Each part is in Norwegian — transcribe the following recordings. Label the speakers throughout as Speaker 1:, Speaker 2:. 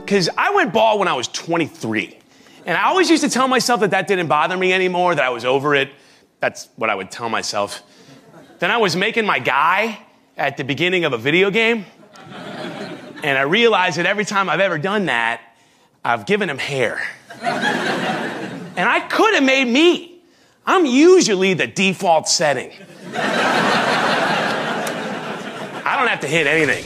Speaker 1: because I went bald when I was 23. And I always used to tell myself that that didn't bother me anymore, that I was over it. That's what I would tell myself. Then I was making my guy at the beginning of a video game. And I realized that every time I've ever done that, I've given him hair. and I could have made me. I'm usually the default setting. I don't have to hit anything.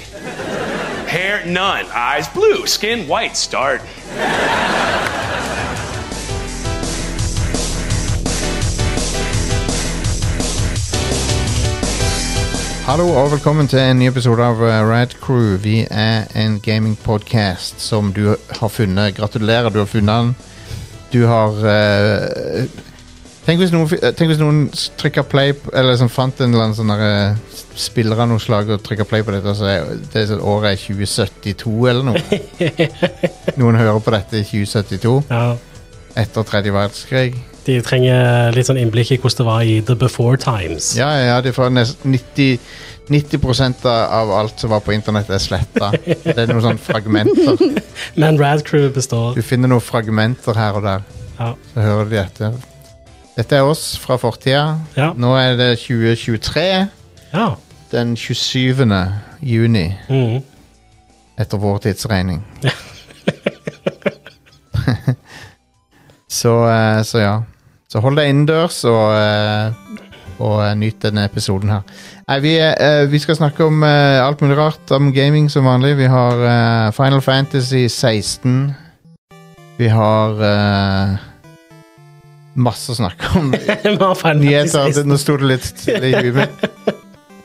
Speaker 1: Hair, none. Eyes, blue. Skin, white. Start.
Speaker 2: Hallo og velkommen til en ny episode av eh, Rad Crew. Vi er en gamingpodcast som du har funnet. Gratulerer, du har funnet den. Du har eh, tenk, hvis noen, fi- eh, tenk hvis noen s- trykker play p- Eller som fant en eller annen sånn der, eh, s- spiller av noe slag og trykker play på dette, og så er det er sånn året er 2072 eller noe. Noen hører på dette i 2072
Speaker 3: Ja,
Speaker 2: etter tredje verdenskrig.
Speaker 3: de trenger litt sånn innblikk i hvordan det var i The Before Times.
Speaker 2: Ja, ja, ja, det er for nesten 90, 90 av alt som var på internett er sletta. Det er noen sånne fragmenter.
Speaker 3: Men Rad Crew består.
Speaker 2: Du finner noen fragmenter her og der,
Speaker 3: Ja.
Speaker 2: så hører de etter. Dette er oss fra fortida.
Speaker 3: Ja.
Speaker 2: Nå er det 2023.
Speaker 3: ja.
Speaker 2: Den 27. juni,
Speaker 3: Mm.
Speaker 2: etter vår tidsregning. så, eh, så ja. Så hold deg innendørs og, eh, og eh, nyt denne episoden her. Nei, vi, eh, vi skal snakke om eh, alt mulig rart om gaming som vanlig. Vi har eh, Final Fantasy 16. Vi har eh, masse å snakke om.
Speaker 3: Vi har Final
Speaker 2: Nyheter.
Speaker 3: Fantasy
Speaker 2: det- Nå sto det litt stille i huet mitt.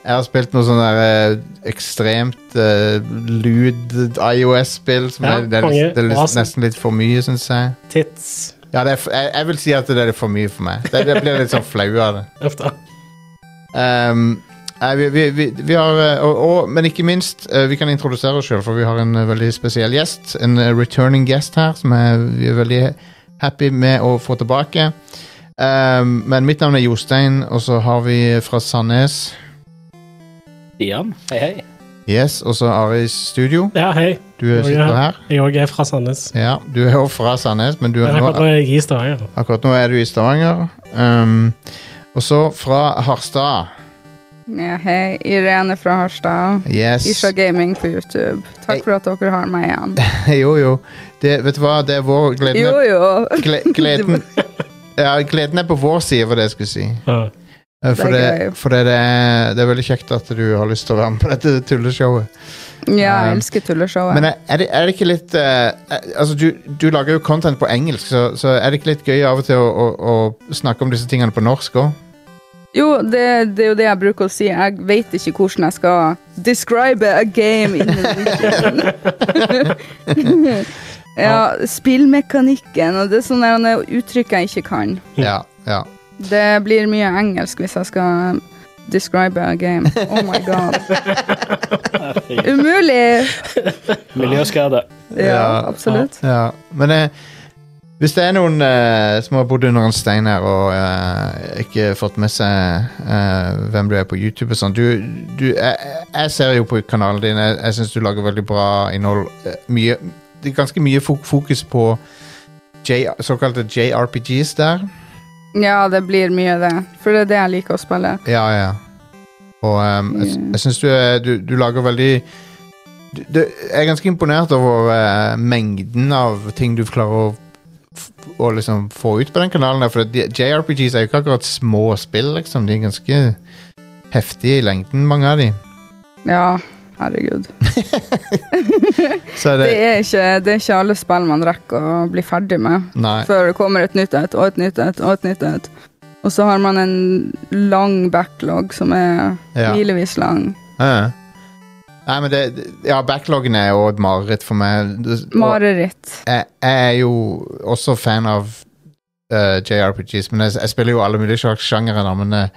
Speaker 2: Jeg har spilt noe sånn der eh, ekstremt eh, lud IOS-spill. som
Speaker 3: Ja,
Speaker 2: er- det er,
Speaker 3: konge.
Speaker 2: litt- det er litt,
Speaker 3: Awesome.
Speaker 2: nesten litt for mye, syns jeg.
Speaker 3: 16 Tits.
Speaker 2: Ja, det er, f- jeg, jeg vil si at det er litt for mye for meg. Det, det blir litt sånn flau av det.
Speaker 3: Ofte.
Speaker 2: Ehm, nei, vi, vi, vi, vi har eh, og, og, Men ikke minst, eh, vi kan introdusere oss sjøl, for vi har en eh, veldig spesiell gjest. En eh, returning guest her, som er, vi er veldig happy med å få tilbake. Ehm, men mitt navn er Jostein, og så har vi fra Sandnes.
Speaker 4: Stian, hei hei.
Speaker 2: Yes, og så Ari i studio.
Speaker 3: Ja, hei.
Speaker 2: Du eh, sitter her.
Speaker 3: Jeg òg er fra Sandnes.
Speaker 2: Ja, du er jo fra Sandnes, men du er
Speaker 3: Men
Speaker 2: nå
Speaker 3: akkurat nå er jeg i Stavanger.
Speaker 2: Akkurat nå er du i Stavanger. Ehm, og så fra Harstad.
Speaker 5: Ja, hei. Irene fra Harstad.
Speaker 2: Yes.
Speaker 5: Isha Gaming på YouTube. Takk for at dere har meg igjen.
Speaker 2: Jo, jo. Det, vet du hva, det er vår gleden
Speaker 5: Jo, jo.
Speaker 2: Gle gleden, ja, gleden er på vår side, var det jeg skulle si.
Speaker 3: Ja.
Speaker 2: Eh, For,
Speaker 5: Det
Speaker 2: det,
Speaker 5: er gøy.
Speaker 2: for det, er, det er veldig kjekt at du har lyst til å være med på dette tulleshowet.
Speaker 5: Ja,
Speaker 2: Um,
Speaker 5: jeg elsker tulleshowet.
Speaker 2: Men er- er det, er det ikke litt eh, eh, Altså, du, du lager jo content på engelsk, så, så er det ikke litt gøy av og til å, å, å snakke om disse tingene på norsk òg?
Speaker 5: Jo, det, det er jo det jeg bruker å si. Jeg vet ikke hvordan jeg skal describe a game in Norwegian. ja, spillmekanikken og det er sånne der uttrykk jeg ikke kan.
Speaker 2: Ja, ja.
Speaker 5: Det blir mye engelsk hvis jeg skal describe a game. Oh my god. Umulig!
Speaker 4: Miljøskade.
Speaker 5: Ja, absolutt.
Speaker 2: Ja, men eh, hvis det er noen eh, som har bodd under en stein her og eh, ikke fått med seg eh, hvem du er på YouTube og sånn du, du, jeg, jeg ser jo på kanalen din, jeg, jeg syns du lager veldig bra innhold. eh, Mye, det er ganske mye fok fokus på J, såkalte JRPGs der.
Speaker 5: Ja, det blir mye det. For det er det jeg liker å spille.
Speaker 2: Ja, ja. Og ehm, jeg,
Speaker 5: Ja.
Speaker 2: jeg syns du, er- du, du lager veldig du, du, Jeg er ganske imponert over eh, mengden av ting du klarer å, f- å liksom få ut på den kanalen. der, For de- JRPGs er jo ikke akkurat små spill, liksom. De er ganske heftige i lengden, mange av de.
Speaker 5: Ja, herregud.
Speaker 2: Så er
Speaker 5: Det
Speaker 2: det
Speaker 5: er ikke, det er ikke alle spill man rekker å bli ferdig med
Speaker 2: Nei.
Speaker 5: før det kommer et nytt et, og et nytt et, og et nytt et. Og så har man en lang backlog som er
Speaker 2: Ja.
Speaker 5: milevis lang.
Speaker 2: Ja. Nei, men det, det- ja, backloggen er jo et mareritt for meg. Det- og-
Speaker 5: Mareritt.
Speaker 2: jeg, jeg er jo også fan av eh, JRPGs, men jeg, jeg spiller jo alle mulige slags sjangere, da, men eh,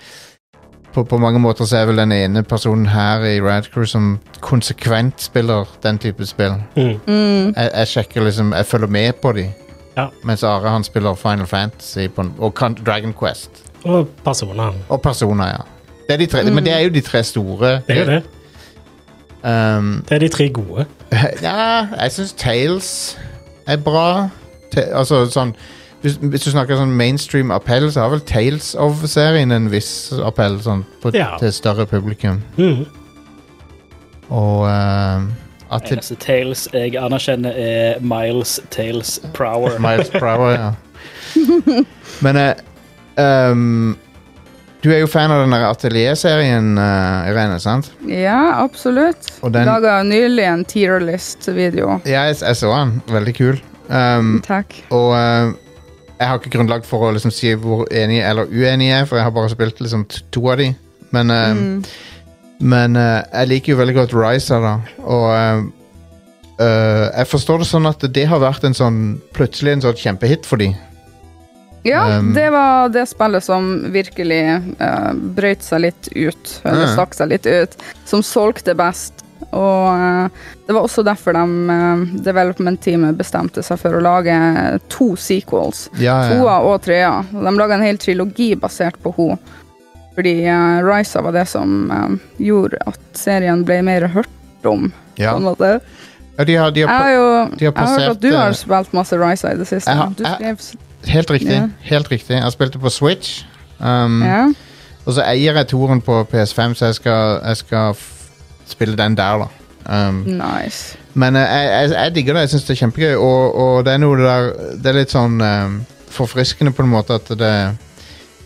Speaker 2: på, på mange måter så er vel den ene personen her i Rad Crew som konsekvent spiller den type spill.
Speaker 3: Mm.
Speaker 5: Mm.
Speaker 2: Jeg, jeg sjekker liksom, jeg følger med på de.
Speaker 3: Ja.
Speaker 2: Mens Are han spiller Final Fantasy på, en- og kan- Dragon Quest.
Speaker 3: Og personer.
Speaker 2: Og Persona, ja. Det er de tre,
Speaker 5: Mm.
Speaker 2: Men det er jo de tre store.
Speaker 3: Det er jo det.
Speaker 2: Um,
Speaker 3: Det er de tre gode.
Speaker 2: ja, jeg syns Tales er bra. Ta altså sånn hvis, hvis du snakker sånn mainstream appell, så har vel Tales of serien en viss appell sånn, på,
Speaker 3: Ja.
Speaker 2: til større publikum.
Speaker 3: Mhm.
Speaker 2: Og eh, at det-
Speaker 4: Eneste Tales altså jeg anerkjenner, er Miles Tales Prower.
Speaker 2: Miles Brower, ja. Men eh, um, du er jo fan av den der Atelier-serien, eh, Irene, sant?
Speaker 5: Ja, absolutt.
Speaker 2: Og den-
Speaker 5: Laga nylig en tierlist-video.
Speaker 2: Ja, jeg, jeg så den. Veldig kul. Um,
Speaker 5: Takk.
Speaker 2: Og eh, jeg har ikke grunnlag for å liksom, si hvor enig eller uenig jeg er, for jeg har bare spilt liksom, t- to av de. Men, eh,
Speaker 5: Mm.
Speaker 2: men eh, jeg liker jo veldig godt Ryza, da. Og eh, eh, jeg forstår det sånn at det har vært en sånn plutselig en sånn kjempehit for de.
Speaker 5: Ja,
Speaker 2: Um,
Speaker 5: det var det spillet som virkelig eh, brøyt seg litt ut, eller
Speaker 2: Ja.
Speaker 5: stakk seg litt ut, som solgte best. Og eh, det var også derfor de, eh, development-teamet bestemte seg for å lage to sequels.
Speaker 2: Ja, ja.
Speaker 5: Toa og trea. Og De laga en hel trilogi basert på henne. Fordi uh, Ryza var det som eh, gjorde at serien ble mer hørt om.
Speaker 2: ja.
Speaker 5: På en måte.
Speaker 2: ja de har, de
Speaker 5: Jeg
Speaker 2: har
Speaker 5: har jo
Speaker 2: de har
Speaker 5: jeg har hørt
Speaker 2: plassert,
Speaker 5: at du
Speaker 2: eh,
Speaker 5: har spilt masse Ryza i det siste.
Speaker 2: jeg har-
Speaker 5: Du
Speaker 2: jeg-
Speaker 5: skrev s-
Speaker 2: på, helt riktig.
Speaker 5: Ja.
Speaker 2: Helt riktig. Jeg spilte på Switch. Um,
Speaker 5: ja.
Speaker 2: Og så eier jeg toren på PS5, så jeg skal, jeg skal f spille den der, da. Um,
Speaker 5: Nice.
Speaker 2: Men eh, jeg, jeg, jeg digger det. Jeg syns det er kjempegøy. Og, og det er noe der Det er litt sånn eh, forfriskende på en måte at det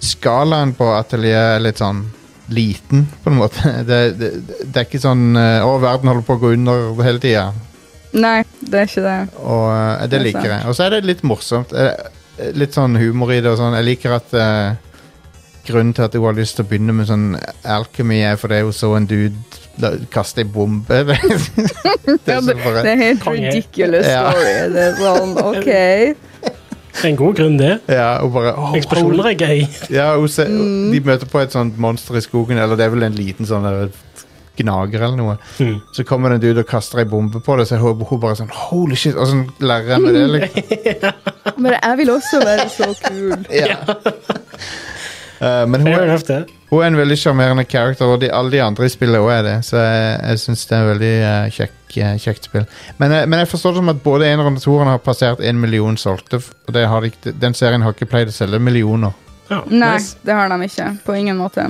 Speaker 2: Skalaen på atelieret er litt sånn liten, på en måte. Det, det, det er ikke sånn eh, Å, verden holder på å gå under hele tida.
Speaker 5: Nei, det er ikke det.
Speaker 2: Og eh, det
Speaker 5: Det er
Speaker 2: liker
Speaker 5: sant.
Speaker 2: jeg. Og så er det litt morsomt. Eh, Litt sånn humor i det og sånn. Jeg liker at eh, grunnen til at hun har lyst til å begynne med sånn alkemi, er fordi hun så en dude la- kaste ei bombe. det er
Speaker 5: Ja,
Speaker 2: så bare-
Speaker 5: Det er helt
Speaker 3: Konge.
Speaker 5: ridiculous
Speaker 2: Ja.
Speaker 5: story. Det er sånn, OK.
Speaker 3: En god grunn, det.
Speaker 2: Ja, og bare «Åh,
Speaker 3: Eksplosjoner er gøy.
Speaker 2: Ja, hun ser- De møter på et sånt monster i skogen, eller det er vel en liten sånn der gnager eller noe.
Speaker 3: Mhm.
Speaker 2: Så kommer det en dude og kaster ei bombe på det, så hun, hun bare sånn Holy shit! Og sånn lærer jeg meg det. Liksom.
Speaker 5: Men jeg vil også være så kul.
Speaker 2: Ja. Eh, men hun
Speaker 3: Jeg har
Speaker 2: er,
Speaker 3: hørt det.
Speaker 2: hun er en veldig sjarmerende character, og de, alle de andre i spillet òg er det. Så jeg, jeg syns det er en veldig eh, kjekk, eh, kjekt spill. Men, jeg- men jeg forstår det som at både eneren og toeren har passert en million solgte. f- Og det har de, ikke- den serien har ikke pleid å selge millioner.
Speaker 3: Ja,
Speaker 5: Nei,
Speaker 3: nice.
Speaker 5: det har de ikke. På ingen måte.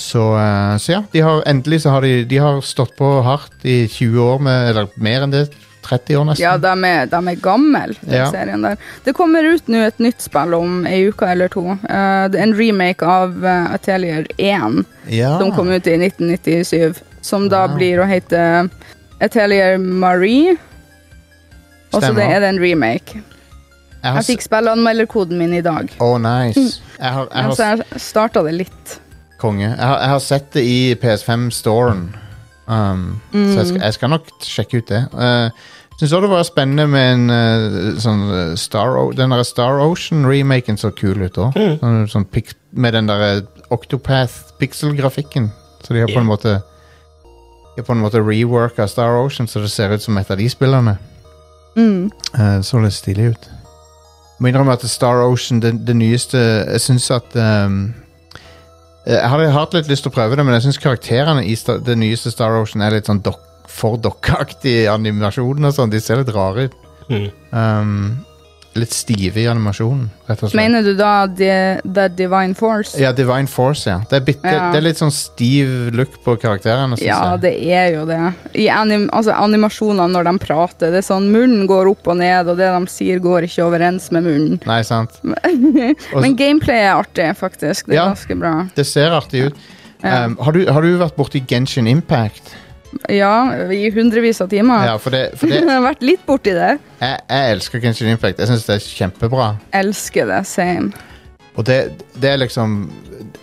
Speaker 2: Så, eh, så ja, de har, endelig så har de, de har stått på hardt i 20 år, med, eller mer enn det, 30 år nesten.
Speaker 5: Ja, de er, de er gamle, den
Speaker 2: Ja.
Speaker 5: serien der. Det kommer ut nå et nytt spill om ei uke eller to. Eh, det er en remake av eh, Atelier 1,
Speaker 2: Ja.
Speaker 5: som kom ut i 1997. Som da
Speaker 2: Ah. Wow.
Speaker 5: blir å hete Atelier Marie. Og så
Speaker 2: Stemmer.
Speaker 5: det er det en remake.
Speaker 2: Jeg har
Speaker 5: Jeg
Speaker 2: s-
Speaker 5: fikk spillanmelderkoden min i dag.
Speaker 2: Å, nice. Jeg har, jeg har,
Speaker 5: Så jeg starta det litt.
Speaker 2: s- konge. Jeg har, jeg har sett det i PS5-storen. Um, Så jeg skal, jeg skal nok sjekke ut det. Uh, Syns også det var spennende med en eh, sånn eh, Star, O- den der Star Ocean-remaken så kul ut òg. Sånn, sånn pik- med den der Octopath-pixel-grafikken. Så de har på en måte De har på en måte reworka Star Ocean, så det ser ut som et av de spillene.
Speaker 5: Mm.
Speaker 2: Eh, så litt stilig ut. Jeg må innrømme at Star Ocean, det, det nyeste Jeg syns at ehm, eh, Jeg hadde hatt litt lyst til å prøve det, men jeg syns karakterene i sta, det nyeste Star Ocean er litt sånn dok, for dokkeaktig i animasjonen og sånn. De ser litt rare ut.
Speaker 3: Mhm.
Speaker 2: Ehm, litt stive i animasjonen, rett og slett.
Speaker 5: Mener du da The, the Divine Force?
Speaker 2: ja, Divine Force, ja. Det er, bitte,
Speaker 5: Ja.
Speaker 2: det er litt sånn stiv look på karakterene, syns
Speaker 5: Ja,
Speaker 2: jeg.
Speaker 5: det er jo det. I anim, altså animasjonene når de prater, det er sånn munnen går opp og ned, og det de sier går ikke overens med munnen.
Speaker 2: Nei, sant? Og-
Speaker 5: Men gameplay er artig, faktisk. Det er
Speaker 2: Ja.
Speaker 5: ganske bra.
Speaker 2: Det ser artig ut.
Speaker 5: Ja.
Speaker 2: Ehm, har, du, har du vært borti Genshin Impact?
Speaker 5: Ja, i hundrevis av timer.
Speaker 2: Ja, for det, for det
Speaker 5: jeg har vært litt borti det.
Speaker 2: Jeg, jeg elsker Genshin Impact. Jeg syns det er kjempebra.
Speaker 5: Elsker det, same.
Speaker 2: Og det, det er liksom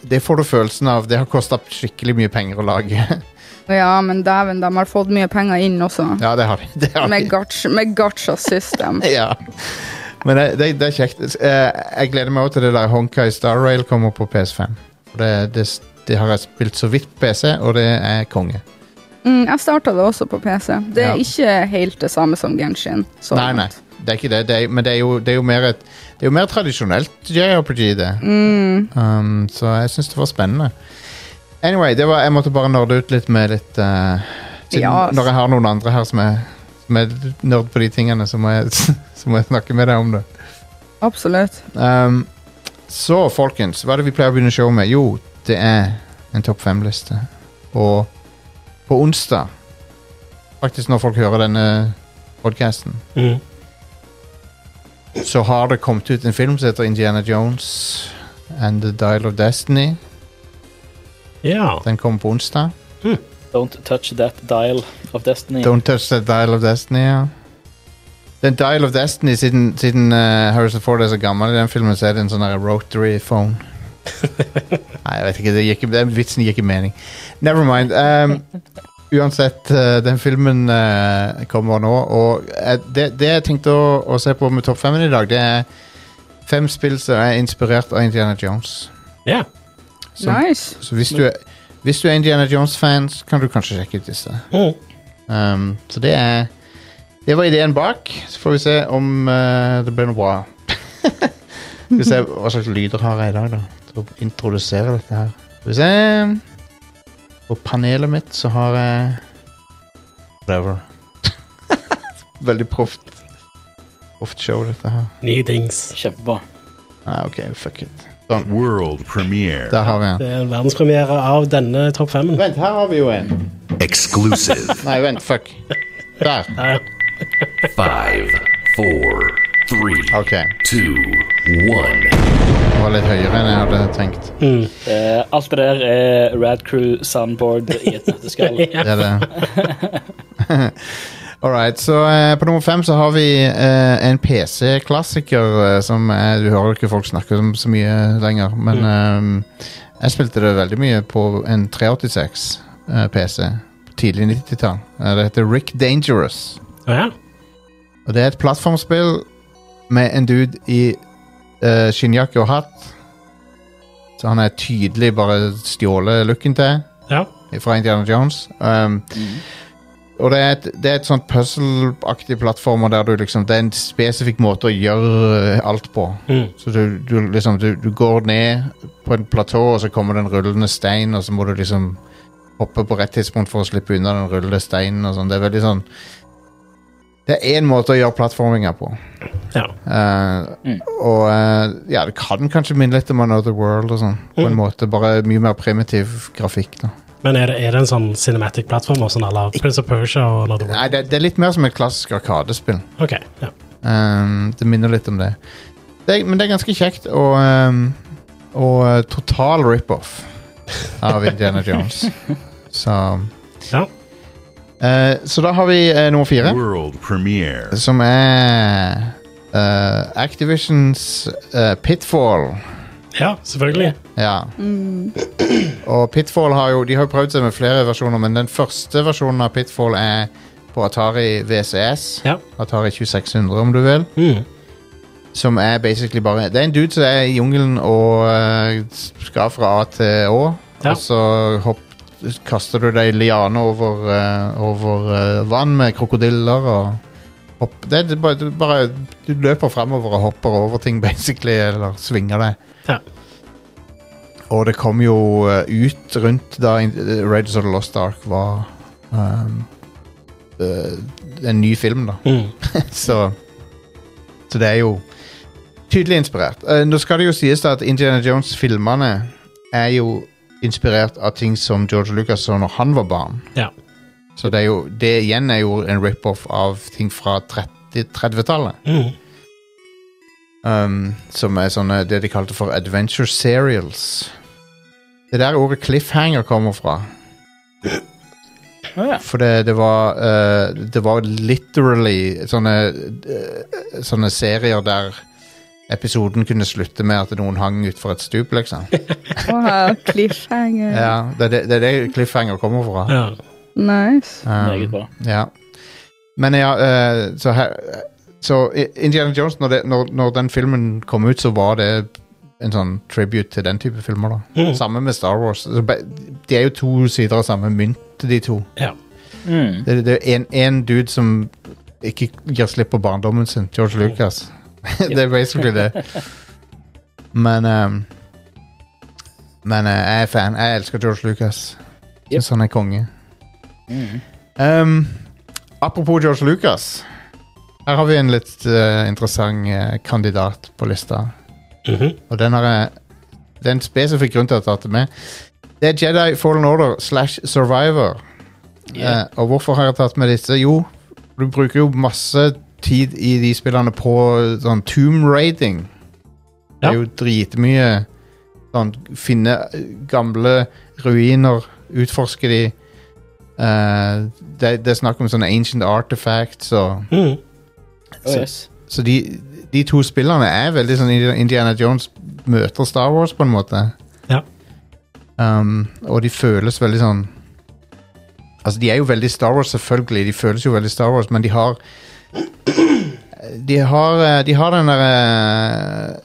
Speaker 2: Det får du følelsen av. Det har kosta skikkelig mye penger å lage.
Speaker 5: Ja, men dæven, de har fått mye penger inn også.
Speaker 2: ja, det har de. Det har
Speaker 5: Med,
Speaker 2: de.
Speaker 5: gacha, med gacha system.
Speaker 2: Ja. Men det, det, det er kjekt. Eh, Jeg gleder meg også til det der Honkai Star Rail kommer på PS5. For Det, det, det har jeg spilt så vidt på PC, og det er konge.
Speaker 5: Mm, jeg starta det også på PC. Det er
Speaker 2: Ja.
Speaker 5: ikke helt det samme som Genshin. så
Speaker 2: Nei, nei.
Speaker 5: langt.
Speaker 2: Det er ikke det. det er, men det er, jo, det, er jo mer et, det er jo mer tradisjonelt JRPG, det. Um, så jeg syns det var spennende. Anyway, det var, jeg måtte bare nerde ut litt med litt eh, Siden
Speaker 5: Ja,
Speaker 2: Når jeg har noen andre her som er, som er nerd på de tingene, så må jeg, så må jeg snakke med deg om det.
Speaker 5: absolutt.
Speaker 2: Um, så, folkens, hva er det vi pleier å begynne showet med? Jo, det er en topp fem-liste. Og på onsdag, faktisk når folk hører denne podkasten,
Speaker 3: Mm.
Speaker 2: så har det kommet ut en film som heter Indiana Jones and The Dial of Destiny.
Speaker 3: Ja.
Speaker 2: Den kommer på onsdag.
Speaker 4: Don't touch that dial of destiny.
Speaker 2: Don't touch that Dial of Destiny, ja. Den Dial of Destiny, siden, siden eh, Harrison Ford er så gammel i den filmen, så er det en sånn her rotary phone. Nei, jeg vet ikke, det gir ikke, den vitsen gir ikke mening. Never mind. ehm, uansett, eh, den filmen eh, kommer nå, og eh, det, det jeg tenkte å, å se på med Topp 5 i dag, det er fem spill som er inspirert av Indiana Jones.
Speaker 3: ja.
Speaker 2: Som-
Speaker 5: Nice.
Speaker 2: Så hvis du er, hvis du er Indiana Jones-fan, så kan du kanskje sjekke ut disse.
Speaker 3: Mm.
Speaker 2: Um, så det er Det var ideen bak. Så får vi se om eh, det blir noe bra. Skal vi se hva slags lyder har jeg i dag, da. Til å introdusere dette her. Skal vi se På panelet mitt så har jeg Whatever. Veldig proft. Proft show, dette her.
Speaker 3: Nye dings.
Speaker 4: Kjempebra.
Speaker 2: Nei, OK, fuck it.
Speaker 6: World premiere.
Speaker 2: Der har vi den.
Speaker 3: Det er en verdenspremiere av denne topp femmen.
Speaker 2: Vent, her har vi jo en.
Speaker 6: Exclusive.
Speaker 2: Nei, vent, fuck. Der.
Speaker 3: Der.
Speaker 7: Five, four, three,
Speaker 2: OK.
Speaker 7: two, one.
Speaker 2: Det var litt høyere enn jeg hadde tenkt.
Speaker 4: Eh, alt det der er Rad Crew soundboard i et nøtteskall.
Speaker 2: Det er det. All right, så eh, på nummer fem så har vi eh, en PC-klassiker eh, som er, Du hører ikke folk snakke om så mye lenger, men eh, jeg spilte det veldig mye på en 386 eh, PC. Tidlig 90-tall. Eh, det heter Rick Dangerous.
Speaker 3: Å ja.
Speaker 2: Og det er et plattformspill med en dude i eh, skinnjakke og hatt. Så han er tydelig bare stjålet looken til
Speaker 3: ja.
Speaker 2: fra Indiana Jones. Um, Og det er et, det er et sånt puzzle-aktig plattformer der du liksom Det er en spesifikk måte å gjøre uh, alt på.
Speaker 3: Mm.
Speaker 2: Så du, du liksom du, du går ned på en platå, og så kommer det en rullende stein, og så må du liksom hoppe på rett tidspunkt for å slippe unna den rullende steinen og sånn. Det er veldig sånn Det er én måte å gjøre plattforminga på.
Speaker 3: ja.
Speaker 2: Eh, Og eh, ja, det kan kanskje minne litt om Another World og sånn, på en måte. Bare mye mer primitiv grafikk, da.
Speaker 3: Men er det, er det en sånn cinematic plattform sånn à la Prince of Persia og Lord of the
Speaker 2: Nei, det, det er litt mer som et klassisk arkadespill.
Speaker 3: Ok, ja.
Speaker 2: Um, det minner litt om det. det er, men det er ganske kjekt og, um, og uh, total rip-off av Indiana Jones. Så
Speaker 3: ja.
Speaker 2: eh, Så da har vi eh, nummer fire,
Speaker 6: World premiere.
Speaker 2: som er eh, Activisions eh, Pitfall.
Speaker 3: Ja, selvfølgelig.
Speaker 2: Ja. Og Pitfall har jo De har jo prøvd seg med flere versjoner, men den første versjonen av Pitfall er på Atari E VCS.
Speaker 3: Ja.
Speaker 2: Atari 2600, om du vil.
Speaker 3: Mm.
Speaker 2: Som er basically bare Det er en dude som er i jungelen og eh, skal fra A til Å.
Speaker 3: Ja.
Speaker 2: Og så hopp, kaster du deg i liane over, eh, over eh, vann med krokodiller og hopp. Det er bare, du, bare, du løper fremover og hopper over ting, basically, eller svinger deg.
Speaker 3: Ja.
Speaker 2: Og det kom jo eh, ut rundt da eh, Raiders of the Lost Ark var um, eh, en ny film, da.
Speaker 3: Mm.
Speaker 2: Så Så det er jo tydelig inspirert. Eh, nå skal det jo sies da at Indiana Jones-filmene er jo inspirert av ting som George Lucas så når han var barn.
Speaker 3: Ja.
Speaker 2: Så det, er jo, det igjen er jo en rip-off av ting fra 30 30-tallet.
Speaker 3: Mm.
Speaker 2: Um, som er sånne det de kalte for adventure serials. Det er der ordet cliffhanger kommer fra.
Speaker 4: Å ja.
Speaker 2: For det, det var eh, Det var literally sånne eh, Sånne serier der episoden kunne slutte med at noen hang utfor et stup, liksom.
Speaker 5: Wow, cliffhanger.
Speaker 2: Ja, det, er det, det er det cliffhanger kommer fra. Um,
Speaker 3: ja.
Speaker 5: Nice.
Speaker 4: Meget bra.
Speaker 2: Ja. Men ja, eh, så her Så I- Indiana Jones, når, det, når, når den filmen kom ut, så var det en sånn tribute til den type filmer, da.
Speaker 3: Mm.
Speaker 2: Samme med Star Wars. Så be- De er jo to sider av samme mynt, de to.
Speaker 3: ja.
Speaker 4: Mm.
Speaker 2: Det, det er en, en dude som ikke gir slipp på barndommen sin. George Lucas. det er basically det. Men uh, ehm, Men eh, jeg er fan. Jeg elsker George Lucas. Syns han er konge. Ehm, apropos George Lucas. Her har vi en litt eh, interessant eh, kandidat på lista.
Speaker 3: Mhm.
Speaker 2: Og den har jeg Det er en spesifikk grunn til at jeg har tatt det med. Det er Jedi Fallen Order slash Survivor.
Speaker 4: Yeah.
Speaker 2: Eh, og hvorfor har jeg tatt med disse? Jo, du bruker jo masse tid i de spillene på sånn tomb raiding. Det
Speaker 3: Ja.
Speaker 2: er jo dritmye sånn finne gamle ruiner, utforske de. Eh, det, det er snakk om sånne ancient artifacts og
Speaker 3: Mhm.
Speaker 4: Oh, yes.
Speaker 2: Så de, de to spillene er veldig sånn Indi- Indiana Jones møter Star Wars, på en måte.
Speaker 3: Ja.
Speaker 2: Um, og de føles veldig sånn Altså, de er jo veldig Star Wars, selvfølgelig. De føles jo veldig Star Wars, men de har De har, eh, de har den der eh,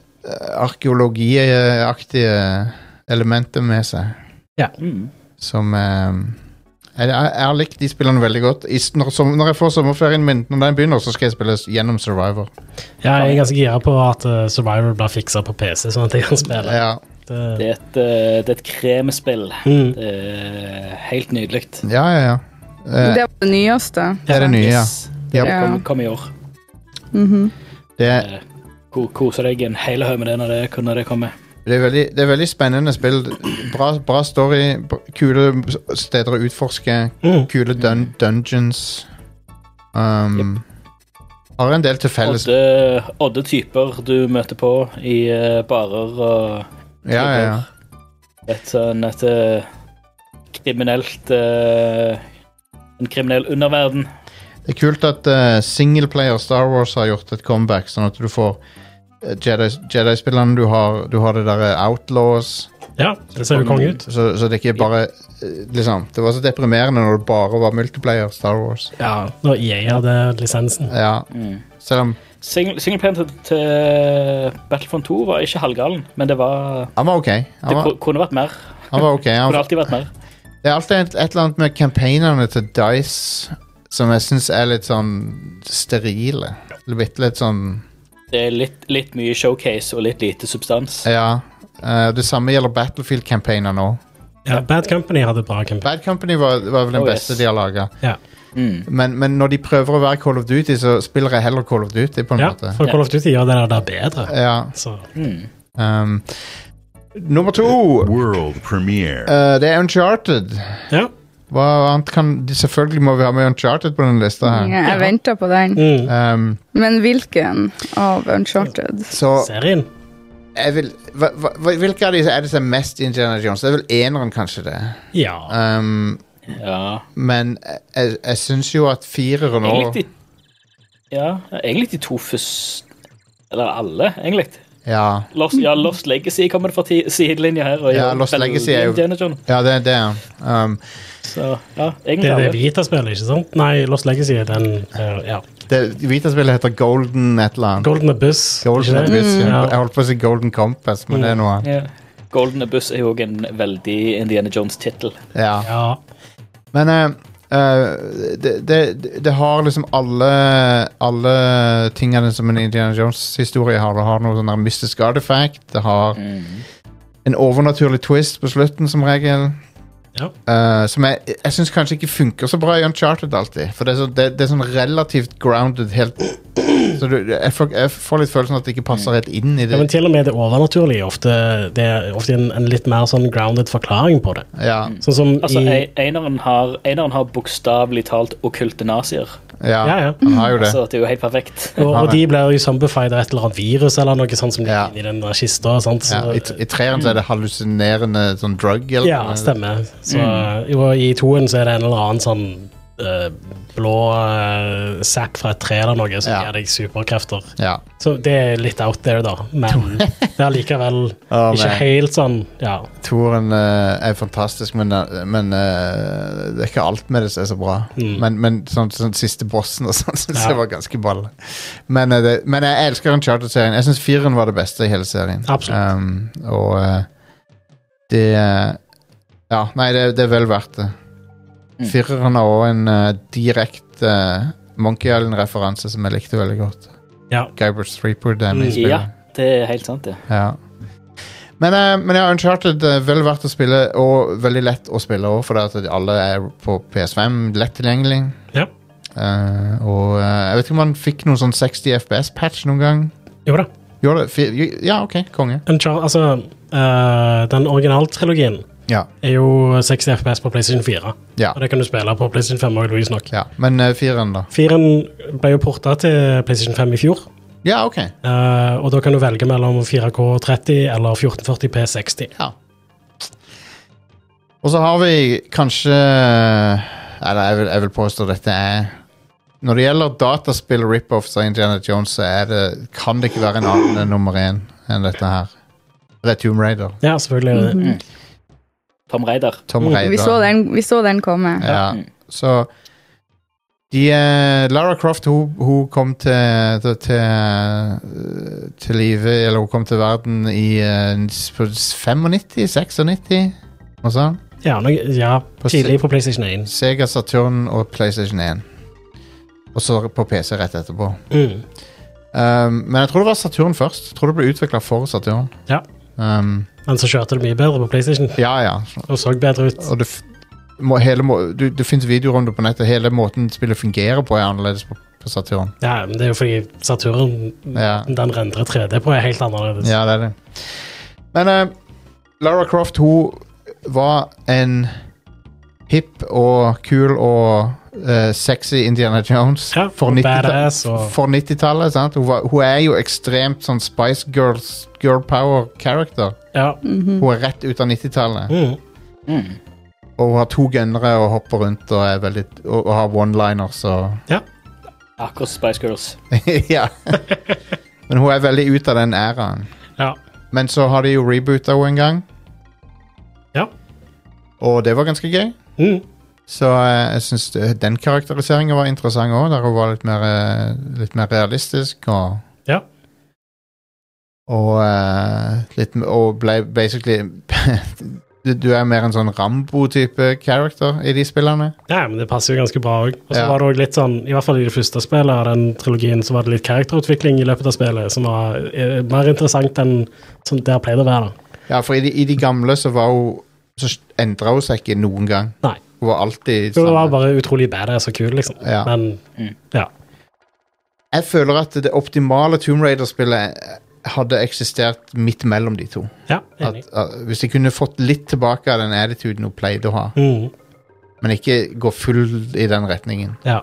Speaker 2: arkeologiaktige elementet med seg
Speaker 3: Ja.
Speaker 2: som eh, jeg, jeg jeg har likt de spillene veldig godt. I, s- når, som, når jeg får sommerferien min, når den begynner, så skal jeg spille s- gjennom Survivor.
Speaker 3: ja, jeg er ganske gira på at eh, Survivor blir fiksa på PC, sånn at jeg kan spille.
Speaker 2: Ja,
Speaker 3: Det,
Speaker 4: Det er et, eh, det er et kremspill.
Speaker 3: Mhm.
Speaker 4: Det er helt nydelig.
Speaker 2: ja, ja. ja. Eh,
Speaker 5: Det var det nyeste.
Speaker 2: det er det nye. ja.
Speaker 4: Yes.
Speaker 2: Ja.
Speaker 4: Det
Speaker 5: Ja.
Speaker 4: kom, kom i år.
Speaker 5: Mhm.
Speaker 2: Det, er-
Speaker 4: Eh, ko- Kose deg en hel haug med det når det, når det kommer.
Speaker 2: det, er veldig, det er veldig spennende spill. Bra, bra story, br- kule s- steder å utforske,
Speaker 3: Mhm.
Speaker 2: kule dun dungeons. Um, Har en del til felles.
Speaker 4: Odde, odde typer du møter på i eh, barer og
Speaker 2: Ja, ja, ja.
Speaker 4: et sånn et eh, kriminelt eh, En kriminell underverden.
Speaker 2: Det er kult at eh, singleplayer Star Wars har gjort et comeback, sånn at du får eh, Jedi Jedi-spillene, du, har- du har det derre Outlaws.
Speaker 3: ja, det ser jo konge ut.
Speaker 2: Så, så det ikke bare eh, liksom, Det var så deprimerende når det bare var multiplayer Star Wars.
Speaker 3: Ja, Når EA hadde lisensen.
Speaker 2: Ja, Selv om
Speaker 4: Sing- Singleplayeren til, til Battlefront 2 var ikke halvgalen, men det var
Speaker 2: Han var ok. Han
Speaker 4: Det
Speaker 2: var,
Speaker 4: ku- kunne vært mer.
Speaker 2: han var ok. Han,
Speaker 4: Kunne alltid vært mer.
Speaker 2: det er alltid et, et eller annet med campaignene til Dice som jeg syns er litt sånn sterile. Litt, litt sånn
Speaker 4: Det er litt, litt mye showcase og litt lite substans.
Speaker 2: Ja. Eh, det samme gjelder Battlefield-campaigner nå.
Speaker 3: Ja, Bad Company hadde bra campaign.
Speaker 2: Bad Company var, var vel den
Speaker 4: Oh, yes.
Speaker 2: beste de har laga.
Speaker 3: Ja.
Speaker 2: Men, men når de prøver å være Call of Duty, så spiller jeg heller Call of Duty. på en
Speaker 3: ja,
Speaker 2: måte.
Speaker 3: for Call of Duty gjør det der bedre.
Speaker 2: Ja,
Speaker 3: Så
Speaker 2: um, nummer to
Speaker 6: World premiere.
Speaker 2: eh, Det er Uncharted.
Speaker 3: ja.
Speaker 2: Hva annet kan de, Selvfølgelig må vi ha med Uncharted på denne lista. her
Speaker 5: Jeg venter på den.
Speaker 3: Mm.
Speaker 2: um,
Speaker 5: Men hvilken av Uncharted?
Speaker 2: Så
Speaker 3: Serien.
Speaker 2: jeg vil, hva, hva, Hvilke av de er det som er mest Indiana Jones? Det er vel eneren, kanskje. det
Speaker 3: Ja.
Speaker 2: um,
Speaker 4: Ja.
Speaker 2: Men jeg- jeg, jeg syns jo at fireren
Speaker 4: Egentlig
Speaker 2: òg
Speaker 4: de, ja, egentlig de to først Eller alle, egentlig.
Speaker 2: ja,
Speaker 4: Lost, ja, Lost Legacy kommer det fra ti- sidelinja her. Og
Speaker 2: Ja,
Speaker 4: gjør
Speaker 2: Lost
Speaker 4: veldig
Speaker 2: Legacy er jo-
Speaker 4: Indiana Jones.
Speaker 2: ja, det det er han. Um,
Speaker 4: Så, ja, egentlig
Speaker 3: Det er det
Speaker 4: alle.
Speaker 3: Vita-spillet, ikke sant? Nei, Lost Legacy er den eh, ja.
Speaker 2: det. Vita-spillet heter Golden et eller annet.
Speaker 3: Golden Abyss.
Speaker 2: Golden
Speaker 3: ikke det? Mm,
Speaker 2: Abyss, ja.
Speaker 3: Ja.
Speaker 2: Jeg holdt på å si Golden Compass, men det er noe annet.
Speaker 4: Ja. Golden Abyss er jo også en veldig Indiana Jones-tittel.
Speaker 3: Mm.
Speaker 2: Ja.
Speaker 3: Ja.
Speaker 2: Men eh, eh, det, det, det har liksom alle Alle tingene som en Indiana Jones-historie har. Det har noe sånn der mystisk artifact. Det har en overnaturlig twist på slutten, som regel.
Speaker 3: Ja.
Speaker 2: Eh, som jeg, jeg syns kanskje ikke funker så bra i Uncharted alltid. For det er, så, det, det er sånn relativt grounded helt Så du, jeg, får, jeg får litt følelsen at det ikke passer helt inn i
Speaker 3: ja,
Speaker 2: det.
Speaker 3: men til og med det overnaturlige er ofte, det er ofte en, en litt mer sånn grounded forklaring på det.
Speaker 2: Ja,
Speaker 3: Sånn som
Speaker 4: Altså,
Speaker 3: i
Speaker 4: ei- Eineren har, eineren har bokstavelig talt okkulte nazier.
Speaker 2: ja.
Speaker 3: Ja, ja. Altså,
Speaker 2: Han har jo det.
Speaker 4: Så det er jo helt perfekt.
Speaker 3: Og, og de blir jo zombified av et eller annet virus eller noe sånt som
Speaker 2: Ja.
Speaker 3: ligger inni den der kista. Sant? Så,
Speaker 2: Ja, I, t- I treeren så er det hallusinerende sånn drug. Eller,
Speaker 3: ja, stemmer. Så, jo, og I toen så er det en eller annen sånn eh, blå eh, sap fra et tre eller noe som
Speaker 2: Ja.
Speaker 3: gir deg superkrefter.
Speaker 2: Ja.
Speaker 3: Så det er litt out there, da. Men det er allikevel
Speaker 2: Å,
Speaker 3: ikke
Speaker 2: nei.
Speaker 3: helt sånn Ja.
Speaker 2: Toren eh, er fantastisk, men, eh, men eh, det er ikke alt med det som er så bra. Men, men sånn, sånn siste bossen og sånn syns
Speaker 3: Mm. Ja.
Speaker 2: jeg var ganske balle. Men, eh, det, men jeg elsker Uncharted-serien. Jeg syns fireren var det beste i hele serien.
Speaker 3: Absolutt.
Speaker 2: Um, og eh, det eh, Ja, nei, det, det er vel verdt det. Fireren har òg en eh, direkte eh, Monkey Island-referanse som jeg likte veldig godt.
Speaker 3: Ja. Mm,
Speaker 2: Guybrush Threepwood er med i spillet.
Speaker 4: Ja, det er helt sant, det.
Speaker 2: Ja. Men, eh, men ja, Uncharted er vel verdt å spille, og veldig lett å spille òg, fordi at alle er på PS5, lett tilgjengelig.
Speaker 3: Ja.
Speaker 2: Eh, og eh, jeg vet ikke om han fikk noen sånn 60 FPS-patch noen gang.
Speaker 3: Jo da.
Speaker 2: Gjorde det? Fi- Ja, OK, konge.
Speaker 3: Unchar altså, eh, den originaltrilogien
Speaker 2: Ja.
Speaker 3: er jo 60 FPS på PlayStation 4.
Speaker 2: Ja.
Speaker 3: Og det kan du spille på PlayStation 5 òg, nok.
Speaker 2: ja. Men uh, fireren, da?
Speaker 3: Firen ble jo porta til PlayStation 5 i fjor.
Speaker 2: Ja, OK.
Speaker 3: eh, og da kan du velge mellom 4K30 eller 1440P60.
Speaker 2: Ja. Og så har vi kanskje eh, Eller jeg vil, jeg vil påstå dette er Når det gjelder dataspill rip-offs av Indiana Jones, så er det, kan det ikke være en annen enn nummer én enn dette her. Det er Tomb Raider.
Speaker 3: Ja, selvfølgelig. er det det.
Speaker 4: Tom Raider.
Speaker 2: Tom
Speaker 3: Mm,
Speaker 2: Raider.
Speaker 5: Vi så den, vi så den komme.
Speaker 2: Ja, så de, eh, Lara Croft hun, hun kom til til, til, eh, til live Eller hun kom til verden i eh, på 95? 96? Og sånn.
Speaker 3: Ja, noe, ja
Speaker 2: På
Speaker 3: tidlig på PlayStation 1.
Speaker 2: Sega Saturn og PlayStation 1. Og så på PC rett etterpå.
Speaker 3: Mm.
Speaker 2: Um, men jeg tror det var Saturn først. Jeg tror det ble utvikla for Saturn.
Speaker 3: Ja.
Speaker 2: Um,
Speaker 3: Men så kjørte det mye bedre på PlayStation
Speaker 2: ja, ja.
Speaker 3: og så bedre ut.
Speaker 2: Og det, f- må, hele, må, du, det finnes videoer om det på nettet. Hele måten spillet fungerer på, er annerledes på, på Saturn.
Speaker 3: Ja, men Det er jo fordi Saturn
Speaker 2: Ja.
Speaker 3: den rendrer 3D på, er helt annerledes.
Speaker 2: Ja, det er det. Men eh, Lara Croft, hun var en hipp og kul og eh, sexy Indiana Jones
Speaker 3: Ja,
Speaker 2: for
Speaker 3: og
Speaker 2: 90-tall-
Speaker 3: badass og-
Speaker 2: for 90-tallet. 90 sant? hun, var- hun er jo ekstremt sånn Spice Girls, girl power character.
Speaker 3: Ja.
Speaker 2: Hun er rett ut av 90-tallet.
Speaker 3: Mm.
Speaker 2: Og hun har to gunnere og hopper rundt og, er veldig, og, og har one-liners og
Speaker 4: Akkurat Spice Girls.
Speaker 2: Ja. Men hun er veldig ut av den æraen.
Speaker 3: ja.
Speaker 2: Men så har de jo reboota henne en gang,
Speaker 3: Ja.
Speaker 2: og det var ganske gøy.
Speaker 3: Mm.
Speaker 2: Så eh, jeg syns den karakteriseringen var interessant òg, der hun var litt mer, eh, litt mer realistisk og
Speaker 3: Ja.
Speaker 2: Og, eh, litt, m- og ble basically du, du er mer en sånn Rambo-type character i de spillene.
Speaker 3: ja, men det passer jo ganske bra òg. Og så
Speaker 2: Ja.
Speaker 3: var det også litt sånn, i hvert fall i det første spillet av den trilogien, så var det litt karakterutvikling i løpet av spillet som var eh, mer interessant enn som der pleide å være.
Speaker 2: Ja, for i de, i de gamle så var hun Så endra hun seg ikke noen gang.
Speaker 3: Nei.
Speaker 2: Hun var alltid
Speaker 3: Hun var
Speaker 2: samme.
Speaker 3: bare utrolig badass og kul, liksom.
Speaker 2: Ja.
Speaker 3: Men ja.
Speaker 2: Jeg føler at det optimale Tomb Raider-spillet eh, hadde eksistert midt mellom de to.
Speaker 3: ja
Speaker 2: At,
Speaker 3: enig.
Speaker 2: at, hvis de kunne fått litt tilbake av den attituden hun pleide å ha,
Speaker 3: Mm.
Speaker 2: men ikke gå full i den retningen.
Speaker 3: Ja.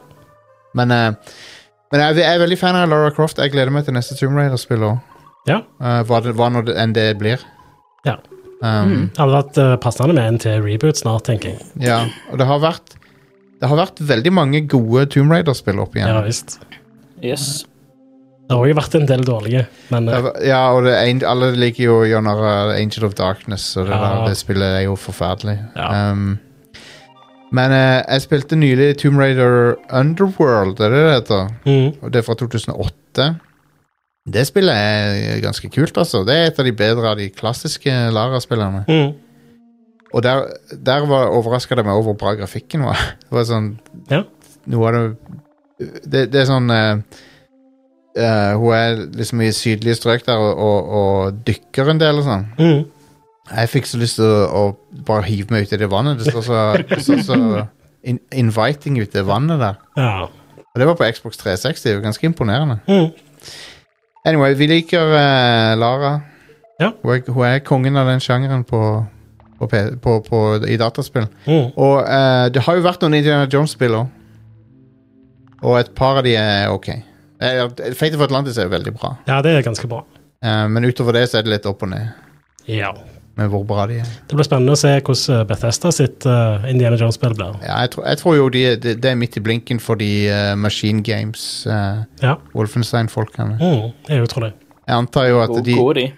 Speaker 2: Men, eh, men jeg, jeg er veldig fan av Lara Croft. Jeg gleder meg til neste Tomb Raider-spill òg.
Speaker 3: Ja.
Speaker 2: Eh, hva, det- hva nå det- enn det blir.
Speaker 3: Ja.
Speaker 2: Um,
Speaker 3: Det hadde vært eh, passende med en til reboot snart, tenker jeg.
Speaker 2: ja. Og det har vært Det har vært veldig mange gode Tomb Raider-spill opp
Speaker 3: Ja,
Speaker 2: igjen.
Speaker 3: visst.
Speaker 4: Yes.
Speaker 3: Det har òg vært en del dårlige, men eh,
Speaker 2: Det var- ja, og det, er en- alle liker jo gjennom Angel of Darkness, og det,
Speaker 3: Ja.
Speaker 2: der, det spillet er jo forferdelig.
Speaker 3: Ja.
Speaker 2: Um, men eh, jeg spilte nylig Tomb Raider Underworld, er det det heter?
Speaker 3: mm.
Speaker 2: Og det er fra 2008. Det spillet er ganske kult, altså. Det er et av de bedre av de klassiske Lara-spillene.
Speaker 3: Mm.
Speaker 2: Og der, der var overraska det meg over hvor bra grafikken var. Det var sånn
Speaker 3: Ja.
Speaker 2: Noe av det Det, det er sånn eh, eh, Hun er liksom i sydlige strøk der og, og, og dykker en del og sånn.
Speaker 3: Mm.
Speaker 2: Jeg fikk så lyst til å, å bare hive meg ut i det vannet. Det står så, det står så in, inviting ut, det vannet der.
Speaker 3: ja.
Speaker 2: Og det var på Xbox 360. Det er jo ganske imponerende.
Speaker 3: Mm.
Speaker 2: Anyway, vi liker eh, Lara.
Speaker 3: Ja.
Speaker 2: Hun, er, hun er kongen av den sjangeren på, på, P- på, på, i dataspill.
Speaker 3: Mm.
Speaker 2: Og eh, det har jo vært noen Indiana Jones-spill òg. Og et par av de er ok. Eh, Fate of Atlantis er jo veldig bra,
Speaker 3: ja, det er ganske bra.
Speaker 2: Eh, men utover det så er det litt opp og ned
Speaker 3: Ja.
Speaker 2: med hvor bra de er.
Speaker 3: Det blir spennende å se hvordan Bethesda sitt eh, Indiana Jones-spill blir.
Speaker 2: Ja, jeg, tror, jeg tror jo de, det det er midt i blinken for de eh, Machine Games, eh,
Speaker 3: Ja.
Speaker 2: Wolfenstein-folkene.
Speaker 3: Mm. Jeg tror det.
Speaker 2: Jeg antar jo at
Speaker 4: Gode,
Speaker 2: de
Speaker 4: gode de.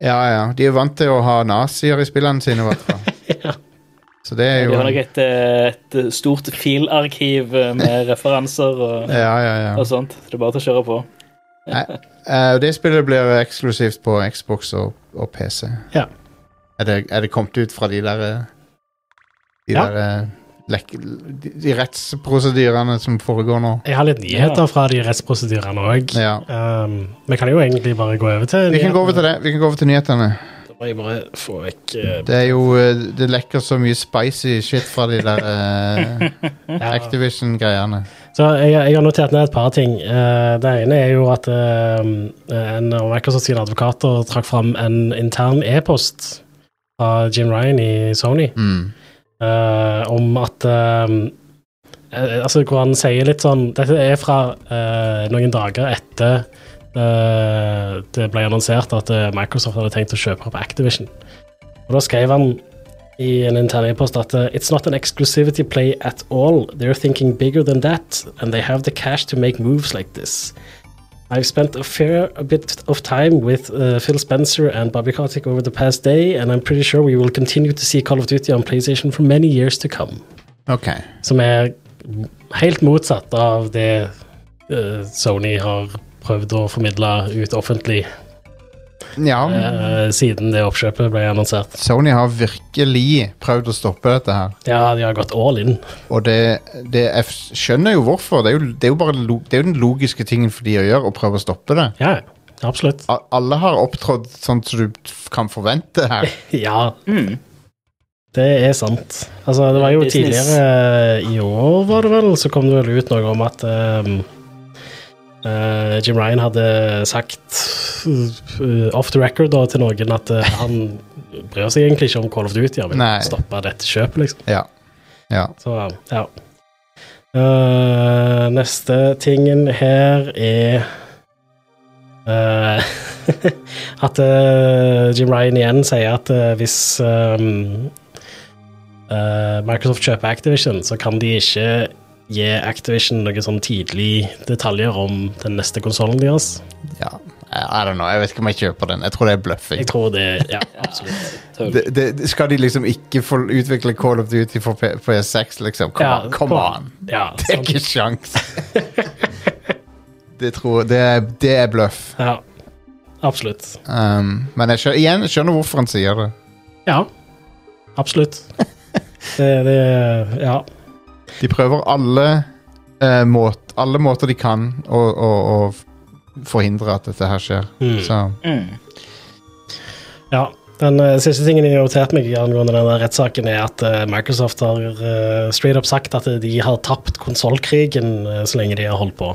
Speaker 2: Ja, ja. De er vant til å ha nazier i spillene sine, i hvert fall. Så det er
Speaker 4: De
Speaker 2: jo
Speaker 4: har nok et, eh, et stort filarkiv eh, med referanser og,
Speaker 2: Ja, ja, ja.
Speaker 4: og sånt. Så det er bare til å kjøre på.
Speaker 2: Eh, og det spillet blir eksklusivt på Xbox og, og PC.
Speaker 3: Ja.
Speaker 2: Er det, er det kommet ut fra de der eh, De
Speaker 3: Ja.
Speaker 2: der eh, lek, de, de rettsprosedyrene som foregår nå?
Speaker 3: Jeg har litt nyheter
Speaker 4: Ja.
Speaker 3: fra de rettsprosedyrene òg.
Speaker 2: Ja.
Speaker 3: Um, vi kan jo egentlig bare gå over til
Speaker 2: Vi kan gå over til det. Vi kan gå over til nyhetene.
Speaker 3: Må Jeg bare får vekk eh,
Speaker 2: Det er jo eh, Det lekker så mye spicy shit fra de der eh,
Speaker 3: Mm. ja.
Speaker 2: Activision-greiene.
Speaker 3: Så jeg, jeg har notert ned et par ting. Eh, det ene er jo at eh, en av Microsoft sine advokater trakk fram en intern e-post fra Jim Ryan i Sony
Speaker 2: Mm.
Speaker 3: eh, om at eh, eh, Altså, hvor han sier litt sånn Dette er fra eh, noen dager etter eh, det ble annonsert at eh, Microsoft hadde tenkt å kjøpe opp Activision. Og da skrev han i en intern e-post at eh, It's not an exclusivity play at all. They're thinking bigger than that, and they have the cash to make moves like this. I've spent a fair bit of time with uh, Phil Spencer and Bobby Kotick over the past day, and I'm pretty sure we will continue to see Call of Duty on PlayStation for many years to come.
Speaker 2: OK.
Speaker 3: Som er helt motsatt av det eh, Sony har prøvd å formidle ut offentlig
Speaker 2: Ja,
Speaker 3: eh, siden det oppkjøpet ble annonsert.
Speaker 2: Sony har virkelig prøvd å stoppe dette her.
Speaker 3: Ja, de har gått all in.
Speaker 2: Og det, det jeg f- skjønner jo hvorfor. Det er jo, det er jo bare lo, det er jo den logiske tingen for de å gjøre, å prøve å stoppe det.
Speaker 3: Ja, absolutt.
Speaker 2: A- Alle har opptrådt sånn som du f- kan forvente her.
Speaker 3: Ja.
Speaker 2: Mm,
Speaker 3: Det er sant. Altså, det var jo
Speaker 4: Business.
Speaker 3: tidligere eh, i år, var det vel, så kom det vel ut noe om at ehm, eh, Jim Ryan hadde sagt eh, off the record da, til noen at eh, han bryr seg egentlig ikke om Call of Duty, han vil
Speaker 2: Nei.
Speaker 3: stoppe dette kjøpet, liksom.
Speaker 2: Ja. ja.
Speaker 3: Så, ja. Eh, neste tingen her er eh, At eh, Jim Ryan igjen sier at eh, hvis ehm, eh, Microsoft kjøper Activision, så kan de ikke gi Activision noen sånn tidlig detaljer om den neste konsollen deres.
Speaker 2: ja. I don't know. Jeg vet ikke om jeg kjøper den. Jeg tror det er bløffing.
Speaker 3: Jeg tror det Ja, absolutt.
Speaker 4: Tull.
Speaker 2: Det, det, det- skal de liksom ikke få utvikle Call of Duty for P- PS6, liksom? Come
Speaker 3: Ja,
Speaker 2: on! Come
Speaker 3: kom-
Speaker 2: on.
Speaker 3: Ja,
Speaker 2: Det er
Speaker 3: sant.
Speaker 2: ikke sjans. det tror Det er, det er bløff.
Speaker 3: ja, absolutt.
Speaker 2: Um, men jeg skjønner, igjen, jeg skjønner hvorfor han sier det.
Speaker 3: Ja, absolutt. Det, det Ja.
Speaker 2: De prøver alle, eh, måt, alle måter de kan å, å, å forhindre at dette her skjer. Så
Speaker 4: Mm.
Speaker 3: Ja. Den eh, siste tingen jeg har notert meg angående denne rettssaken, er at eh, Microsoft har eh, straight up sagt at de har tapt konsollkrigen eh, så lenge de har holdt på.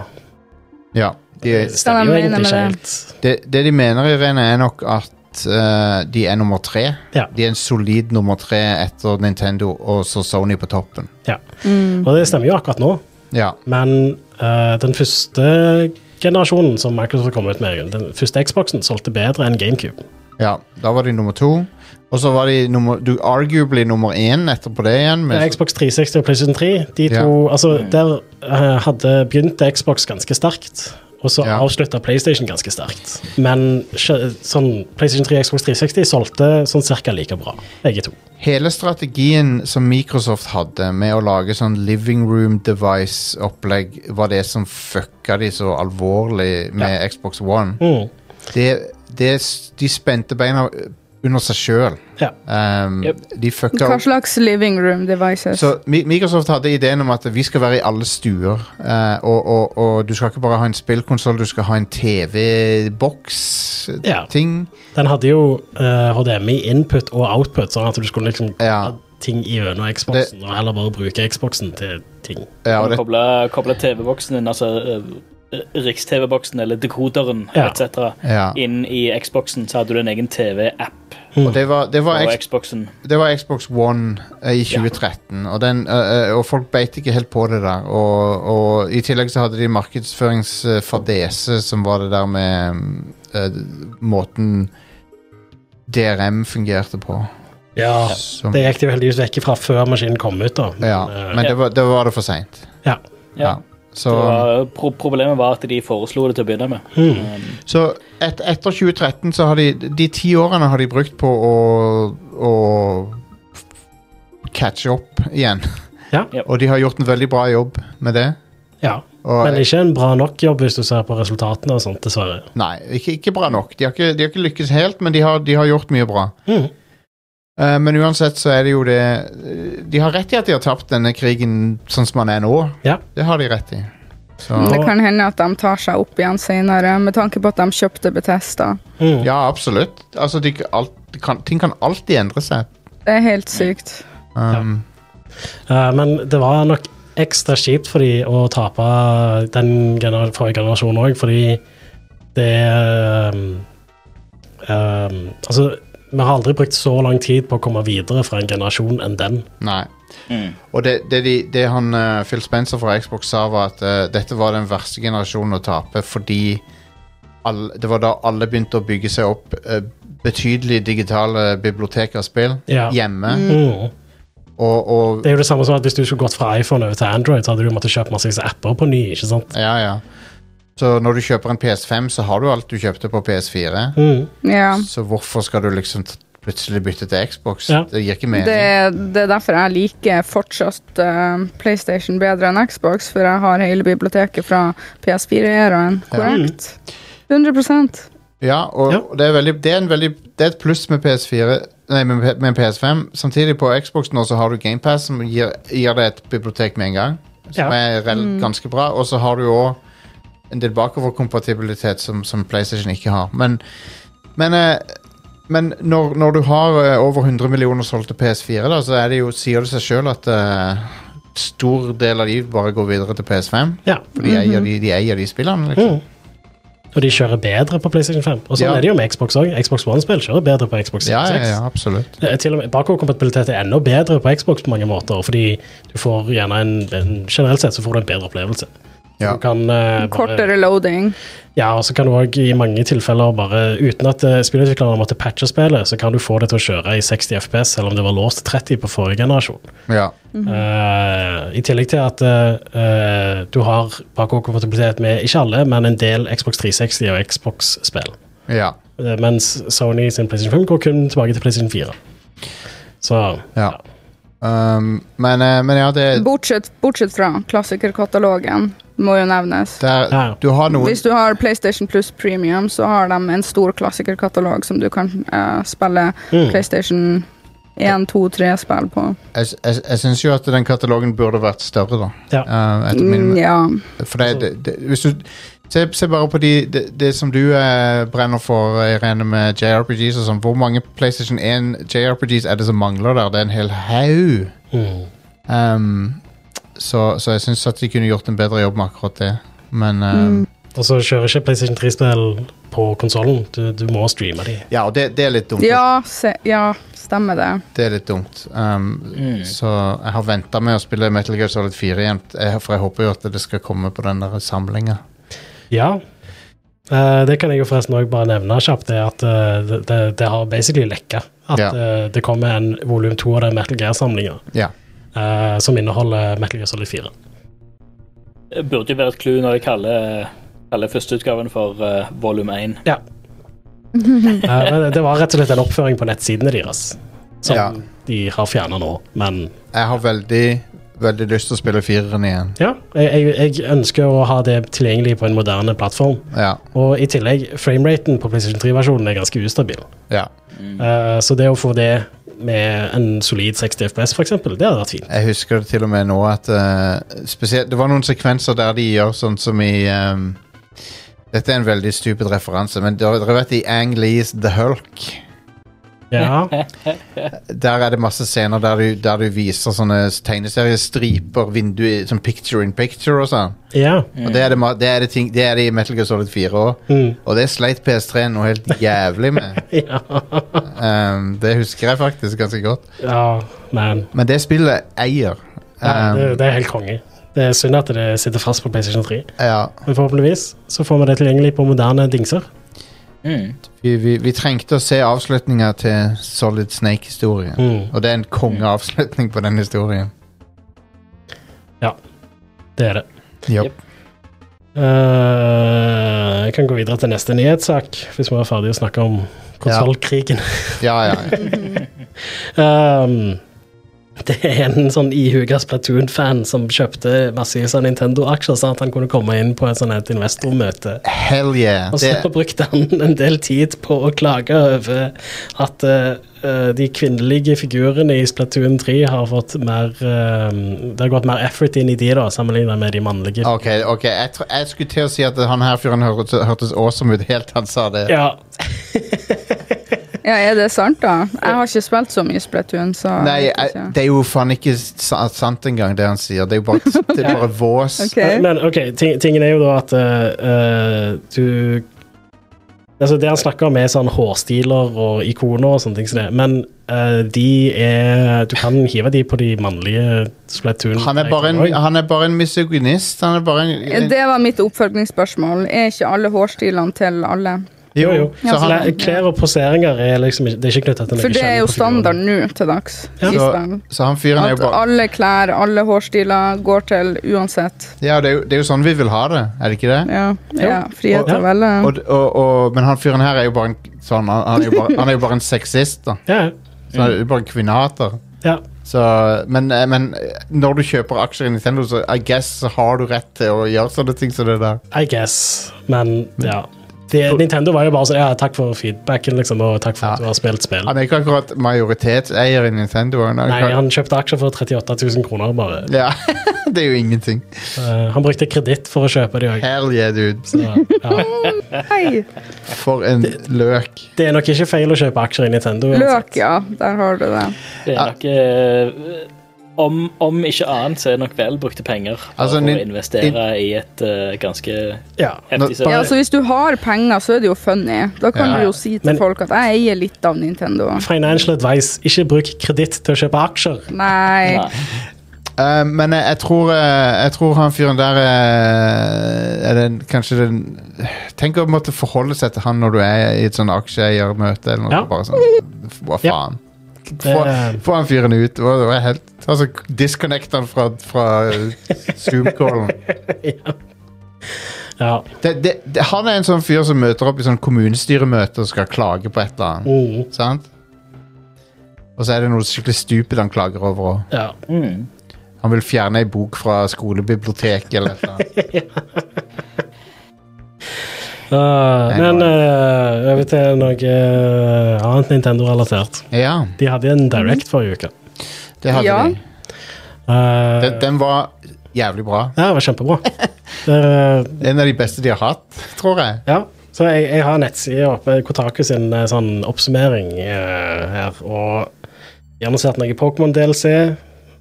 Speaker 2: ja. De,
Speaker 3: Det stemmer jo
Speaker 5: jeg mener
Speaker 3: egentlig ikke
Speaker 5: med
Speaker 3: helt.
Speaker 2: det, det de mener, Irene, er nok at eh, de er nummer tre.
Speaker 3: Ja.
Speaker 2: De er en solid nummer tre etter Nintendo og så Sony på toppen.
Speaker 3: Ja. Og det stemmer jo akkurat nå,
Speaker 2: Ja.
Speaker 3: men eh, den første generasjonen som Microsoft kom ut med, den første Xboxen, solgte bedre enn GameCube.
Speaker 2: ja. Da var de nummer to. Og så var de nummer, du arguably nummer én etterpå det igjen.
Speaker 3: Det er
Speaker 2: Men så,
Speaker 3: Xbox 360 og PlayStation 3, de to, altså, der eh, hadde begynte Xbox ganske sterkt, og så
Speaker 2: Ja.
Speaker 3: avslutta PlayStation ganske sterkt. Men skjø- sånn, PlayStation 3 og Xbox 360 solgte sånn cirka like bra, begge to.
Speaker 2: hele strategien som Microsoft hadde med å lage sånn living room device-opplegg, var det som fucka de så alvorlig med Xbox One.
Speaker 3: Mm.
Speaker 2: Det, det, de spente beina under seg sjøl.
Speaker 3: Ja.
Speaker 2: Um,
Speaker 4: Yep.
Speaker 2: De fucka
Speaker 5: Hva slags living room devices?
Speaker 2: Så Mi- Microsoft hadde ideen om at vi skal være i alle stuer. eh, og, og, og du skal ikke bare ha en spillkonsoll, du skal ha en
Speaker 3: Ja.
Speaker 2: TV-boks-ting.
Speaker 3: Den hadde jo eh, HDMI input og output, sånn at du skulle liksom
Speaker 2: Ja.
Speaker 3: ha ting gjennom Xboxen, og heller bare bruke Xboxen til ting.
Speaker 2: Ja, og det,
Speaker 4: Koble, koble TV-boksen din, altså eh, Riks-TV-boksen eller dekoderen
Speaker 3: Ja.
Speaker 4: etc.
Speaker 2: ja.
Speaker 4: inn i Xboxen, så hadde du en egen TV-app
Speaker 2: Og det, var, det, var
Speaker 4: på
Speaker 2: X,
Speaker 4: Xboxen.
Speaker 2: det var Xbox One eh, i 2013, og, den, eh, eh, og folk beit ikke helt på det der. Og, og i tillegg så hadde de markedsføringsfadese, som var det der med eh, måten DRM fungerte på.
Speaker 3: Ja.
Speaker 2: Som,
Speaker 3: Det gikk de jo heldigvis vekk fra før maskinen kom ut, da. Men,
Speaker 2: ja.
Speaker 3: eh,
Speaker 2: Men det var, det var det for seint.
Speaker 3: ja.
Speaker 2: Ja.
Speaker 4: Ja.
Speaker 2: Så,
Speaker 4: Det var, pro problemet var at de foreslo det til å begynne med.
Speaker 2: Hmm.
Speaker 4: Um,
Speaker 2: så et, etter 2013 så har de De ti årene har de brukt på å, å catche opp igjen.
Speaker 3: Ja.
Speaker 2: Og de har gjort en veldig bra jobb med det.
Speaker 3: ja.
Speaker 2: Og,
Speaker 3: Men ikke en bra nok jobb hvis du ser på resultatene og sånt, dessverre.
Speaker 2: Nei, ikke, ikke bra nok. De har ikke, de har ikke lykkes helt, men de har, de har gjort mye bra.
Speaker 3: Mhm.
Speaker 2: Eh, men uansett så er det jo det De har rett i at de har tapt denne krigen sånn som den er nå.
Speaker 3: Ja.
Speaker 2: Det har de rett i. Så,
Speaker 5: Men
Speaker 3: Og-
Speaker 5: Det kan hende at de tar seg opp igjen senere, med tanke på at de kjøpte Betesta.
Speaker 3: Mm.
Speaker 2: ja, absolutt. Altså, de, alt, det kan, ting kan alltid endre seg.
Speaker 5: Det er helt sykt.
Speaker 2: Um,
Speaker 3: Eh, men det var nok ekstra kjipt for de å tape den gener forrige generasjonen òg, fordi det ehm, ehm, Altså, vi har aldri brukt så lang tid på å komme videre fra en generasjon enn den.
Speaker 2: Nei. Og det, det, de, det han eh, Phil Spencer fra Xbox sa, var at eh, dette var den verste generasjonen å tape fordi all, det var da alle begynte å bygge seg opp eh, betydelige digitale bibliotek av spill
Speaker 3: Ja.
Speaker 2: hjemme.
Speaker 3: Mm.
Speaker 2: Og, og
Speaker 3: Det er jo det samme som at hvis du skulle gått fra iPhone over til Android, så hadde du måttet kjøpe masse apper på ny. ikke sant?
Speaker 2: Ja, ja. Så når du kjøper en PS5, så har du alt du kjøpte på PS4.
Speaker 3: Mm.
Speaker 5: Ja.
Speaker 2: Så hvorfor skal du liksom t- plutselig bytte til Xbox?
Speaker 3: Ja.
Speaker 2: Det gir ikke mening.
Speaker 5: Det, det er derfor jeg liker fortsatt eh, PlayStation bedre enn Xbox, for jeg har hele biblioteket fra PS4-æraen korrekt. 100
Speaker 2: Ja, og
Speaker 3: Ja.
Speaker 2: og Det, er veldig, det, er en veldig, det er et pluss med PS4 Nei, med, med en PS5. Samtidig på Xbox nå så har du GamePass, som gir, gir deg et bibliotek med en gang. Som
Speaker 3: Ja.
Speaker 2: er rel ganske bra. Og så har du òg en del bakoverkompatibilitet som, som PlayStation ikke har. Men, men, eh, men når, når du har eh, over 100 millioner solgte PS4, da, så er det jo, sier det seg sjøl at eh, stor del av de bare går videre til PS5.
Speaker 3: Ja.
Speaker 2: For de eier de, de, eier de spillene. Liksom.
Speaker 3: Mhm. Mm. Og de kjører bedre på PlayStation 5. Og sånn
Speaker 2: Ja.
Speaker 3: er det jo med Xbox òg. Xbox One-spill kjører bedre på Xbox 6.
Speaker 2: Ja, ja, ja, absolutt.
Speaker 3: Det er Eh, Til og med Bakoverkompatibilitet er enda bedre på Xbox på mange måter, fordi du får gjerne en, en generelt sett så får du en bedre opplevelse.
Speaker 2: Ja.
Speaker 3: Du kan, eh, bare,
Speaker 5: Kortere loading.
Speaker 3: ja, og så kan du òg i mange tilfeller bare Uten at eh, spillutviklerne måtte patche spillet, så kan du få det til å kjøre i 60 FPS, selv om det var låst til 30 på forrige generasjon.
Speaker 2: Ja.
Speaker 3: Eh, I tillegg til at eh, eh, du har bakoverkompatibilitet med ikke alle, men en del Xbox 360 og Xbox-spill.
Speaker 2: ja.
Speaker 3: Eh, mens Sony sin PlayStation 5 går kun tilbake til PlayStation 4. Så
Speaker 2: Ja. Um, men, eh, men ja, det
Speaker 5: Bortsett, bortsett fra klassikerkatalogen, må jo nevnes.
Speaker 2: der,
Speaker 3: Ja.
Speaker 2: Du har noen
Speaker 5: Hvis du har PlayStation Plus Premium, så har de en stor klassikerkatalog som du kan eh, spille PlayStation 1, 2, 3-spill på.
Speaker 2: Jeg, jeg, jeg syns jo at den katalogen burde vært større, da.
Speaker 3: Ja.
Speaker 2: Uh, etter min,
Speaker 5: Mm, ja.
Speaker 2: for det, det, det, hvis du Se, se bare på de, det, det som du eh, brenner for, Irene, med JRPGs og sånn. Hvor mange PlayStation 1 JRPGs er det som mangler der? Det er en hel haug.
Speaker 3: mm.
Speaker 2: Um, så, så jeg syns at de kunne gjort en bedre jobb med akkurat det. Men eh,
Speaker 5: Mm.
Speaker 3: Og så kjører ikke PlayStation 3-spill på konsollen. Du, du må streame de.
Speaker 2: Ja, og det, det er litt dumt.
Speaker 5: Ja, se, ja, stemmer det.
Speaker 2: Det er litt dumt. Um, Så jeg har venta med å spille Metal Gear Solid 4 igjen, eh, for jeg håper jo at det skal komme på den der samlinga.
Speaker 3: Ja. Eh, det kan jeg jo forresten også bare nevne kjapt, det at eh, det, det, det har basically lekka. At
Speaker 2: Ja.
Speaker 3: eh, det kommer en volum to av den Metal Gear-samlinga
Speaker 2: Ja.
Speaker 3: eh, som inneholder Metal Gear Solid 4.
Speaker 4: Det burde jo være et clue når jeg kaller, kaller førsteutgaven for eh, volum 1.
Speaker 3: Ja. Eh, men det var rett og slett en oppføring på nettsidene deres som
Speaker 2: Ja.
Speaker 3: de har fjerna nå. Men
Speaker 2: Jeg har veldig, veldig lyst til å spille fireren igjen.
Speaker 3: ja, jeg, jeg, jeg ønsker å ha det tilgjengelig på en moderne plattform.
Speaker 2: Ja.
Speaker 3: Og i tillegg, frameraten på PlayStation 3-versjonen er ganske ustabil.
Speaker 2: ja.
Speaker 3: Eh, så det å få det med en solid 60 FPS, for eksempel, det hadde vært fint.
Speaker 2: Jeg husker det til og med nå at eh, spesielt, Det var noen sekvenser der de gjør sånn som i ehm, Dette er en veldig stupid referanse, men dere dere vet i Ang Lees The Hulk?
Speaker 3: Ja,
Speaker 2: Der er det masse scener der du, der du viser sånne tegneseriestriper, vinduer, sånn picture in picture og sånn.
Speaker 3: ja.
Speaker 2: Og det er det, ma- det, er det, ting, det er det i Metal Gear Solid 4 òg. Og det sleit PS3 noe helt jævlig med.
Speaker 3: Mm. ja.
Speaker 2: Um, det husker jeg faktisk ganske godt.
Speaker 3: ja men
Speaker 2: Men det spillet eier.
Speaker 3: nei, det,
Speaker 2: Um,
Speaker 3: det er helt konge. Det er synd at det sitter fast på PlayStation 3,
Speaker 2: ja,
Speaker 3: men forhåpentligvis så får vi det tilgjengelig på moderne dingser.
Speaker 2: vi, vi, vi trengte å se avslutninga til Solid Snake-historien.
Speaker 3: Mm.
Speaker 2: Og det er en kongeavslutning på den historien.
Speaker 3: Det er det.
Speaker 2: Yep.
Speaker 4: Yep.
Speaker 3: Eh, jeg kan gå videre til neste nyhetssak, hvis vi er ferdig å snakke om konsollkrigen.
Speaker 2: Ja, ja.
Speaker 3: Ehm, det er en sånn ihuga Splatoon-fan som kjøpte massevis av Nintendo-aksjer, sånn at han kunne komme inn på et sånt et investormøte.
Speaker 2: Hell yeah.
Speaker 3: Og så
Speaker 2: Det,
Speaker 3: brukte han en del tid på å klage over at eh, eh, de kvinnelige figurene i Splatoon 3 har fått mer eh, Det har gått mer effort inn i de, da, sammenlignet med de mannlige.
Speaker 2: ok, ok. Jeg, tr jeg skulle til å si at han her fyren hørtes, hørtes awesome ut helt til han sa det.
Speaker 3: Ja.
Speaker 5: Ja, er det sant, da? Jeg har ikke spilt så mye Splatoon, så jeg
Speaker 2: Nei,
Speaker 5: vet
Speaker 2: jeg,
Speaker 5: ikke.
Speaker 2: det er jo faen ikke sa- sant engang, det han sier. Det er jo bare, det er bare vås.
Speaker 5: Ok.
Speaker 3: Men ok, ting, tingen er jo da at eh, eh, du Altså Det han snakker om, er sånn hårstiler og ikoner og sånne ting. som det, Men eh, de er Du kan hive de på de mannlige splatoon
Speaker 2: Han er bare en, han er bare en misogynist. Han er bare en,
Speaker 5: Det var mitt oppfølgingsspørsmål. Er ikke alle hårstilene til alle?
Speaker 3: Jo, jo.
Speaker 2: Så
Speaker 3: Så
Speaker 2: han,
Speaker 3: det- Klær og poseringer er liksom ikke, det er ikke knyttet til noen
Speaker 5: For det er jo
Speaker 3: kjernefigurer.
Speaker 5: standard nå til dags.
Speaker 3: Ja.
Speaker 5: i
Speaker 2: så,
Speaker 5: spill.
Speaker 2: så han fyren er jo
Speaker 5: At
Speaker 2: bare
Speaker 5: alle klær, alle hårstiler går til uansett.
Speaker 2: Ja, det er jo, det er jo sånn vi vil ha det, er det ikke det?
Speaker 5: Ja, ja frihet til å
Speaker 3: Og-
Speaker 5: velge.
Speaker 2: Og, og, og, men han fyren her er jo bare en sånn Han, han, er, jo bare, han er jo bare en sexist, da.
Speaker 3: Ja,
Speaker 2: Så han er jo bare en kvinnehater.
Speaker 3: ja.
Speaker 2: Så, men, eh, men eh, når du kjøper aksjer i Nintendo, så I guess så har du rett til å gjøre sånne ting som det der.
Speaker 3: I guess. Men ja. De, Nintendo var jo bare sånn Ja, takk for feedbacken, liksom, og takk for
Speaker 2: Ja.
Speaker 3: at du har spilt spill.
Speaker 2: Han er ikke akkurat majoritetseier i Nintendo. Han er
Speaker 3: Nei,
Speaker 2: akkurat-
Speaker 3: han kjøpte aksjer for 38 000 kroner, bare.
Speaker 2: Ja, det er jo ingenting.
Speaker 3: Eh, han brukte kreditt for å kjøpe de òg.
Speaker 2: Hell yeah, dude.
Speaker 3: Ja.
Speaker 5: Hei!
Speaker 2: For en løk.
Speaker 3: Det er nok ikke feil å kjøpe aksjer i Nintendo. uansett.
Speaker 5: Løk, ja. Der har du det.
Speaker 4: Det er nok eh, om, om ikke annet, så er det nok vel brukte penger for
Speaker 2: Altså,
Speaker 4: å
Speaker 2: nin-
Speaker 4: investere i et eh, ganske
Speaker 3: Ja.
Speaker 2: Nå-
Speaker 4: heftig
Speaker 5: Ja,
Speaker 4: serie.
Speaker 5: altså Hvis du har penger, så er det jo funny. Da kan
Speaker 2: Ja.
Speaker 5: du jo si til
Speaker 3: Men-
Speaker 5: folk at 'jeg eier litt av Nintendo'.
Speaker 3: Financial advice. Ikke bruk kreditt til å kjøpe aksjer.
Speaker 5: Nei.
Speaker 4: Nei.
Speaker 2: Eh, men jeg, jeg tror eh, Jeg tror han fyren der eh, er den, kanskje den Tenk å måtte forholde seg til han når du er i et sånn aksjeeiermøte eller noe.
Speaker 3: Ja.
Speaker 2: Bare sånn, hva
Speaker 3: Ja.
Speaker 2: faen?
Speaker 3: Det,
Speaker 2: Få, få han fyren ut. Hva, hva er helt, altså, disconnect han fra, fra eh, Zoom-callen.
Speaker 3: ja.
Speaker 2: Det, det, det, han er en sånn fyr som møter opp i sånn kommunestyremøte og skal klage på et eller annet.
Speaker 3: Mm,
Speaker 2: Sant? Og så er det noe skikkelig stupid han klager over. også.
Speaker 3: ja.
Speaker 2: Hmm.
Speaker 4: Mm.
Speaker 2: Han vil fjerne ei bok fra skolebiblioteket eller et eller annet.
Speaker 3: Uh,
Speaker 2: Nei,
Speaker 3: men
Speaker 2: det
Speaker 3: uh, over til noe uh, annet Nintendo-relatert.
Speaker 2: Ja,
Speaker 3: De hadde en Direct forrige uke.
Speaker 2: det hadde
Speaker 5: Ja.
Speaker 2: de.
Speaker 3: Uh,
Speaker 2: Den, den var jævlig bra.
Speaker 3: ja, det var kjempebra. Der, uh,
Speaker 2: En av de beste de har hatt, tror jeg.
Speaker 3: Ja, så jeg, jeg har nettsida oppe, Kotaku sin eh, sånn oppsummering eh, her, og de annonserte noe Pokémon-DLC.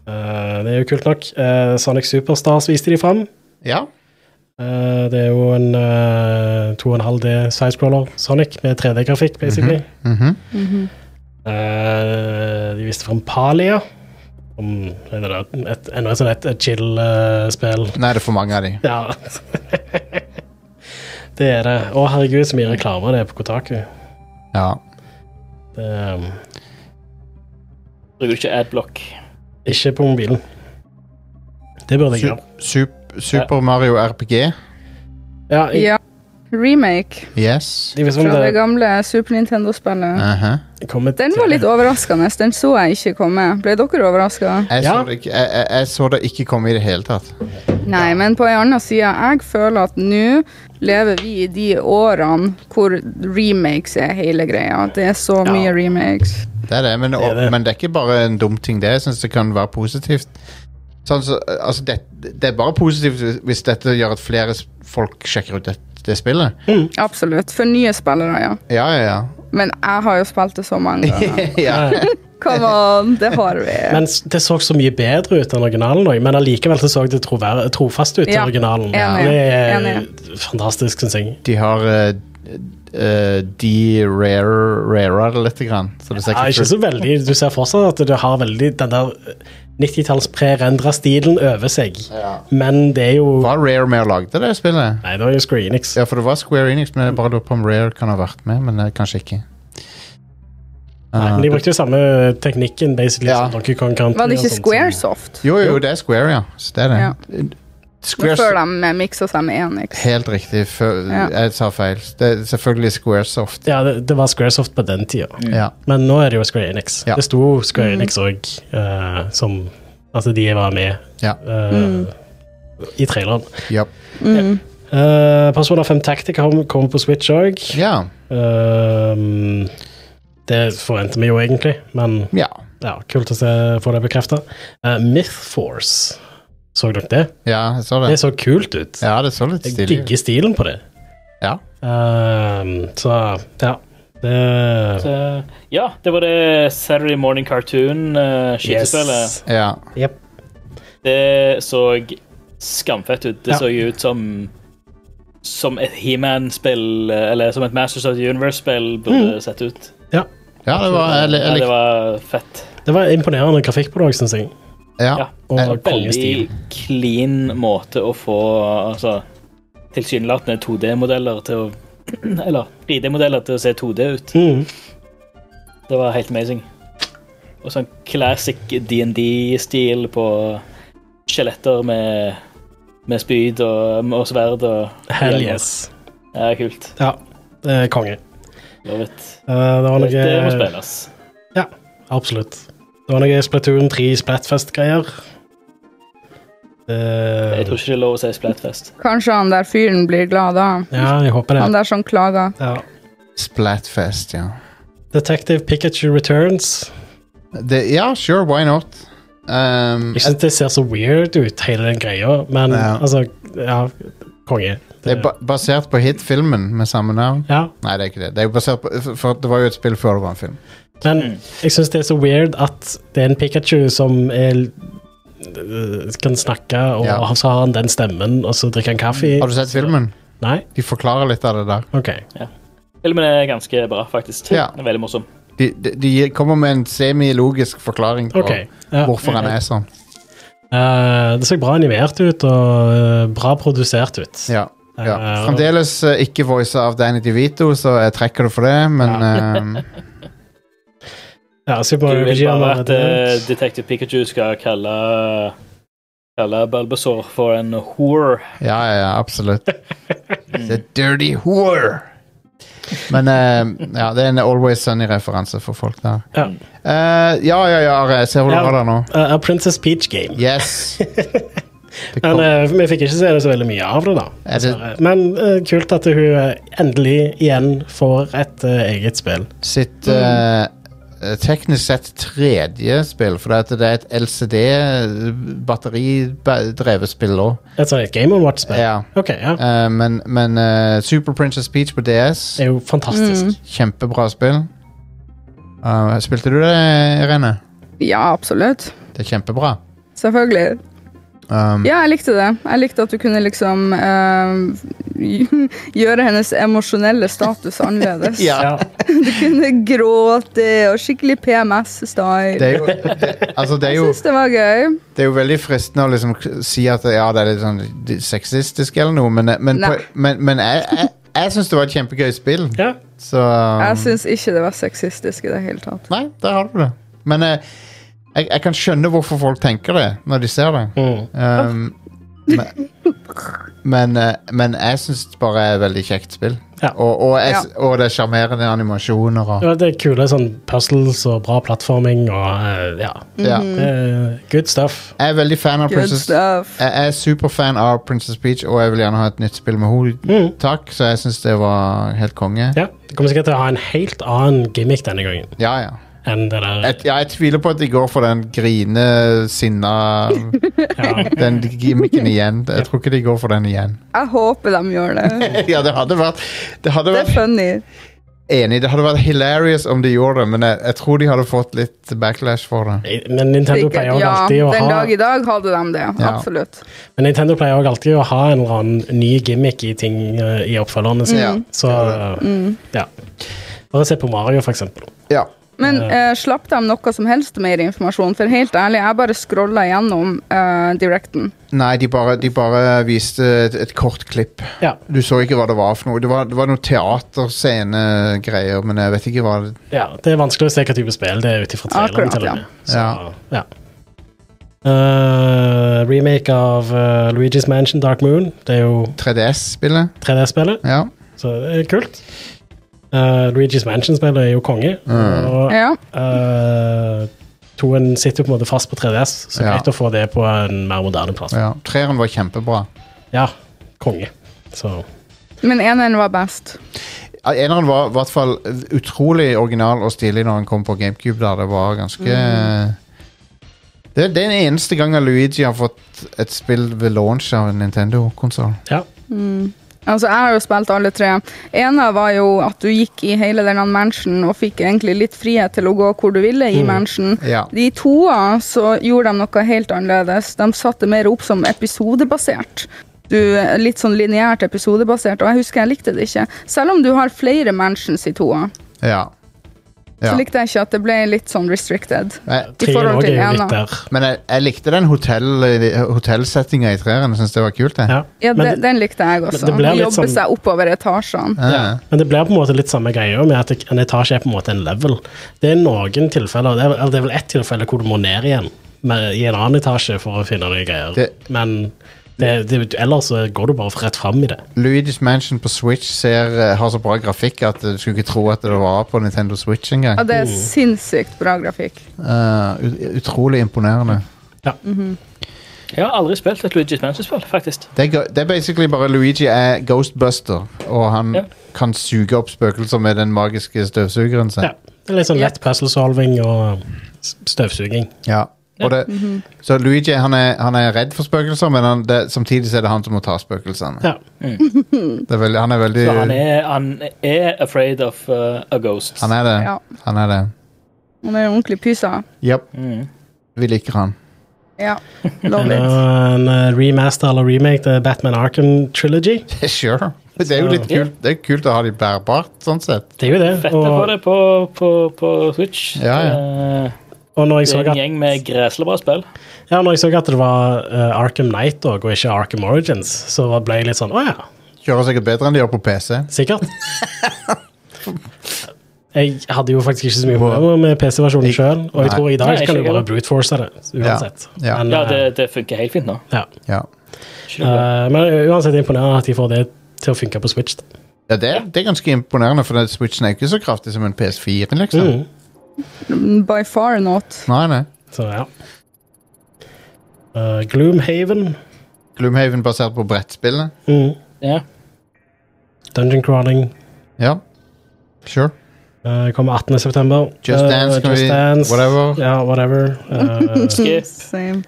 Speaker 3: eh, det er jo kult nok. Eh, Sonic Superstars viste de fram.
Speaker 2: Ja.
Speaker 3: Eh, det er jo en eh, 2,5D sidescroller Sonic med 3D-grafikk, basically.
Speaker 2: mhm.
Speaker 3: Eh, de viste fram Palia. Om, er det da et, enda et sånt et, et chill-spill.
Speaker 2: Nei, det er for mange av de.
Speaker 3: Ja. det er det. Å, herregud, så mye reklame det er på Kotaku.
Speaker 2: Ja.
Speaker 3: Det eh, er
Speaker 4: Bruker ikke adblock.
Speaker 3: ikke på mobilen. Det burde jeg
Speaker 2: Su
Speaker 3: gjøre.
Speaker 2: sup Super Mario RPG.
Speaker 3: Ja, jeg,
Speaker 5: Ja. Remake
Speaker 2: Yes.
Speaker 3: jeg vet ikke om
Speaker 5: fra det
Speaker 3: det
Speaker 5: gamle Super Nintendo-spillet.
Speaker 2: Aha.
Speaker 3: kommer
Speaker 5: Den
Speaker 3: til-
Speaker 5: var litt overraskende. Den så jeg ikke komme. Ble dere overraska?
Speaker 2: jeg, så
Speaker 3: Ja.
Speaker 2: det ikke, jeg, jeg, jeg så det ikke komme i det hele tatt.
Speaker 5: Nei, men på en annen side, jeg føler at nå lever vi i de årene hvor remakes er hele greia. Det er så mye remakes.
Speaker 2: Det er det, men,
Speaker 3: er det.
Speaker 2: men det er ikke bare en dum ting, det. Jeg syns det kan være positivt. Sånn, så, altså det, det er bare positivt hvis- hvis dette gjør at flere s- folk sjekker ut det, det spillet.
Speaker 5: Absolutt. For nye spillere, ja.
Speaker 2: Ja, ja, ja.
Speaker 5: Men jeg har jo spilt det så mange ganger.
Speaker 2: ja.
Speaker 5: Come on, det har vi.
Speaker 3: Men s- det så så mye bedre ut enn originalen, også, men allikevel så, så det trover, trofast ut til
Speaker 5: Ja,
Speaker 3: originalen.
Speaker 5: enig,
Speaker 3: Det er fantastisk, syns jeg.
Speaker 2: De har uh, de-rara det lite grann. Så det ser
Speaker 3: Ja,
Speaker 2: ikke
Speaker 3: ikke
Speaker 2: fullt
Speaker 3: så veldig. Du ser fortsatt at det har veldig den der 90-talls prerendra stilen over seg, men det er jo
Speaker 2: Var Rare med og lagde det spillet?
Speaker 3: Nei, det var jo Square Enix.
Speaker 2: Ja, for det var Square Enix, men jeg bare lurer på om Rare kan ha vært med, men eh, kanskje ikke.
Speaker 3: Nei, men de brukte jo samme teknikken, basically,
Speaker 2: Ja.
Speaker 3: som Donkey Kong Country.
Speaker 5: Var det
Speaker 3: og
Speaker 5: ikke
Speaker 3: sånt som-
Speaker 5: Squaresoft?
Speaker 2: Eh, Jo, jo, det er Square, ja. Så det er det.
Speaker 5: Ja.
Speaker 2: Square-
Speaker 5: Men Før de miksa seg med Enix.
Speaker 2: Helt riktig. Fø-
Speaker 5: Ja.
Speaker 2: Jeg sa feil. Det er selvfølgelig Squaresoft.
Speaker 3: Ja, det, det var Squaresoft på den tida.
Speaker 2: Ja.
Speaker 3: Men nå er det jo Square Enix.
Speaker 2: Ja.
Speaker 3: Det sto Square
Speaker 5: Mm.
Speaker 3: Enix òg som Altså, de var med
Speaker 2: Ja.
Speaker 3: eh,
Speaker 5: Mm.
Speaker 3: i traileren.
Speaker 2: Ja.
Speaker 3: Eh, Persona 5 Tactic kom, kom på Switch òg.
Speaker 2: ja.
Speaker 3: det forventer vi jo egentlig, men
Speaker 2: ja.
Speaker 3: ja, kult å se, få det bekrefta. Myth Force, så dere det?
Speaker 2: Ja, jeg så
Speaker 3: Det
Speaker 2: det.
Speaker 3: så kult ut.
Speaker 2: Ja, det så litt
Speaker 3: Jeg
Speaker 2: stilig ut.
Speaker 3: digger stilen på det.
Speaker 2: Ja.
Speaker 3: Ehm, så Eh, ja. Det
Speaker 4: Eh, ja, det var det Saturday Morning uh, Cartoon-skytespillet.
Speaker 2: Ja.
Speaker 3: Jep.
Speaker 4: Det så skamfett ut. Det
Speaker 3: Ja.
Speaker 4: så jo ut som som et He-Man-spill, eh, eller som et Masters of the Universe-spill burde sett ut.
Speaker 3: Ja.
Speaker 2: Mm. ja, det var jeg, jeg
Speaker 4: Ja, det
Speaker 2: likte
Speaker 4: var fett.
Speaker 3: Det var imponerende grafikk på det òg, syns jeg.
Speaker 2: ja.
Speaker 4: ja.
Speaker 3: Og
Speaker 2: Eh,
Speaker 4: Veldig
Speaker 3: kongestil.
Speaker 4: clean måte å få altså, tilsynelatende 2D-modeller til å Eller 3D-modeller til å se 2D ut.
Speaker 3: Mm.
Speaker 4: Det var helt amazing. Og sånn classic DND-stil på skjeletter med, med spyd og, og sverd og
Speaker 3: Hell yes.
Speaker 4: Ja, kult.
Speaker 3: Ja. Det er konge.
Speaker 4: Love it.
Speaker 3: Eh, Det var
Speaker 4: Dette må
Speaker 3: noe
Speaker 4: spilles.
Speaker 3: Ja, absolutt. Det var noe Splatoon 3 Splatfest-greier. Eh,
Speaker 4: Jeg tror ikke det er lov å si Splatfest.
Speaker 5: Kanskje han der fyren blir glad da.
Speaker 3: Ja, jeg håper
Speaker 5: Han
Speaker 3: det.
Speaker 5: der som klager.
Speaker 3: Ja.
Speaker 2: Splatfest, ja.
Speaker 3: Detective Pikachu Returns.
Speaker 2: Det, ja, sure, why not? Um,
Speaker 3: Jeg syns det ser så weird ut, hele den greia, men
Speaker 2: Ja.
Speaker 3: altså Ja, konge.
Speaker 2: det er ba basert på hitfilmen med samme navn.
Speaker 3: ja.
Speaker 2: Nei, det er ikke det. Det, er jo basert på, for- for det var jo et spill før det var en film.
Speaker 3: Men
Speaker 4: Mm.
Speaker 3: jeg syns det er så weird at det er en Pikachu som er, øh, kan snakke, og
Speaker 2: Ja.
Speaker 3: så har han den stemmen, og så drikker han kaffe.
Speaker 2: Har du sett filmen?
Speaker 3: Nei?
Speaker 2: De forklarer litt av det der.
Speaker 3: OK.
Speaker 4: Filmen er ganske bra, faktisk.
Speaker 2: Ja.
Speaker 4: Den er veldig morsom.
Speaker 2: De, de, de kommer med en semilogisk forklaring på
Speaker 3: ok. Ja.
Speaker 2: hvorfor han er sånn.
Speaker 3: Eh, det så bra animert ut, og eh, bra produsert ut.
Speaker 2: Ja, ja.
Speaker 3: Eh,
Speaker 2: Fremdeles eh, ikke voisa av Danny DeVito, så jeg trekker det for det, men um,
Speaker 3: Ja, Super
Speaker 4: Du
Speaker 3: Mario
Speaker 4: vil
Speaker 3: RPG
Speaker 4: bare
Speaker 3: var
Speaker 4: at eh, Detective Pikachu skal kalle kalle Bulbasaur for en whore.
Speaker 2: Ja, ja, ja, absolutt. The dirty whore. Men eh, ja, det er en Always Sunny-referanse for folk der.
Speaker 3: Ja.
Speaker 2: Eh, ja, ja, ja, Are, jeg ser hvor du
Speaker 3: Ja.
Speaker 2: har det nå.
Speaker 3: Eh, A Princess Peach Game.
Speaker 2: Yes. Det
Speaker 3: Men
Speaker 2: kom,
Speaker 3: eh, vi fikk ikke se det så veldig mye av det, da.
Speaker 2: Er det-
Speaker 3: dessverre. Men eh, kult at hun eh, endelig igjen får et eh, eget spill.
Speaker 2: sitt
Speaker 3: Mm.
Speaker 2: eh, eh, teknisk sett tredje spill, for det er et LCD-batteridrevet spill òg.
Speaker 3: Et sånt Eh, et Game Watch-spill.
Speaker 2: Ja.
Speaker 3: Ok, ja.
Speaker 2: Eh, men men eh, Super Princess Peach på DS,
Speaker 3: Det er jo
Speaker 5: Mm.
Speaker 3: fantastisk.
Speaker 2: kjempebra spill. Eh, spilte du det, Irene?
Speaker 5: Ja, absolutt.
Speaker 2: Det er kjempebra.
Speaker 5: Selvfølgelig.
Speaker 2: Um,
Speaker 5: Ja, jeg likte det. Jeg likte at du kunne liksom eh, gjøre hennes emosjonelle status annerledes.
Speaker 2: ja.
Speaker 5: Du kunne gråte og skikkelig PMS-style.
Speaker 2: Det er jo, det, altså det, er
Speaker 5: Jeg
Speaker 2: jo,
Speaker 5: syns det var gøy.
Speaker 2: det er jo veldig fristende å liksom k- si at ja, det er litt sånn di- sexistisk eller noe, men, eh, men, på,
Speaker 5: Nei.
Speaker 2: men, men jeg, jeg, jeg syns det var et kjempegøy spill.
Speaker 3: Ja.
Speaker 2: Så um,
Speaker 5: Jeg syns ikke det var sexistisk i det hele tatt.
Speaker 2: Nei, der har du det. Men eh, jeg, jeg kan skjønne hvorfor folk tenker det når de ser det.
Speaker 3: Mm.
Speaker 2: Um, men, men, eh, men jeg syns det bare er et veldig kjekt spill.
Speaker 3: Ja.
Speaker 2: Og, og, jeg, s-
Speaker 5: Ja.
Speaker 2: og det er sjarmerende animasjoner og
Speaker 3: Ja, Det er kule sånn puzzles og bra plattforming og eh, ja.
Speaker 2: ja.
Speaker 5: Mm.
Speaker 3: Eh, good stuff.
Speaker 2: Jeg er veldig fan av
Speaker 5: Good
Speaker 2: Princess
Speaker 5: stuff.
Speaker 2: Jeg er superfan av Princess Peach, og jeg vil gjerne ha et nytt spill med henne.
Speaker 3: Mm.
Speaker 2: Takk, så jeg syns det var helt konge.
Speaker 3: Ja, Det kommer sikkert til å ha en helt annen gimmick denne gangen
Speaker 2: Ja, ja.
Speaker 3: enn det der.
Speaker 2: Jeg, ja, jeg tviler på at de går for den grine, sinna
Speaker 3: Ja.
Speaker 2: Den gimmicken igjen. Jeg tror ikke de går for den igjen.
Speaker 5: Jeg håper de gjør det.
Speaker 2: Ja, det hadde vært Det hadde
Speaker 5: Det er
Speaker 2: vært
Speaker 5: funny.
Speaker 2: enig, det hadde vært hilarious om de gjorde det, men jeg, jeg tror de hadde fått litt backlash for det.
Speaker 3: Men Nintendo
Speaker 5: Sikkert.
Speaker 3: pleier også
Speaker 5: Ja,
Speaker 3: alltid å
Speaker 5: den
Speaker 3: ha
Speaker 5: dag i dag hadde de det.
Speaker 2: Ja.
Speaker 5: Absolutt.
Speaker 3: Men Nintendo pleier også alltid å ha en eller annen ny gimmick i ting eh, i oppfølgerne sine.
Speaker 2: Mm.
Speaker 3: Så eh, ja. Bare se på Mario, for eksempel.
Speaker 2: Ja.
Speaker 5: Men eh, slapp de noe som helst mer informasjon? For helt ærlig, jeg bare scrolla gjennom eh, Directen.
Speaker 2: Nei, de bare, de bare viste et, et kort klipp.
Speaker 3: Ja.
Speaker 2: Du så ikke hva det var for noe. Det var, det var noe teaterscenegreier, men jeg vet ikke hva det
Speaker 3: ja. Det er vanskelig å se hva type spill det er ut ifra traileren.
Speaker 5: Akkurat,
Speaker 3: til og
Speaker 5: ja.
Speaker 3: med. Så, ja. Eh, remake av eh, Luigi's Mansion Dark Moon. Det er jo
Speaker 2: 3DS-spillet.
Speaker 3: 3D-spillet,
Speaker 2: Ja.
Speaker 3: så det er kult. Eh, Luigi's Mansion-spillet er jo konge. Og
Speaker 5: Ja.
Speaker 3: eh, toen sitter jo på en måte fast på 3DS, så
Speaker 2: Ja.
Speaker 3: greit å få det på en mer moderne plass.
Speaker 2: ja. Treeren var kjempebra.
Speaker 3: Ja, konge. Så
Speaker 5: Men eneren var best.
Speaker 2: Eneren var i hvert fall utrolig original og stilig når han kom på GameCube. Der det var ganske
Speaker 5: Mm.
Speaker 2: Det er den eneste gangen Luigi har fått et spill ved launch av en Nintendo-konsoll.
Speaker 3: ja.
Speaker 5: Altså, jeg har jo spilt alle tre. Ena var jo at du gikk i hele denne mansionen og fikk egentlig litt frihet til å gå hvor du ville i mansionen.
Speaker 2: Ja.
Speaker 5: De toa så gjorde de noe helt annerledes. De satte mer opp som episodebasert. Du, litt sånn lineært episodebasert, og jeg husker jeg likte det ikke. Selv om du har flere mansions i toa,
Speaker 2: Ja. ja.
Speaker 5: så likte jeg ikke at det ble litt sånn restricted.
Speaker 2: Jeg,
Speaker 5: I
Speaker 3: Treen
Speaker 5: forhold
Speaker 3: òg
Speaker 5: til
Speaker 3: er jo
Speaker 5: ena.
Speaker 3: litt der.
Speaker 2: men jeg, jeg likte den hotell, hotellsettinga i treeren. Jeg syns det var kult, det.
Speaker 3: Ja.
Speaker 5: Ja,
Speaker 3: Men
Speaker 5: det, den likte jeg også.
Speaker 3: det blir litt
Speaker 5: Jobbe
Speaker 3: sånn-
Speaker 5: seg oppover etasjene.
Speaker 2: Ja.
Speaker 3: Men det blir på en måte litt samme greia med at en etasje er på en måte en level. Det er noen tilfeller, det er, eller det er vel ett tilfelle hvor du må ned igjen med, i en annen etasje for å finne noen greier.
Speaker 2: Det-
Speaker 3: Men det, det, ellers så går du bare rett fram i det.
Speaker 2: Luigi's Mansion på Switch ser, eh, har så bra grafikk at eh, du skulle ikke tro at det var på Nintendo Switch engang.
Speaker 5: Ja, det er sinnssykt bra grafikk.
Speaker 2: Eh, ut, utrolig imponerende.
Speaker 3: Ja.
Speaker 4: Jeg har aldri spilt et Luigi's Mansion-spill, faktisk.
Speaker 2: Det er, go- det er basically bare Luigi er Ghostbuster, og han
Speaker 4: Ja.
Speaker 2: kan suge opp spøkelser med den magiske støvsugeren sin.
Speaker 3: ja. Det er litt sånn lett puzzle solving og s- støvsuging.
Speaker 2: Ja. Og det, Så Luigi han er, han er redd for spøkelser, men han, det, samtidig så er det han som må ta spøkelsene.
Speaker 3: Ja.
Speaker 2: Det er veldig, han er veldig
Speaker 4: Så han er, han er afraid of uh, a ghost.
Speaker 2: han er det.
Speaker 5: Ja.
Speaker 2: Han er det.
Speaker 5: Han er en ordentlig pysa.
Speaker 2: Japp,
Speaker 4: Mm.
Speaker 2: vi liker han.
Speaker 5: Ja, love it.
Speaker 3: Eller en eh, remaster eller remake til Batman Arkham Trilogy.
Speaker 2: sure. Det er jo litt
Speaker 4: Ja.
Speaker 2: kult, det er kult å ha de bærbart, sånn sett.
Speaker 3: Det er jo det.
Speaker 4: Fett å få
Speaker 3: Og,
Speaker 4: det på, på, på Switch.
Speaker 2: Ja, ja.
Speaker 4: Eh,
Speaker 3: og når jeg
Speaker 4: Det
Speaker 3: så
Speaker 4: er en
Speaker 3: at
Speaker 4: gjeng med greselig bra spill.
Speaker 3: Ja, når jeg så at det var eh, Arkham Knight og ikke Arkham Origins, så ble jeg litt sånn Å ja,
Speaker 2: Kjører sikkert bedre enn de gjør på PC.
Speaker 3: sikkert. jeg hadde jo faktisk ikke så mye problemer med PC-versjonen sjøl, og jeg
Speaker 2: Nei.
Speaker 3: tror i dag
Speaker 4: Nei,
Speaker 3: kan du
Speaker 4: ikke
Speaker 3: bare
Speaker 4: heller.
Speaker 3: brute-force det uansett.
Speaker 2: Ja, ja.
Speaker 3: Men,
Speaker 4: Ja,
Speaker 3: eh,
Speaker 4: det, det funker helt fint nå.
Speaker 3: ja.
Speaker 2: Ja,
Speaker 3: Eh, men uansett imponerende at de får det til å funke på Switch. da.
Speaker 2: ja det, er, det er ganske imponerende, for det- Switchen er ikke så kraftig som en PS4, liksom.
Speaker 3: Mm.
Speaker 5: By far not.
Speaker 2: Nei, nei.
Speaker 3: Så ja. Eh, Gloomhaven.
Speaker 2: Gloomhaven basert på brettspillet.
Speaker 3: Mm.
Speaker 4: Ja.
Speaker 3: Dungeon Crawling.
Speaker 2: Ja. Sure.
Speaker 3: eh, kommer 18.9.
Speaker 2: Just Dance, kan vi- whatever.
Speaker 3: Ja, whatever.
Speaker 4: Mm.
Speaker 3: Eh,
Speaker 4: Skip.
Speaker 5: Same.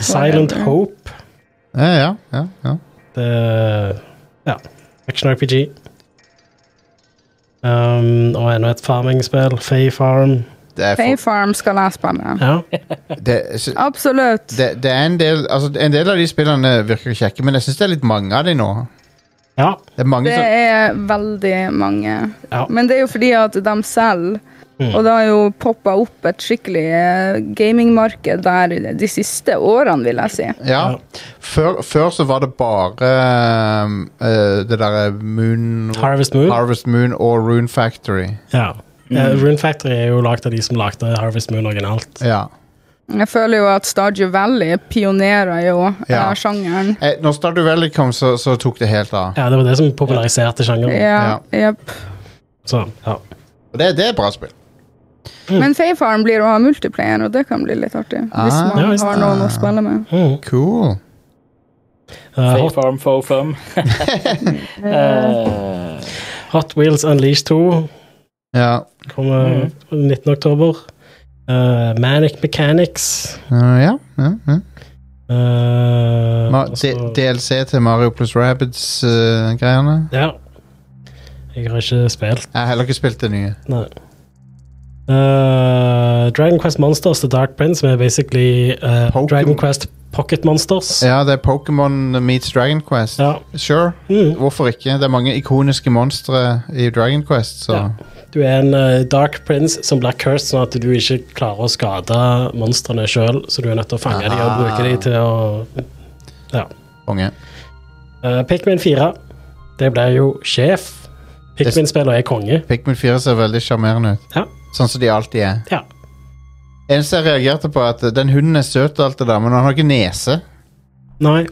Speaker 3: Silent
Speaker 5: Whatever.
Speaker 3: Hope.
Speaker 2: Ja, ja, ja, ja.
Speaker 3: Det Ja. Action RPG. Um, og enda et farming-spill. Fay Farm.
Speaker 2: Det er,
Speaker 5: Bay
Speaker 2: for,
Speaker 5: Farm skal jeg spille.
Speaker 3: Ja.
Speaker 2: det, så-
Speaker 5: Absolutt.
Speaker 2: det, det er en del altså, En del av de spillene virker kjekke, men jeg syns det er litt mange av de nå.
Speaker 3: ja.
Speaker 2: Det er mange
Speaker 5: Det
Speaker 2: som
Speaker 5: er veldig mange.
Speaker 3: Ja.
Speaker 5: Men det er jo fordi at de selger. Og det har jo poppa opp et skikkelig eh, gamingmarked der de siste årene, vil jeg si.
Speaker 2: Ja. Før, før så var det bare um, eh, det derre Moon
Speaker 3: Harvest Moon.
Speaker 2: Harvest Moon og Rune Factory.
Speaker 3: ja. Eh, Rune Factory er jo lagd av de som lagde Harvest Moon originalt.
Speaker 2: Ja.
Speaker 5: Jeg føler jo at Stadio Valley pionerer jo eh,
Speaker 2: Ja.
Speaker 5: sjangeren.
Speaker 2: Eh, når Stardew Valley kom, så, så tok det helt av.
Speaker 3: Ja, Det var det som populariserte sjangeren.
Speaker 5: Ja, jepp.
Speaker 3: Så, ja.
Speaker 2: Og det, det er bra spill.
Speaker 5: Men Fayfarm blir å ha multiplayer, og det kan bli litt artig. Hvis
Speaker 2: Ah.
Speaker 3: Ja,
Speaker 5: man
Speaker 3: visst.
Speaker 5: har noen å spille med.
Speaker 3: Mm.
Speaker 2: Cool.
Speaker 3: Eh,
Speaker 4: Fay
Speaker 3: Hot,
Speaker 4: Farm, Fo Firm. Eh,
Speaker 3: Hot Wheels Unleashed 2
Speaker 2: Ja.
Speaker 3: kommer 19. oktober. Eh, Manic Mechanics.
Speaker 2: Eh, ja. ja, ja.
Speaker 3: eh,
Speaker 2: Ma
Speaker 3: og så-
Speaker 2: D- DLC til Mario uh, pluss Rabbids-greiene.
Speaker 3: Ja. Jeg har ikke spilt
Speaker 2: jeg har heller ikke spilt det nye.
Speaker 3: Nei. Eh, Dragon Quest Monsters The Dark Prince, som er basically eh,
Speaker 2: Pokémon.
Speaker 3: Dragon Quest Pocket Monsters.
Speaker 2: Ja, det er Pokémon meets Dragon Quest.
Speaker 3: Ja.
Speaker 2: Sure.
Speaker 3: Mm.
Speaker 2: Hvorfor ikke? Det er mange ikoniske monstre i Dragon Quest, så
Speaker 3: Ja. Du er en eh, Dark Prince som blir cursed, sånn at du ikke klarer å skade monstrene sjøl, så du er nødt til å fange dem og
Speaker 2: Ah.
Speaker 3: bruke dem til å Ja.
Speaker 2: konge.
Speaker 3: Eh, Pikmin 4, det blir jo sjef. Pikmin-spiller er konge.
Speaker 2: Pikmin 4 ser veldig sjarmerende ut.
Speaker 3: Ja.
Speaker 2: Sånn som de alltid er.
Speaker 3: Ja.
Speaker 2: Eneste jeg reagerte på, er at den hunden er søt, og alt det der, men han har ikke nese.
Speaker 3: Nei.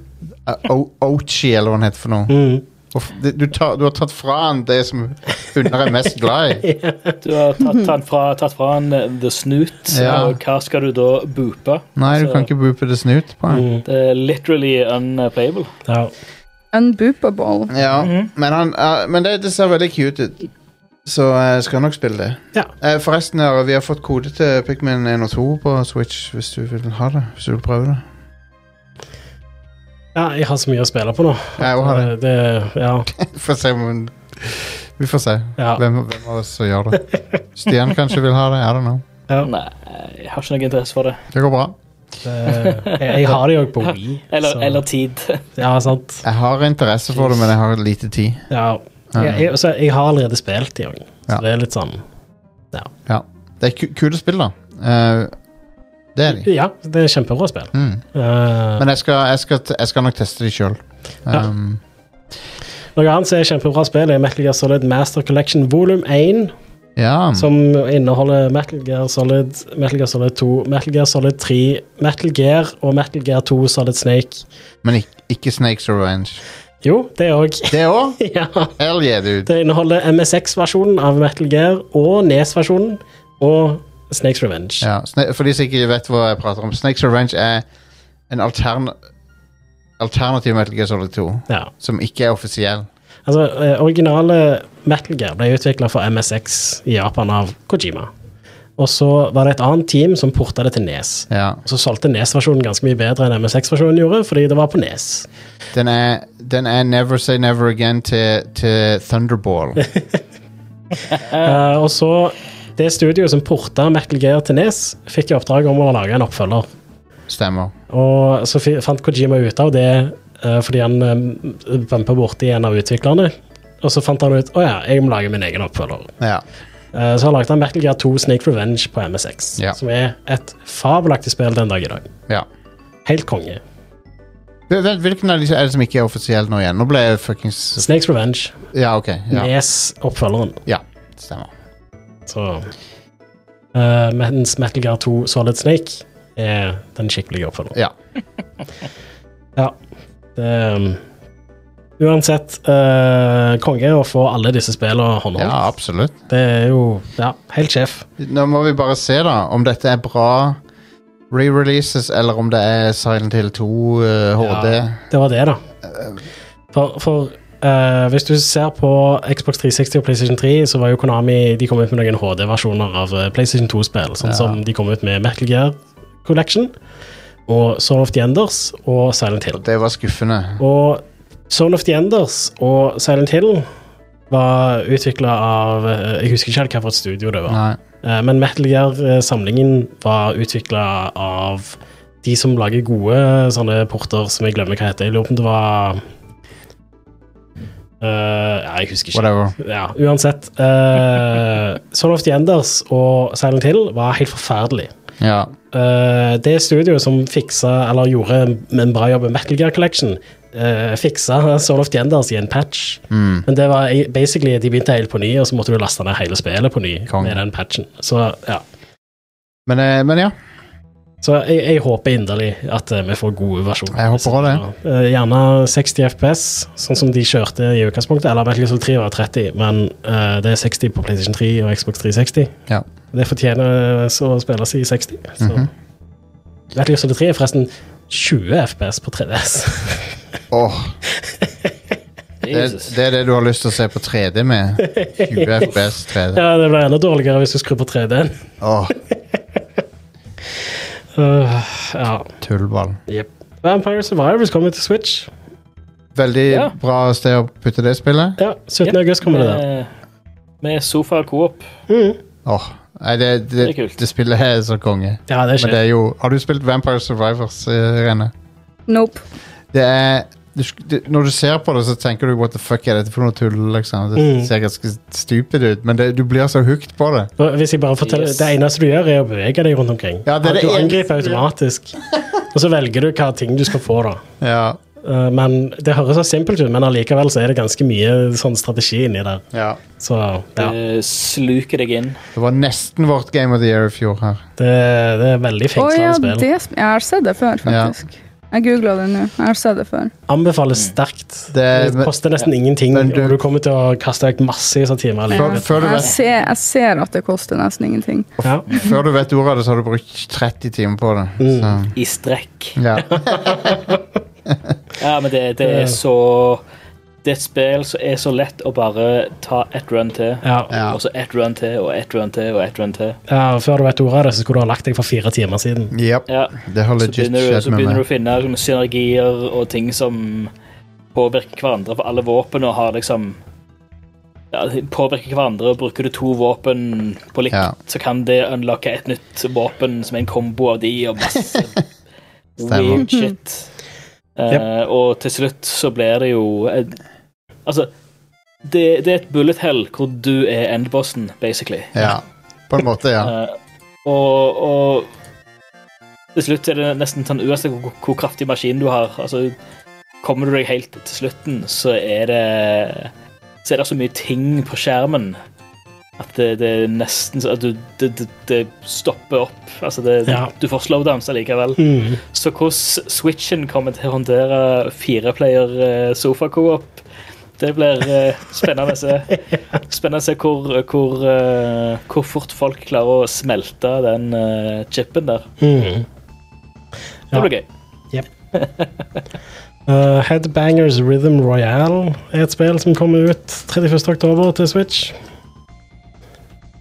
Speaker 2: Eh, O- Ochi, eller hva han heter for noe.
Speaker 3: Mm.
Speaker 2: Hvorfor- det- Du, tar, du har tatt fra han det som hunder er mest glad i.
Speaker 4: du har tatt, tatt, fra, tatt fra han eh, The Snoot,
Speaker 2: Ja.
Speaker 4: og hva skal du da boope?
Speaker 2: Nei, du
Speaker 3: Altså-
Speaker 4: Så
Speaker 2: kan ikke boope det snut på han.
Speaker 4: Det er literally unplayable.
Speaker 3: Mm. Ja.
Speaker 5: Unboopable.
Speaker 2: Ja,
Speaker 3: Mhm.
Speaker 2: men, han, eh, men det, det ser veldig cute ut. Så eh, jeg skal nok spille det.
Speaker 3: ja.
Speaker 2: Eh, Forresten, Are, vi har fått kode til Pikmin 1 og 2 på Switch, hvis du vil ha det. Hvis du vil prøve det.
Speaker 3: Ja, jeg har så mye å spille på nå. Eh,
Speaker 2: Jeg òg har det.
Speaker 3: det ja.
Speaker 2: Får se om hun Vi får se
Speaker 3: eh, Ja.
Speaker 2: hvem, hvem av oss som gjør det. Stian kanskje vil ha det. I don't know.
Speaker 4: Nei, jeg har ikke noe interesse for det.
Speaker 2: Det går bra.
Speaker 3: Det, eh, jeg, jeg har det jo på Wii.
Speaker 4: Eller,
Speaker 3: så-
Speaker 4: eller tid.
Speaker 3: Ja, sant.
Speaker 2: Jeg har interesse for det, men jeg har lite tid.
Speaker 3: Ja. Jeg, jeg, så jeg har allerede spilt i òg, så
Speaker 2: Ja.
Speaker 3: det er litt sånn
Speaker 2: Det er ku kule spill, da. Eh, det er de.
Speaker 3: Ja, det er kjempebra spill.
Speaker 2: Mm.
Speaker 3: Eh,
Speaker 2: Men jeg skal, jeg, skal, t- jeg skal nok teste de sjøl.
Speaker 3: Ja.
Speaker 2: Um,
Speaker 3: noe annet som er kjempebra spill, er Metal Gear Solid Master Collection volum 1,
Speaker 2: ja.
Speaker 3: som inneholder Metal Gear Solid, Metal Gear Solid 2, Metal Gear Solid 3, Metal Gear og Metal Gear 2 Solid Snake.
Speaker 2: Men ikke, ikke Snakes Revenge.
Speaker 3: Jo, det òg.
Speaker 2: Det òg?
Speaker 3: ja.
Speaker 2: Hell yeah, dude.
Speaker 3: Det inneholder MSX-versjonen av Metal Gear og NES-versjonen og Snakes Revenge.
Speaker 2: Ja, Sna- for de som ikke vet hva jeg prater om, Snakes Revenge er en altern alternativ Metal Gear Solid 2
Speaker 3: Ja.
Speaker 2: som ikke er offisiell.
Speaker 3: Altså, eh, originale Metal Gear ble utvikla for MSX i Japan av Kojima. Og så var det et annet team som porta det til Nes.
Speaker 2: Ja.
Speaker 3: Og Så solgte Nes-versjonen ganske mye bedre enn MSX-versjonen gjorde, fordi det var på E Nes.
Speaker 2: Den, er, den er Never Say Never Again til, til Thunderball.
Speaker 3: Eh, og så det studioet som porta Metal Gear til Nes, fikk i oppdrag om å lage en oppfølger.
Speaker 2: Stemmer.
Speaker 3: Og så fi- fant Kojima ut av det eh, fordi han uh, bumpa borti en av utviklerne. Og så fant han ut å ja, jeg må lage min egen oppfølger.
Speaker 2: Ja.
Speaker 3: Eh, Så har lagde han Metal Gear 2 Snake Revenge på MSX,
Speaker 2: Ja.
Speaker 3: som er et fabelaktig spill den dag i dag.
Speaker 2: ja.
Speaker 3: Helt konge.
Speaker 2: Hvil- hvil- Hvilken av disse er det som ikke er offisiell nå igjen? Nå ble jeg fuckings
Speaker 3: Snakes Revenge,
Speaker 2: Ja, OK. Ja,
Speaker 3: Nes-oppfølgeren.
Speaker 2: ja stemmer.
Speaker 3: Så eh, Mens Metal Gear 2 Solid Snake er den skikkelige oppfølgeren.
Speaker 2: Ja.
Speaker 3: Ja. Det, um, uansett, eh, konge å få alle disse spillene håndholdt.
Speaker 2: ja, absolutt.
Speaker 3: Det er jo ja, helt sjef.
Speaker 2: Nå må vi bare se da om dette er bra re-releases, eller om det er Silent Hill 2 eh, HD.
Speaker 3: Det var det, da. For, for eh, hvis du ser på Xbox 360 og PlayStation 3, så var jo Konami De kom ut med noen HD-versjoner av eh, PlayStation 2-spill, sånn som de kom ut med Metal Gear Collection og Son of the Enders og Silent Hill.
Speaker 2: Det var skuffende.
Speaker 3: Og Son of the Enders og Silent Hill var utvikla av eh, Jeg husker ikke helt hvilket studio det var.
Speaker 2: Nei.
Speaker 3: Eh, Men Metal Gear-samlingen var utvikla av de som lager gode eh, sånne porter som jeg glemmer hva heter. Jeg lurer på om det var Eh, ja, jeg husker ikke.
Speaker 2: Whatever.
Speaker 3: Ja, uansett. Uh, Son of the Enders og Silent Hill var helt forferdelig.
Speaker 2: Ja.
Speaker 3: Eh, det studioet som fiksa, eller gjorde en- en bra jobb med Metal Gear Collection, eh, fiksa Son of the Enders i en patch.
Speaker 2: mm.
Speaker 3: Men det var i- basically de begynte helt på ny, og så måtte du laste ned hele spillet på ny
Speaker 2: Konge.
Speaker 3: med den patchen. Så ja.
Speaker 2: Men, eh, men ja.
Speaker 3: Så jeg, jeg håper inderlig at eh, vi får gode versjoner.
Speaker 2: Jeg håper også det.
Speaker 3: Eh, Gjerne 60 FPS, sånn som de kjørte i utgangspunktet. Eller Metal Gear Solid 3 var 30, men eh, det er 60 på PlayStation 3 og Xbox 360.
Speaker 2: Ja.
Speaker 3: Det fortjener eh, så å spilles i 60. Så.
Speaker 2: Mhm.
Speaker 3: Metal Gear Solid 3 er forresten 20 FPS på 3DS.
Speaker 2: Åh, det,
Speaker 4: Jesus.
Speaker 2: det er det du har lyst til å se på 3D med. 20 FPS 3D.
Speaker 3: ja, det blir enda dårligere hvis du skrur på 3D-en.
Speaker 2: Åh,
Speaker 3: Uh, ja.
Speaker 2: tullball.
Speaker 3: Yep. Vampire Survivors kommer til Switch.
Speaker 2: Veldig
Speaker 4: Ja.
Speaker 2: bra sted å putte det spillet.
Speaker 3: Ja, 17.
Speaker 4: Jep,
Speaker 3: august kommer det
Speaker 2: Eh,
Speaker 3: der.
Speaker 4: med- Eh, Med sofa og coop.
Speaker 2: Åh, nei, det, det,
Speaker 4: Det er kult.
Speaker 2: det spillet her er så konge.
Speaker 3: Ja, det
Speaker 2: Men det
Speaker 3: skjer.
Speaker 2: er jo Har du spilt Vampire Survivors, eh, Rene?
Speaker 5: Nope.
Speaker 2: det er du, sk- det, Når du ser på det, så tenker du What the fuck er dette for noe tull? Liksom. Det
Speaker 3: Mm.
Speaker 2: ser ganske stupid ut, men det, du blir så hooked på det.
Speaker 3: Og Hvis jeg bare forteller,
Speaker 4: Yes.
Speaker 3: Det eneste du gjør, er å bevege deg rundt omkring.
Speaker 2: Ja, det er det
Speaker 3: du
Speaker 2: eneste
Speaker 3: angriper
Speaker 2: du gjør.
Speaker 3: automatisk. Og så velger du hva ting du skal få, da.
Speaker 2: Ja,
Speaker 3: Eh, Men Det høres så simpelt ut, men allikevel så er det ganske mye sånn strategi inni der.
Speaker 2: ja.
Speaker 3: Så ja,
Speaker 4: Eh, Sluker deg inn.
Speaker 2: Det var nesten vårt Game of the Year i fjor her.
Speaker 3: det, det er veldig
Speaker 5: Å ja,
Speaker 3: fengslende spill.
Speaker 5: det sp- Jeg har sett det før, faktisk. Jeg googla det nå. Jeg har sett det før.
Speaker 3: Anbefales sterkt. Det,
Speaker 2: Det-
Speaker 3: koster nesten ingenting,
Speaker 2: Men du-
Speaker 3: og du kommer til å kaste vekk massevis av timer.
Speaker 2: Før,
Speaker 3: allikevel.
Speaker 2: før, du
Speaker 5: Jeg
Speaker 2: vet,
Speaker 5: ser, jeg ser at det koster nesten ingenting.
Speaker 3: Ja.
Speaker 2: før du vet ordet av det, så har du brukt 30 timer på det.
Speaker 4: Mm.
Speaker 2: Så,
Speaker 4: I strekk.
Speaker 2: ja.
Speaker 4: Ja, men det, det er så Det er et spill som er så lett å bare ta ett run til,
Speaker 3: Ja.
Speaker 2: Ja.
Speaker 4: og så ett run til, og ett run til, og ett run til.
Speaker 3: ja, og Før du vet ordet av det, så skulle du ha lagt deg for fire timer siden.
Speaker 2: Yep.
Speaker 4: Ja.
Speaker 2: Det har
Speaker 4: Så
Speaker 2: legit
Speaker 4: begynner, du,
Speaker 2: skjedd
Speaker 4: så
Speaker 2: med
Speaker 4: begynner du
Speaker 2: meg.
Speaker 4: å finne sånne synergier og ting som påvirker hverandre, for alle våpen og har liksom ja, de påvirker hverandre. og Bruker du to våpen på likt,
Speaker 2: Ja.
Speaker 4: så kan det unlocke et nytt våpen som er en kombo av de og masse
Speaker 2: Stemmer.
Speaker 4: weird shit. Eh, Og til slutt så blir det jo eh, Altså, det, det er et bullet hell hvor du er endbossen, basically.
Speaker 2: Ja. På en måte, ja.
Speaker 4: Eh, og, og til slutt er det nesten sånn uansett hvor, hvor kraftig maskin du har. Altså, kommer du deg helt til slutten, så er det Så er det så mye ting på skjermen at det, det er nesten så at du, det, det, det stopper opp. Altså, det,
Speaker 3: Ja.
Speaker 4: du får slowdowns allikevel.
Speaker 3: Mm.
Speaker 4: Så hvordan Switchen kommer til å håndtere fireplayer sofa-coop, det blir eh, spennende å se. Spennende å se hvor, hvor, eh, hvor fort folk klarer å smelte den eh, chipen der.
Speaker 3: Mm.
Speaker 4: Det
Speaker 3: Ja.
Speaker 4: blir gøy.
Speaker 3: Eh, Headbangers Rhythm Royale er et spill som kommer ut 31. oktober til Switch.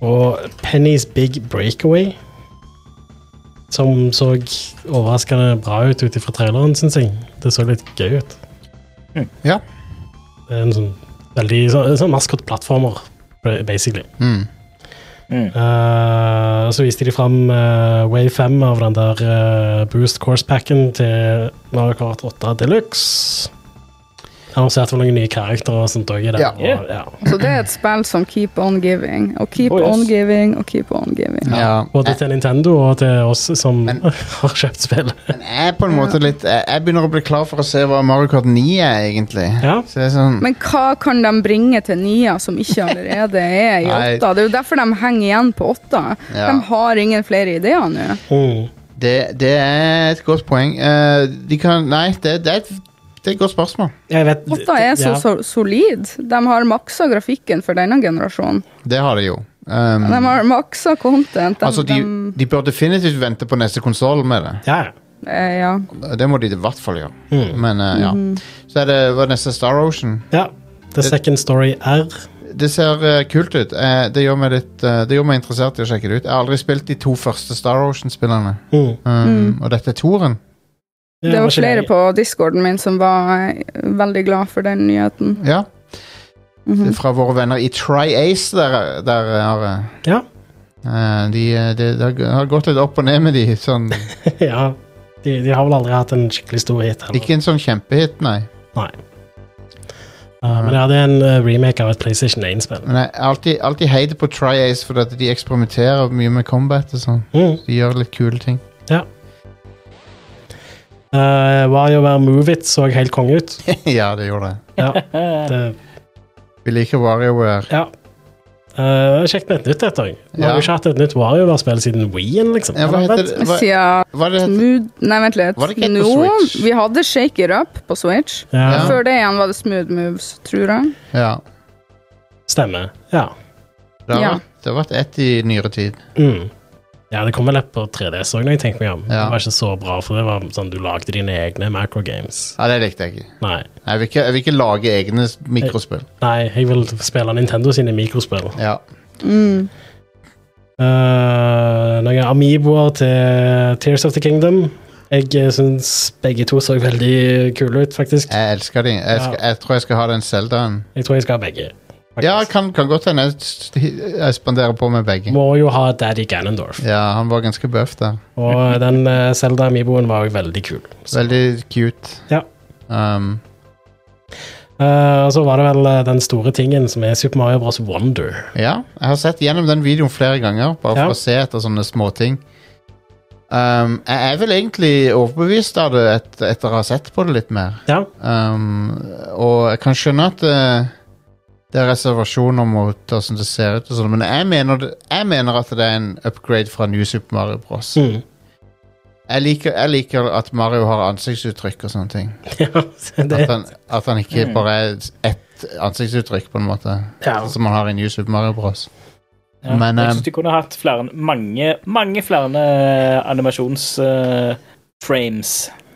Speaker 3: Og Penny's Big Breakaway, som så overraskende bra ut ut ifra traileren, syns jeg. Det så litt gøy ut.
Speaker 2: Ja.
Speaker 3: Det er en sånn veldig sånn, sånn maskot-plattformer, basically.
Speaker 2: Mm.
Speaker 3: Eh, så viste de fram eh, Wave 5 av den der eh, Boost Course-packen til Mario Kart 8 Deluxe. Annonserte vel noen nye karakterer og sånt òg i det.
Speaker 2: Ja.
Speaker 3: Og, ja.
Speaker 5: Så det er et spill som keep on giving, og keep
Speaker 4: Oh, yes.
Speaker 5: on giving, og keep on giving.
Speaker 2: ja.
Speaker 3: Både til Nintendo og til oss som
Speaker 2: Men-
Speaker 3: har kjøpt spillet.
Speaker 2: Men jeg er på en måte litt Jeg jeg begynner å bli klar for å se hva Mario Kart 9 er, egentlig.
Speaker 3: Ja.
Speaker 2: Så det er sånn
Speaker 5: Men hva kan de bringe til nia som ikke allerede er i
Speaker 2: Nei.
Speaker 5: åtta? Det er jo derfor de henger igjen på åtta.
Speaker 2: Ja.
Speaker 5: De har ingen flere ideer nå.
Speaker 3: Mm.
Speaker 2: det, det er et godt poeng. Eh, de kan Nei, det, det, er et, det er et godt spørsmål.
Speaker 3: Jeg vet
Speaker 5: Åtta er så,
Speaker 3: ja.
Speaker 5: så solid. De har maksa grafikken for denne generasjonen.
Speaker 2: Det har de jo. Um,
Speaker 5: De har maksa content. De,
Speaker 2: altså, de,
Speaker 5: de,
Speaker 2: de bør definitivt vente på neste konsoll med det.
Speaker 3: Ja.
Speaker 5: eh, ja.
Speaker 2: Det må de i hvert fall gjøre. Men eh, ja. Så er det hva er det neste Star Ocean.
Speaker 3: ja. The Second Story R.
Speaker 2: Det ser eh, kult ut. Eh, det, gjør meg litt, eh, det gjør meg interessert i å sjekke det ut. Jeg har aldri spilt de to første Star Ocean-spillerne.
Speaker 3: Mm.
Speaker 2: Um, Og dette er toeren.
Speaker 3: Ja,
Speaker 5: Det var
Speaker 3: ikke
Speaker 5: flere
Speaker 3: det-
Speaker 5: på discorden min som var eh, veldig glad for den nyheten.
Speaker 2: Ja.
Speaker 5: Mhm.
Speaker 2: Fra våre venner i Tri-Ace der, der har jeg-
Speaker 3: Ja.
Speaker 2: Eh, de, eh, det- det har gått litt opp og ned med de. Sånn,
Speaker 3: ja. De, de har vel aldri hatt en skikkelig stor hit. heller.
Speaker 2: ikke en sånn kjempehit, nei.
Speaker 3: Uh, men ja, det er en eh, remake av et PlayStation 1-spill.
Speaker 2: Men jeg har alltid, alltid heid på Tri-Ace fordi at de eksperimenterer mye med combat og sånn.
Speaker 3: Mm.
Speaker 2: De gjør litt kule ting.
Speaker 3: Uh, WarioWare Move It så helt konge ut.
Speaker 2: ja, det gjorde det.
Speaker 3: Ja, det,
Speaker 2: Vi liker WarioWare.
Speaker 3: ja. Uh, Kjekt med et nytt et òg. Vi har
Speaker 2: Ja.
Speaker 3: jo ikke hatt et nytt WarioWare-spill siden Wien, liksom.
Speaker 2: Ja, hva heter
Speaker 3: Eller, vent.
Speaker 2: det? Hva,
Speaker 5: Siden
Speaker 2: hva er det heter?
Speaker 5: Smooth Nei, vent litt.
Speaker 2: Var det ikke et på
Speaker 5: Nå,
Speaker 2: Switch?
Speaker 5: vi hadde Shake It Up på Switch.
Speaker 3: Ja,
Speaker 2: Ja.
Speaker 5: Før det igjen var det Smooth Moves, tror jeg.
Speaker 2: Ja.
Speaker 3: Stemmer. Ja.
Speaker 2: Det har,
Speaker 5: Ja.
Speaker 2: vært, det har vært ett i nyere tid.
Speaker 3: Mm. ja, det kom vel et på 3DS òg, når jeg tenker meg om.
Speaker 2: Ja.
Speaker 3: Det var ikke så bra, for det var sånn du lagde dine egne macrogames.
Speaker 2: Ja, Det likte jeg ikke.
Speaker 3: Nei.
Speaker 2: Jeg vil ikke, jeg vil ikke lage egne s- mikrospill.
Speaker 3: Nei, jeg vil spille Nintendo sine mikrospill.
Speaker 2: Ja.
Speaker 5: Mm.
Speaker 3: Eh, noen amiiboer til Tears of the Kingdom. Jeg eh, syns begge to så veldig kule ut, faktisk.
Speaker 2: Jeg elsker de. Jeg, skal, jeg tror jeg skal ha den Zeldaen.
Speaker 3: Jeg tror jeg skal ha begge. faktisk.
Speaker 2: Ja, kan, kan godt hende jeg st- jeg spanderer på med begge.
Speaker 3: Må jo ha Daddy Ganondorf.
Speaker 2: Ja, han var ganske bøff der.
Speaker 3: Og den eh, Zelda Amiiboen var jo veldig kul. Så,
Speaker 2: Veldig cute.
Speaker 3: Ja.
Speaker 2: Um,
Speaker 3: Eh, og så var det vel eh, den store tingen som er Super Mario Bros. Wonder.
Speaker 2: ja, jeg har sett gjennom den videoen flere ganger, bare for
Speaker 3: Ja.
Speaker 2: å se etter sånne småting. Um, jeg er vel egentlig overbevist av det et, etter å ha sett på det litt mer.
Speaker 3: Ja,
Speaker 2: Um, og jeg kan skjønne at eh, det er reservasjoner mot hvordan det ser ut, og sånn, men jeg mener, det, jeg mener at det er en upgrade fra New Super Mario Bros.
Speaker 3: mm.
Speaker 2: Jeg, liker, jeg liker at Mario har ansiktsuttrykk og sånne ting.
Speaker 3: ja så det,
Speaker 2: At han, at han ikke bare er ett ansiktsuttrykk, på en måte,
Speaker 3: ja. altså.
Speaker 2: som han har i New Super Mario Bros.
Speaker 4: Ja.
Speaker 2: Men,
Speaker 4: jeg
Speaker 2: eh,
Speaker 4: syns de kunne hatt flere, mange, mange flere eh, animasjonsframes.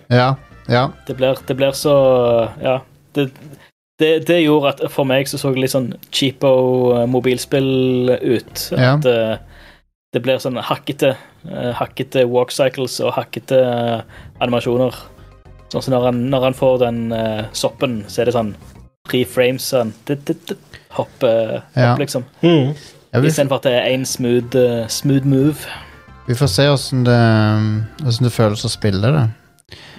Speaker 2: Ja, ja.
Speaker 4: det, blir, det blir så Ja. Det, det, det gjorde at for meg så så det litt sånn cheapo eh, mobilspill ut.
Speaker 2: Ja.
Speaker 4: At eh, det blir sånn hakkete, eh, hakkete walk cycles og hakkete eh, animasjoner. Sånn som når han, når han får den eh, soppen, så er det sånn tre frames sånn dit, dit, dit, hopp, eh,
Speaker 2: Ja.
Speaker 4: hopp, liksom.
Speaker 3: Mm.
Speaker 2: Ja, vi,
Speaker 4: Istedenfor at det er én smooth, eh, smooth move.
Speaker 2: vi får se åssen det, hvordan det føles å spille det.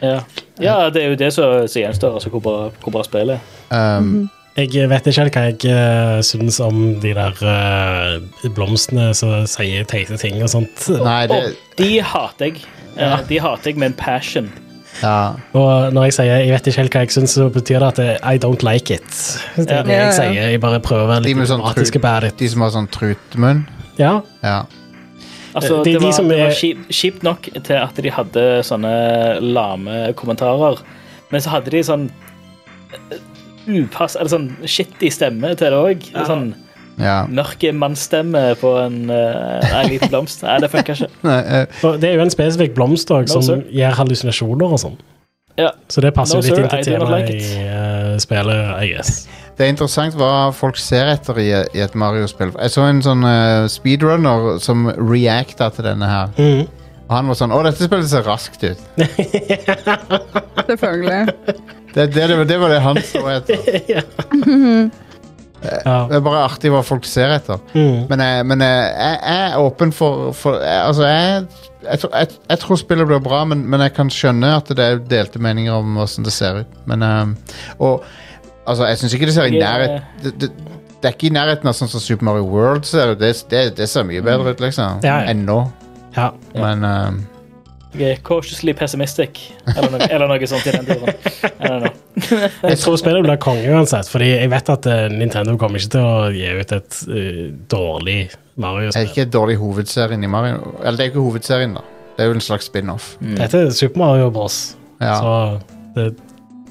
Speaker 4: Ja. ja, det er jo det som som gjenstår, altså hvor bra, hvor bra spillet er.
Speaker 2: Um,
Speaker 3: Jeg vet ikke helt hva jeg uh, syns om de der eh, blomstene som sier teite ting og sånt.
Speaker 2: Nei, det
Speaker 4: Og de hater jeg. Eh, De hater jeg med en passion.
Speaker 2: Ja.
Speaker 3: Og når jeg sier 'jeg vet ikke helt hva jeg syns', så betyr det at det, 'I don't like it'. Det er det
Speaker 5: Ja, ja.
Speaker 3: jeg sier. Jeg bare prøver å være
Speaker 2: De
Speaker 3: litt
Speaker 2: med sånn
Speaker 3: diplomatisk
Speaker 2: tru-
Speaker 3: about it.
Speaker 2: De som har sånn trutmunn.
Speaker 3: Ja.
Speaker 2: Ja.
Speaker 4: Altså,
Speaker 3: Eh,
Speaker 4: det,
Speaker 3: det er de
Speaker 4: var,
Speaker 3: som
Speaker 4: det var
Speaker 3: er-
Speaker 4: kjip, kjipt nok til at de hadde sånne lame kommentarer. Men så hadde de sånn eh, upass Eller sånn shitty stemme til det òg. Sånn
Speaker 2: ja.
Speaker 4: mørke mannsstemme på en, eh, en liten blomst. Nei, det funka ikke.
Speaker 2: Nei, eh,
Speaker 3: Og det er jo en spesifikk blomst også,
Speaker 4: No,
Speaker 3: som
Speaker 4: sir.
Speaker 3: gir hallusinasjoner og sånn.
Speaker 4: Ja.
Speaker 3: Så det passer
Speaker 4: No,
Speaker 3: jo litt
Speaker 4: sir,
Speaker 3: inn
Speaker 4: I
Speaker 3: til
Speaker 4: do not
Speaker 3: temaet i
Speaker 4: like
Speaker 3: eh, spillet, I guess.
Speaker 2: det er interessant hva folk ser etter i, i et Mario-spill. Jeg så en sånn eh, speedrunner som reacta til denne her. Og han var sånn Å, dette spillet ser raskt ut.
Speaker 5: Selvfølgelig.
Speaker 2: Det, det, det, var- det var det han så etter.
Speaker 3: Ja.
Speaker 2: Det er bare artig hva folk ser etter.
Speaker 3: Mm.
Speaker 2: Men, jeg, men jeg, jeg er åpen for, for jeg, Altså, jeg, jeg, tror- jeg, jeg tror spillet blir bra, men, men jeg kan skjønne at det er delte meninger om hvordan det ser ut. Men eh, Og altså, jeg syns ikke det ser i
Speaker 4: Jeg,
Speaker 2: nærhet det, det, det er ikke i nærheten av sånn som Super Mario World ser ut. Det, det, det ser mye bedre ut, liksom.
Speaker 3: Mm. Ja, ja.
Speaker 2: Enn nå.
Speaker 3: ja.
Speaker 2: Men eh,
Speaker 4: Jeg er cautiously pessimistic, eller noe, eller noe sånt i den duren. I don't know.
Speaker 3: Jeg tror spillet blir konge uansett, fordi jeg vet at eh, Nintendo kommer ikke til å gi ut et eh, dårlig
Speaker 2: det er
Speaker 3: Mario-spill.
Speaker 2: ikke dårlig hovedserien i Mario. Eller det er ikke hovedserien, da. Det er jo en slags spin-off.
Speaker 3: Dette er Super Mario Bros,
Speaker 2: Mm. Ja.
Speaker 3: Mm. så det,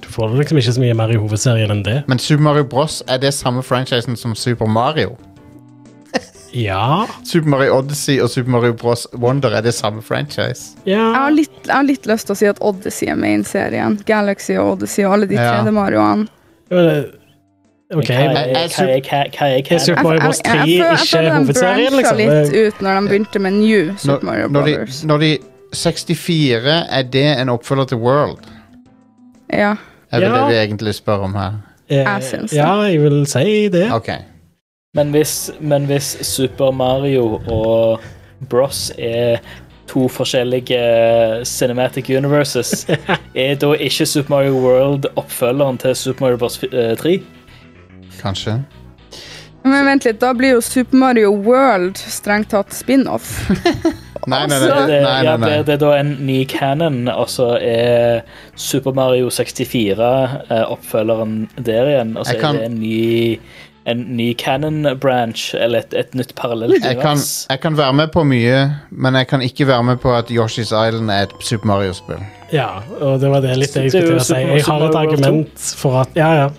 Speaker 3: du får liksom ikke så mye mer i hovedserien enn det.
Speaker 2: Men Super Mario Bros. er det samme franchisen som Super Mario.
Speaker 3: Ja,
Speaker 2: Super Mario Odyssey og Super Mario Bros. Wonder er det samme franchise.
Speaker 3: ja.
Speaker 5: Jeg har, litt, jeg har litt lyst til å si at Odyssey er med inn i serien. Galaxy og Odyssey og alle de
Speaker 2: Ja.
Speaker 5: 3D-marioene.
Speaker 3: Men, eh, OK. men
Speaker 4: Hva er- hva er- hva er- hva er-
Speaker 3: Er Super
Speaker 5: Jeg,
Speaker 3: Mario
Speaker 5: jeg,
Speaker 3: Bros. 3
Speaker 5: jeg, jeg, føl- jeg
Speaker 3: ikke
Speaker 5: føler de
Speaker 3: hovedserien,
Speaker 5: bransja
Speaker 3: liksom?
Speaker 5: litt
Speaker 3: Det-
Speaker 5: ut når de begynte med New Super Mario
Speaker 2: når, de,
Speaker 5: Brothers.
Speaker 2: når de 64 er det en oppfølger til World?
Speaker 5: Ja.
Speaker 2: Er det
Speaker 3: Ja.
Speaker 2: det vi egentlig spør om her?
Speaker 3: eh,
Speaker 5: Jeg syns det.
Speaker 3: Ja, jeg vil si det.
Speaker 2: Ok.
Speaker 4: Men hvis, men hvis Super Mario og Bros er to forskjellige cinematic universes, er da ikke Super Mario World oppfølgeren til Super Mario Bros. eh, 3?
Speaker 2: Kanskje.
Speaker 5: Men vent litt, da blir jo Super Mario World strengt tatt spin-off.
Speaker 2: Nei, nei, nei.
Speaker 4: Det,
Speaker 5: Altså,
Speaker 2: nei, nei,
Speaker 4: ja,
Speaker 2: nei,
Speaker 4: blir det da en ny canon, og så er Super Mario 64 eh, oppfølgeren der igjen, og så
Speaker 2: Jeg kan-
Speaker 4: er det en ny en ny canon-branch, eller et, et nytt parallelt
Speaker 2: Jeg kan,
Speaker 4: univers.
Speaker 2: jeg kan være med på mye, men jeg kan ikke være med på at Yoshi's Island er et Super Mario-spill.
Speaker 3: Ja, og det var det litt jeg
Speaker 4: Det er
Speaker 3: skulle
Speaker 4: jo
Speaker 3: til å si.
Speaker 4: Super-
Speaker 3: Jeg har
Speaker 4: Super
Speaker 3: et
Speaker 4: Mario World
Speaker 3: argument for at Ja, ja.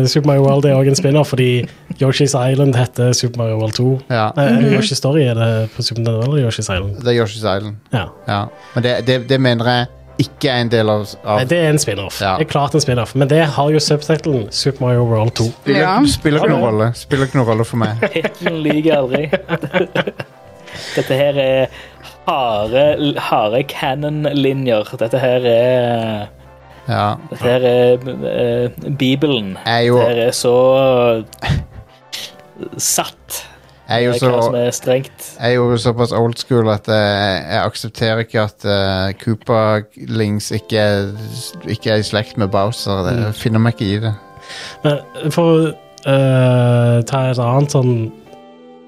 Speaker 3: eh, Super Mario World er òg en spinner, fordi Yoshi's Island heter Super Mario World 2.
Speaker 2: Ja,
Speaker 3: Nei,
Speaker 5: Mhm.
Speaker 3: Yoshi Story er det på Super Nintendo eller Yoshi's Island?
Speaker 2: det er Yoshi's Island.
Speaker 3: Ja.
Speaker 2: Ja. Men det, det, det mener jeg ikke er en del av, av
Speaker 3: Nei, det er en spin-off.
Speaker 2: Ja.
Speaker 3: Det er klart en spin-off, men det har jo subtitlen Super Mario World 2.
Speaker 2: Spiller,
Speaker 5: Ja.
Speaker 2: spiller ikke noen rolle. Spiller ikke noen rolle for meg.
Speaker 4: Hitlen lyver aldri. Dette her er harde, harde canon-linjer. Dette her er
Speaker 2: Ja.
Speaker 4: Dette her er eh, Bibelen.
Speaker 2: Jeg er jo,
Speaker 4: Dette her er så satt.
Speaker 2: jeg er jo
Speaker 4: Det er
Speaker 2: så
Speaker 4: hva som er strengt.
Speaker 2: Jeg er jo såpass old school at eh, jeg aksepterer ikke at uh, Koopa-lings ikke, er- ikke er i slekt med Bowser. Det
Speaker 5: Mm.
Speaker 2: jeg finner meg ikke i det.
Speaker 3: Men for å eh, ta et annet sånn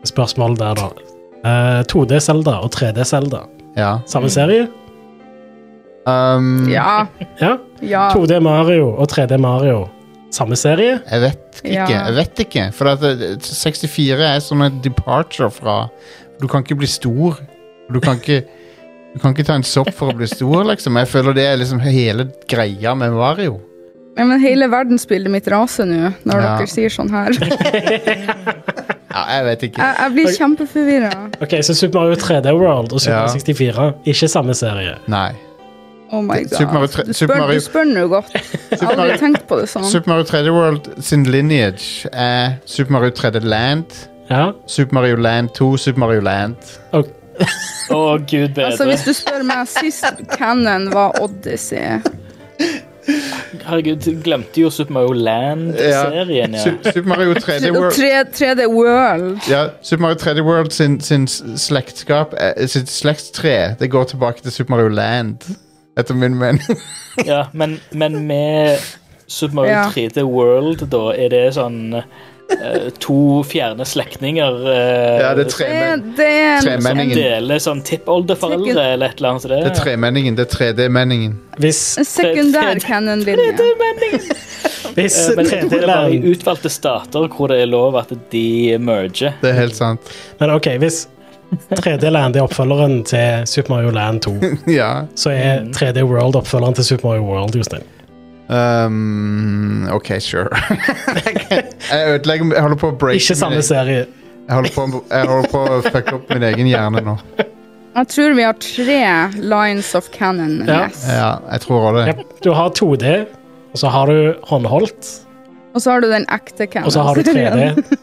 Speaker 3: spørsmål der, da. Eh, 2D-Selda og 3D-Selda.
Speaker 2: Ja.
Speaker 4: Mm.
Speaker 3: Samme serie?
Speaker 2: Um,
Speaker 5: Ja.
Speaker 3: Ja.
Speaker 5: Ja.
Speaker 3: 2D Mario og 3D Mario. Samme serie?
Speaker 2: Jeg vet ikke.
Speaker 5: Ja.
Speaker 2: Jeg vet ikke. For at eh, 64 er sånn en departure fra Du kan ikke bli stor. Du kan ikke Du kan ikke ta en sopp for å bli stor, liksom. Jeg føler det er liksom hele greia med Mario.
Speaker 5: Ja, men hele verdensbildet mitt raser nå når
Speaker 2: Ja.
Speaker 5: dere sier sånn her. Jeg,
Speaker 2: Ja, jeg vet ikke.
Speaker 5: jeg blir kjempeforvirra.
Speaker 3: Ok, så Super Mario 3D World og Super
Speaker 2: Ja.
Speaker 3: Mario 64, ikke samme serie.
Speaker 2: Nei.
Speaker 5: Oh my
Speaker 2: Det- Super Mario
Speaker 5: god.
Speaker 2: tre-
Speaker 5: Du
Speaker 2: Super
Speaker 5: spør,
Speaker 2: Mario-
Speaker 5: du spør nå godt. Jeg har
Speaker 2: Mario-
Speaker 5: aldri tenkt på det sånn.
Speaker 2: Super Mario 3D World sin lineage er Super Mario 3D Land,
Speaker 3: Ja,
Speaker 2: Super Mario Land 2, Super Mario Land.
Speaker 3: og
Speaker 4: Å, gud bedre.
Speaker 5: Altså, hvis du spør meg sist Cannon var Odyssey
Speaker 4: Herregud, glemte jo Super Mario Land-serien. Ja.
Speaker 2: Su- Super Mario 3D
Speaker 5: Og
Speaker 2: World
Speaker 5: 3, 3D World.
Speaker 2: ja, Super Mario 3D World sin, sin s- slektskap eh, Sitt slektstre Det går tilbake til Super Mario Land Etter min mening
Speaker 4: Ja, men, men med Super Mario
Speaker 5: Ja.
Speaker 4: 3D World, da, er det sånn eh, to fjerne slektninger eh,
Speaker 2: Ja, det er
Speaker 5: Det,
Speaker 2: tremenningen
Speaker 5: er- det er en
Speaker 4: som
Speaker 2: tremenningen.
Speaker 4: deler sånn tippoldeforeldre eller et eller annet. Så det,
Speaker 2: Det er tremenningen, det er 3D-menningen
Speaker 3: hvis,
Speaker 5: en sekundær Cannon-linje.
Speaker 3: hvis
Speaker 4: Eh, Men jeg tror det er bare i
Speaker 3: tredjeland
Speaker 4: utvalgte stater hvor det er lov at de merger.
Speaker 2: Det er helt sant
Speaker 3: Men OK, hvis 3D-land er oppfølgeren til Super Mario Land 2,
Speaker 2: Ja
Speaker 3: så er
Speaker 4: Mm.
Speaker 3: 3D World oppfølgeren til Super Mario World, Jostein.
Speaker 2: um, Ok, sure Jeg ødelegger Jeg holder på å breake
Speaker 3: Ikke samme
Speaker 2: min-
Speaker 3: serie.
Speaker 2: jeg holder, på, å- jeg holder på å fucke opp min egen hjerne nå
Speaker 5: Jeg tror vi har tre lines of cannon.
Speaker 3: Ja.
Speaker 5: Yes.
Speaker 2: Ja, jeg tror også det
Speaker 3: Jep, Du har 2D, og så har du håndholdt,
Speaker 5: Og så har du den ekte cannon.
Speaker 3: og så har du 3D.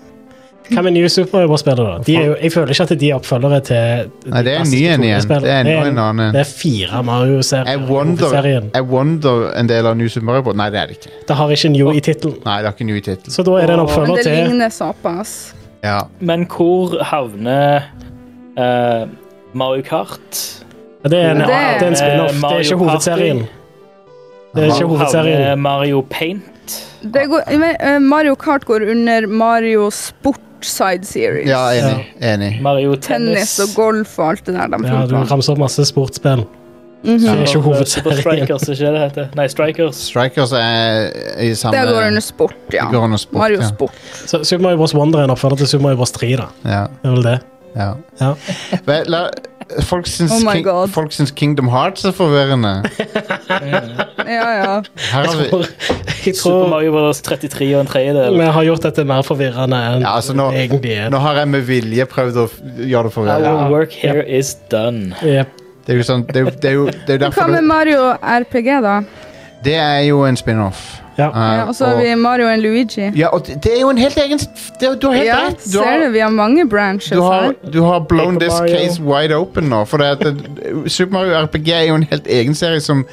Speaker 3: Hva med New Super Mario Bros-spillet, da? De er jo, jeg føler ikke at de er oppfølgere til
Speaker 2: Nei, det er en ny en igjen. Det er enda en annen en.
Speaker 3: Det er fire
Speaker 2: jeg
Speaker 3: Mario-serier.
Speaker 2: wonder,
Speaker 3: i serien.
Speaker 2: jeg wonder en del av New Super Mario Bros. Nei, det er det ikke
Speaker 3: Det har ikke New i tittelen.
Speaker 2: Nei, det er ikke New i titel
Speaker 3: Så da er det en
Speaker 5: Men
Speaker 3: oppfølger
Speaker 5: det
Speaker 3: til
Speaker 5: ligner såpass.
Speaker 2: Ja
Speaker 4: Men hvor havner eh, Mario Kart?
Speaker 3: Det er en,
Speaker 5: Det-
Speaker 3: det er en spin-off. Det er ikke
Speaker 4: Mario
Speaker 3: hovedserien. Det er ikke
Speaker 4: Havner
Speaker 3: hovedserien.
Speaker 4: Mario Paint?
Speaker 5: Det går, eh, Mario Kart går under Mario Sport Side Series.
Speaker 2: Ja, enig. enig.
Speaker 4: Mario
Speaker 5: Tennis
Speaker 4: Tennis?
Speaker 5: og golf og alt det der
Speaker 3: Ja,
Speaker 5: de finner
Speaker 3: du
Speaker 5: på.
Speaker 3: ramser opp masse sportsspill. Det er
Speaker 4: eh,
Speaker 5: Mhm.
Speaker 4: Super-
Speaker 3: ikke
Speaker 4: Super
Speaker 3: hovedserien.
Speaker 4: Strikers, ikke det det heter? Nei, Strikers.
Speaker 2: Strikers er i samme
Speaker 5: Det går under sport, ja.
Speaker 2: Det går under sport,
Speaker 5: Mario
Speaker 2: ja.
Speaker 5: Sport.
Speaker 3: Så Super Mario Bros. Wonder er en oppfølger til Super Mario Bros. 3, da.
Speaker 2: Ja,
Speaker 3: Det er vel det.
Speaker 2: ja.
Speaker 3: Ja.
Speaker 2: Vel, la, folk, syns
Speaker 5: Oh my
Speaker 2: King,
Speaker 5: God.
Speaker 2: folk syns Kingdom Hearts er forvirrende.
Speaker 5: Ja, ja.
Speaker 2: Her har vi,
Speaker 3: Jeg
Speaker 4: Super
Speaker 3: tror
Speaker 4: Mario Bros. 33 og en tredjedel.
Speaker 3: vi har gjort dette mer forvirrende enn
Speaker 2: ja, altså nå,
Speaker 3: det egentlig er.
Speaker 2: nå har jeg med vilje prøvd å f- gjøre det forvirrende.
Speaker 4: Our work here is done.
Speaker 3: Jep.
Speaker 2: Det er jo sånn, det er, jo- det er jo det er
Speaker 5: Hva
Speaker 2: derfor
Speaker 5: med
Speaker 2: du,
Speaker 5: Mario RPG, da?
Speaker 2: Det er jo en spin-off.
Speaker 3: Ja.
Speaker 2: Eh,
Speaker 5: Ja, og så har vi Mario og Luigi.
Speaker 2: ja, og det det er jo en helt egen det, er- Du har helt
Speaker 5: Ja,
Speaker 2: rett! Du
Speaker 5: ser du,
Speaker 2: har,
Speaker 5: vi har mange branches
Speaker 2: du, har,
Speaker 5: her.
Speaker 2: du har blown
Speaker 3: Paper
Speaker 2: this
Speaker 3: Mario.
Speaker 2: case wide open nå. For det at det, Super Mario RPG er jo en helt egen serie som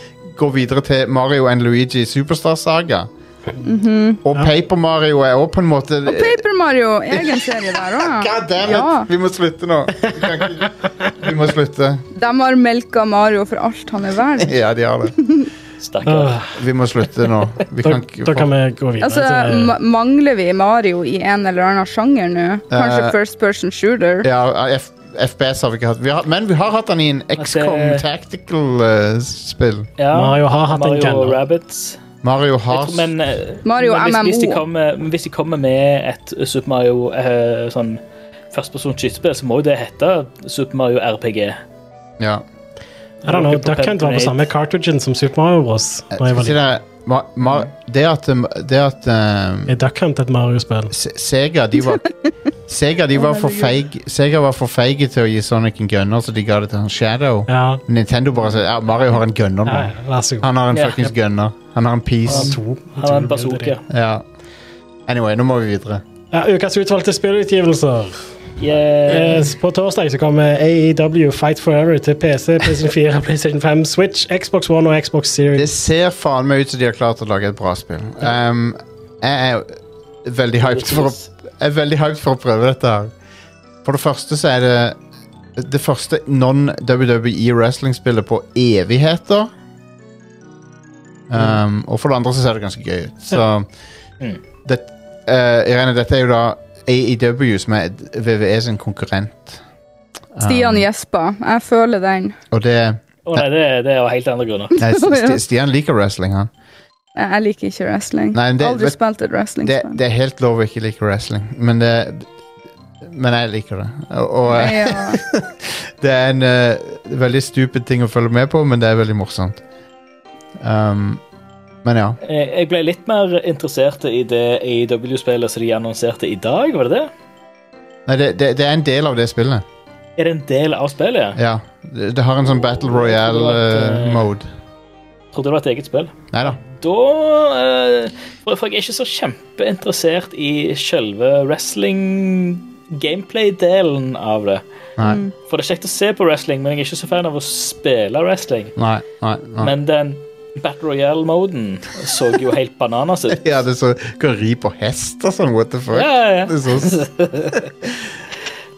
Speaker 2: går videre til Mario and Luigi Superstar Saga. Og Paper Mario er òg på en måte
Speaker 5: Mhm. Og Paper Mario, egen serie der òg.
Speaker 2: God damn it!
Speaker 5: Ja,
Speaker 2: Vi må slutte nå. Vi, kan ikke, vi må slutte.
Speaker 5: de har melka Mario for alt han er verdt.
Speaker 2: Ja, de har det.
Speaker 4: Stakkar.
Speaker 3: Øh,
Speaker 2: Vi må slutte nå. Vi
Speaker 3: Da,
Speaker 2: kan ikke
Speaker 3: da kan vi gå videre
Speaker 5: Altså,
Speaker 3: til
Speaker 5: ma mangler vi Mario i en eller annen sjanger nå? Kanskje
Speaker 2: Eh,
Speaker 5: First Person Shooter?
Speaker 2: ja, F FPS har vi ikke hatt. Vi har, men vi har hatt han i en XCOM eh, Tactical-spill.
Speaker 4: Ja.
Speaker 3: Mario har hatt en
Speaker 4: Mario
Speaker 3: gender.
Speaker 4: og Rabbids.
Speaker 2: Mario
Speaker 4: Jeg
Speaker 2: har
Speaker 4: tror- Men, eh,
Speaker 5: Mario
Speaker 4: men hvis, hvis, de
Speaker 5: MMO.
Speaker 4: kommer, men hvis de kommer med et Super Mario eh, sånn førstepersons skytespill, så må jo det hete Super Mario RPG.
Speaker 2: ja.
Speaker 3: I don't know, Duck Hunt var på samme cartridgen som Super Mario Bros. Da jeg
Speaker 2: Eh, Skal
Speaker 3: var
Speaker 2: jeg si
Speaker 3: liten.
Speaker 2: deg, Ma- Ma- det at, um, det at um,
Speaker 3: Er Duck Hunt et Mario-spill?
Speaker 2: Se- Sega, de var Sega, de var for feig Sega var for feige til å gi Sonic en gunner, så de ga det til han Shadow.
Speaker 3: Ja.
Speaker 2: Nintendo bare sa ja, Mario har en gunner
Speaker 3: ja,
Speaker 2: nå.
Speaker 3: ja, vær så god.
Speaker 2: Han har en
Speaker 4: Ja.
Speaker 2: fuckings gunner. Han har en piece.
Speaker 3: To.
Speaker 4: Han har en bazooka.
Speaker 2: Ja. Anyway, nå må vi videre.
Speaker 3: Ja, ukas utvalgte spillutgivelser.
Speaker 4: Yeah.
Speaker 3: Eh, På torsdag så kommer AEW Fight Forever til PC, PlayStation 4, PlayStation 5, Switch, Xbox One og Xbox
Speaker 2: Det
Speaker 3: Series.
Speaker 2: ser faen meg ut som de har klart å lage et bra spill. Um, jeg er veldig hyped for å, jeg er veldig hyped for å prøve dette her. For det første så er det det første non-WWE wrestling-spillet på evigheter. Um, og for det andre så ser det ganske gøy ut. Så
Speaker 4: Mm.
Speaker 2: det, eh, Irene, dette er jo da AEW, som er VVE sin konkurrent. Um,
Speaker 5: Stian gjesper. Jeg føler den.
Speaker 2: Og det
Speaker 4: Å nei, det, det er av helt andre grunner.
Speaker 2: nei, Sti- Stian liker wrestling, han.
Speaker 5: Jeg jeg liker ikke wrestling.
Speaker 2: Nei, men det-
Speaker 5: Aldri
Speaker 2: vet-
Speaker 5: spilt et
Speaker 2: det,
Speaker 5: wrestlingspill.
Speaker 2: det er helt lov å ikke like wrestling, men det Men jeg liker det. Og, og eh,
Speaker 5: Ja.
Speaker 2: det er en eh, veldig stupid ting å følge med på, men det er veldig morsomt. Um, men ja.
Speaker 4: Eh, Jeg ble litt mer interessert i det AEW-spillet som de annonserte i dag, var det det?
Speaker 2: Nei, det, det, det er en del av det spillet.
Speaker 4: Er det en del av spillet?
Speaker 2: Ja. Det, det har en sånn Battle
Speaker 4: Jeg tror at, eh,
Speaker 2: Royale-mode.
Speaker 4: Trodde det var et eget spill.
Speaker 2: Nei da.
Speaker 4: Da eh, For for jeg er ikke så kjempeinteressert i selve wrestling-gameplay-delen av det.
Speaker 2: Nei,
Speaker 4: For det er kjekt å se på wrestling, men jeg er ikke så fan av å spille wrestling.
Speaker 2: nei, nei. nei.
Speaker 4: Men den Battle Royale-moden så jo helt bananas ut.
Speaker 2: Ja, det er så Kan ri på hest og sånn, what the fuck?
Speaker 4: Ja, ja,
Speaker 2: Det
Speaker 4: ja.
Speaker 2: er så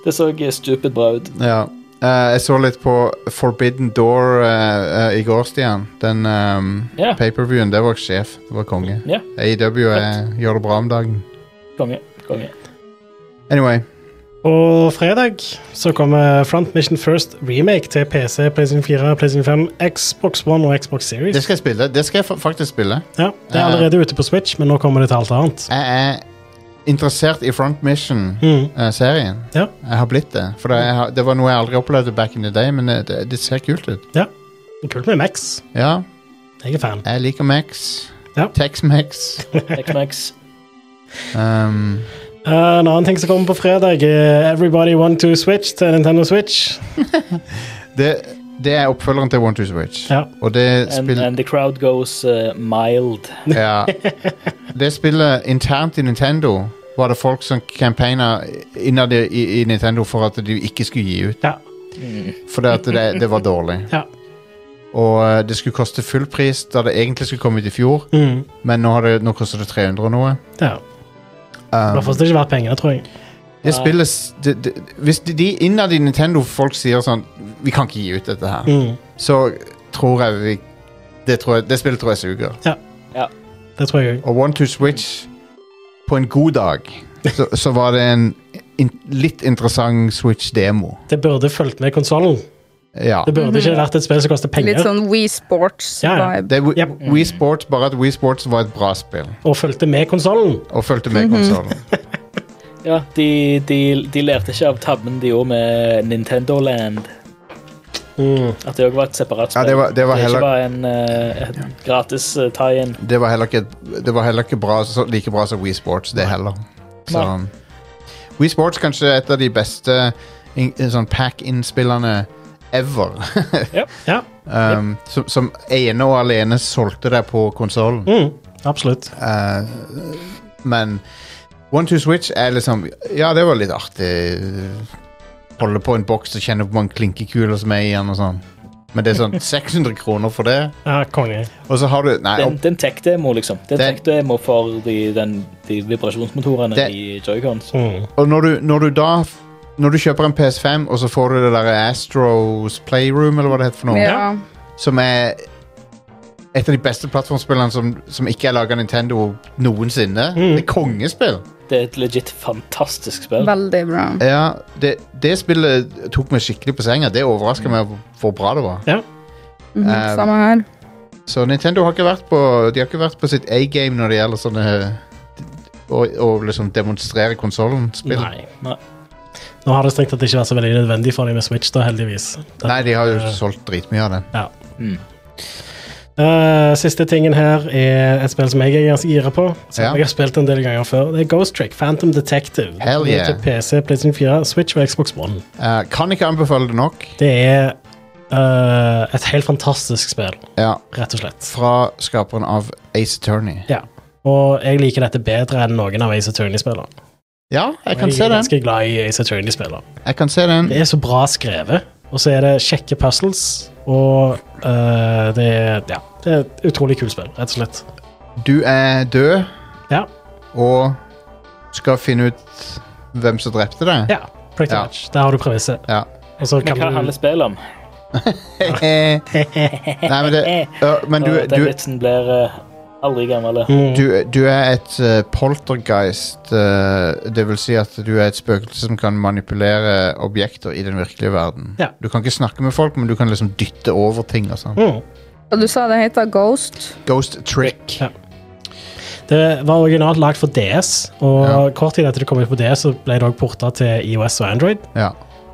Speaker 4: Det så eh, stupid bra ut.
Speaker 2: Ja. Eh, jeg så litt på Forbidden Door eh, eh, i går, Stian. Den um,
Speaker 4: Ja.
Speaker 2: paperviewen. Det var sjef. Det var konge.
Speaker 4: Ja.
Speaker 2: AEW eh, gjør det bra om dagen.
Speaker 4: Konge. konge.
Speaker 2: Anyway.
Speaker 3: Og fredag så kommer Front Mission First remake til PC, PlayStation 4, PlayStation 5, Xbox One og Xbox Series.
Speaker 2: Det skal jeg spille. Det skal jeg fa- faktisk spille.
Speaker 3: Ja, det
Speaker 2: Eh.
Speaker 3: er allerede ute på Switch, men nå kommer det til alt annet.
Speaker 2: Jeg er interessert i Front
Speaker 3: Mm.
Speaker 2: Mission-serien.
Speaker 3: Ja.
Speaker 2: Jeg har blitt det. For det, jeg har, det var noe jeg aldri opplevde back in the day, men eh, det, det ser kult ut.
Speaker 3: ja. Kult med Max.
Speaker 2: Ja,
Speaker 3: Jeg er fan.
Speaker 2: jeg liker Max.
Speaker 3: Ja.
Speaker 2: Tex-Max.
Speaker 4: Tex-Mex.
Speaker 2: Um,
Speaker 3: Eh, en annen ting som kommer på fredag, er Everybody Want to Switch til Nintendo Switch.
Speaker 2: det, det er oppfølgeren til One to Switch.
Speaker 3: Ja.
Speaker 2: Og det
Speaker 4: And,
Speaker 2: spiller
Speaker 4: and the crowd goes eh, mild.
Speaker 2: Ja. Det spillet internt i Nintendo var det folk som campaigna innad i- i, i Nintendo for at de ikke skulle gi ut.
Speaker 3: Ja.
Speaker 2: Fordi at det, det var dårlig.
Speaker 3: Ja.
Speaker 2: Og eh, det skulle koste full pris da det egentlig skulle komme ut i fjor,
Speaker 3: Mm.
Speaker 2: men nå, har det, nå koster det 300 og noe.
Speaker 3: ja. Det har
Speaker 2: Um,
Speaker 3: fortsatt ikke vært penger, tror jeg.
Speaker 2: det spillet s- det, det, Hvis de, de innad i Nintendo folk sier sånn Vi kan ikke gi ut dette her,
Speaker 3: Mm.
Speaker 2: så tror jeg vi Det, tror jeg, det spillet tror jeg suger.
Speaker 3: Det tror jeg òg.
Speaker 2: Og One to Switch På en god dag Så, så var det en in, litt interessant Switch-demo
Speaker 3: Det burde fulgt med konsollen.
Speaker 2: Ja
Speaker 3: Det burde ikke vært et spill som koster penger,
Speaker 5: Litt sånn Wii
Speaker 3: Ja, ja.
Speaker 5: Sports-vibe.
Speaker 2: det er Wii,
Speaker 3: Yep.
Speaker 2: Wii Sports, bare at Wii Sports var et bra spill
Speaker 3: og fulgte med konsollen.
Speaker 2: Og følte med
Speaker 3: Mhm.
Speaker 2: konsolen
Speaker 4: Ja, de, de, de lærte ikke av tabben de gjorde med Nintendo Land.
Speaker 3: Mm.
Speaker 4: At det òg var et separat
Speaker 2: Ja,
Speaker 4: spill.
Speaker 2: det var- det var heller-
Speaker 4: ikke bare en eh, et gratis uh, tie-in.
Speaker 2: Det var heller ikke, det var heller ikke bra, så, like bra som Wii Sports Det heller så, um,
Speaker 4: Nei.
Speaker 2: Wii Sports kanskje er et av de beste in, Sånn pack-in-spillene Ever
Speaker 3: Ja,
Speaker 2: um, som, som ene og alene Solgte deg på konsolen
Speaker 3: mm. absolutt.
Speaker 2: Eh, men One Two Switch er liksom Ja, det var litt artig. Holde på en boks og kjenne på mange klinkekuler som er i den. og sånn Men det er sånn 600 kroner for det,
Speaker 3: Ja, konge.
Speaker 2: og så har du Nei,
Speaker 4: Det er en-
Speaker 2: opp,
Speaker 4: det er en tech-demo, liksom. Det er en
Speaker 2: Den-
Speaker 4: tech-demo for de, den, de vibrasjonsmotorene
Speaker 2: Det-
Speaker 4: i Joycons.
Speaker 3: Mm.
Speaker 2: og når du, når du da Når du kjøper en PS5, og så får du det der Astros Playroom, eller hva det heter for noe,
Speaker 5: Ja.
Speaker 2: som er et av de beste plattformspillene som, som ikke er laga Nintendo noensinne. Det er kongespill.
Speaker 4: Det er et legit fantastisk spill.
Speaker 5: Veldig bra.
Speaker 2: Ja, det, det spillet tok meg skikkelig på senga. Det overraska meg hvor bra det var.
Speaker 3: Ja.
Speaker 5: Mhm,
Speaker 2: Eh,
Speaker 5: Samme her.
Speaker 2: Så Nintendo har ikke vært på De har ikke vært på sitt A-game når det gjelder sånne Å å liksom demonstrere konsollen. Nei.
Speaker 3: Nei. Nå har det strengt tatt ikke vært så veldig nødvendig for dem med Switch, da, heldigvis. Det-
Speaker 2: Nei, de har jo solgt dritmye av det.
Speaker 3: Ja.
Speaker 4: Mm.
Speaker 3: Eh, siste tingen her er et spill som jeg er ganske gira på. Som
Speaker 2: Ja.
Speaker 3: jeg har spilt en del ganger før. Det er Ghost Trick, Phantom Detective.
Speaker 2: Hell
Speaker 3: Det er
Speaker 2: yeah.
Speaker 3: Til PC, PlayStation 4, Switch og Xbox One.
Speaker 2: Eh, kan ikke anbefale det nok.
Speaker 3: Det er eh, et helt fantastisk spill,
Speaker 2: Ja,
Speaker 3: rett og slett.
Speaker 2: Fra skaperen av Ace Attorney.
Speaker 3: Ja. Og jeg liker dette bedre enn noen av Ace Attorney-spillene.
Speaker 2: Ja, jeg kan
Speaker 3: Jeg
Speaker 2: se
Speaker 3: er
Speaker 2: den.
Speaker 3: ganske glad i Ace Attorney-spillene.
Speaker 2: Jeg kan se den.
Speaker 3: Det er så bra skrevet, og så er det kjekke puzzles, og eh, det, er, ja, det er et utrolig kult spill, rett og slett.
Speaker 2: Du er død
Speaker 3: Ja.
Speaker 2: og skal finne ut hvem som drepte deg.
Speaker 3: Ja, pretty
Speaker 2: Ja.
Speaker 3: much. Der har du premisset.
Speaker 2: Ja.
Speaker 3: Og så
Speaker 4: Men
Speaker 3: kan
Speaker 4: hva
Speaker 3: du
Speaker 4: handler spillet om?
Speaker 2: Nei, men det ja, Men du,
Speaker 4: Og Den
Speaker 2: du,
Speaker 4: vitsen blir eh, aldri gammel.
Speaker 2: du, du er et eh, poltergeist. eh, det vil si at du er et spøkelse som kan manipulere objekter i den virkelige verden.
Speaker 3: Ja.
Speaker 2: Du kan ikke snakke med folk, men du kan liksom dytte over ting og sånn.
Speaker 3: Mm.
Speaker 5: Og du sa det heter Ghost.
Speaker 2: Ghost trick.
Speaker 3: Ja. Det var originalt lagd for DS, og
Speaker 2: Ja.
Speaker 3: kort tid etter det kom ut på DS, så ble det også porta til IOS og Android.
Speaker 2: Ja.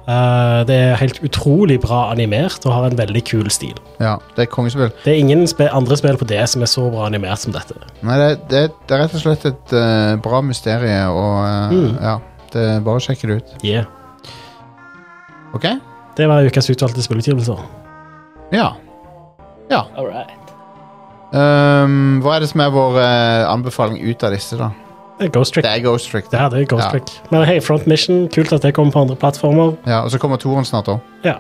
Speaker 3: Eh, det er helt utrolig bra animert og har en veldig kul stil.
Speaker 2: ja. Det er kongespill.
Speaker 3: Det er ingen spe andre spill på DS som er så bra animert som dette.
Speaker 2: Nei, det, det, det er rett og slett et eh, bra mysterie, og eh,
Speaker 3: Mm.
Speaker 2: ja. Det, er bare å sjekke det ut.
Speaker 3: Yeah.
Speaker 2: OK?
Speaker 3: Det var ukas utvalgte spillutgivelser.
Speaker 2: Ja.
Speaker 4: All right.
Speaker 2: Ehm, hva er det som er vår eh, anbefaling ut av disse, da?
Speaker 3: Det er Ghost Trick.
Speaker 2: Det er Ghost Trick.
Speaker 3: Det her det er Ghost
Speaker 2: Ja.
Speaker 3: Trick. Men hei, Front Mission, kult at det kommer på andre plattformer.
Speaker 2: Ja, og så kommer toeren snart òg.
Speaker 3: Ja.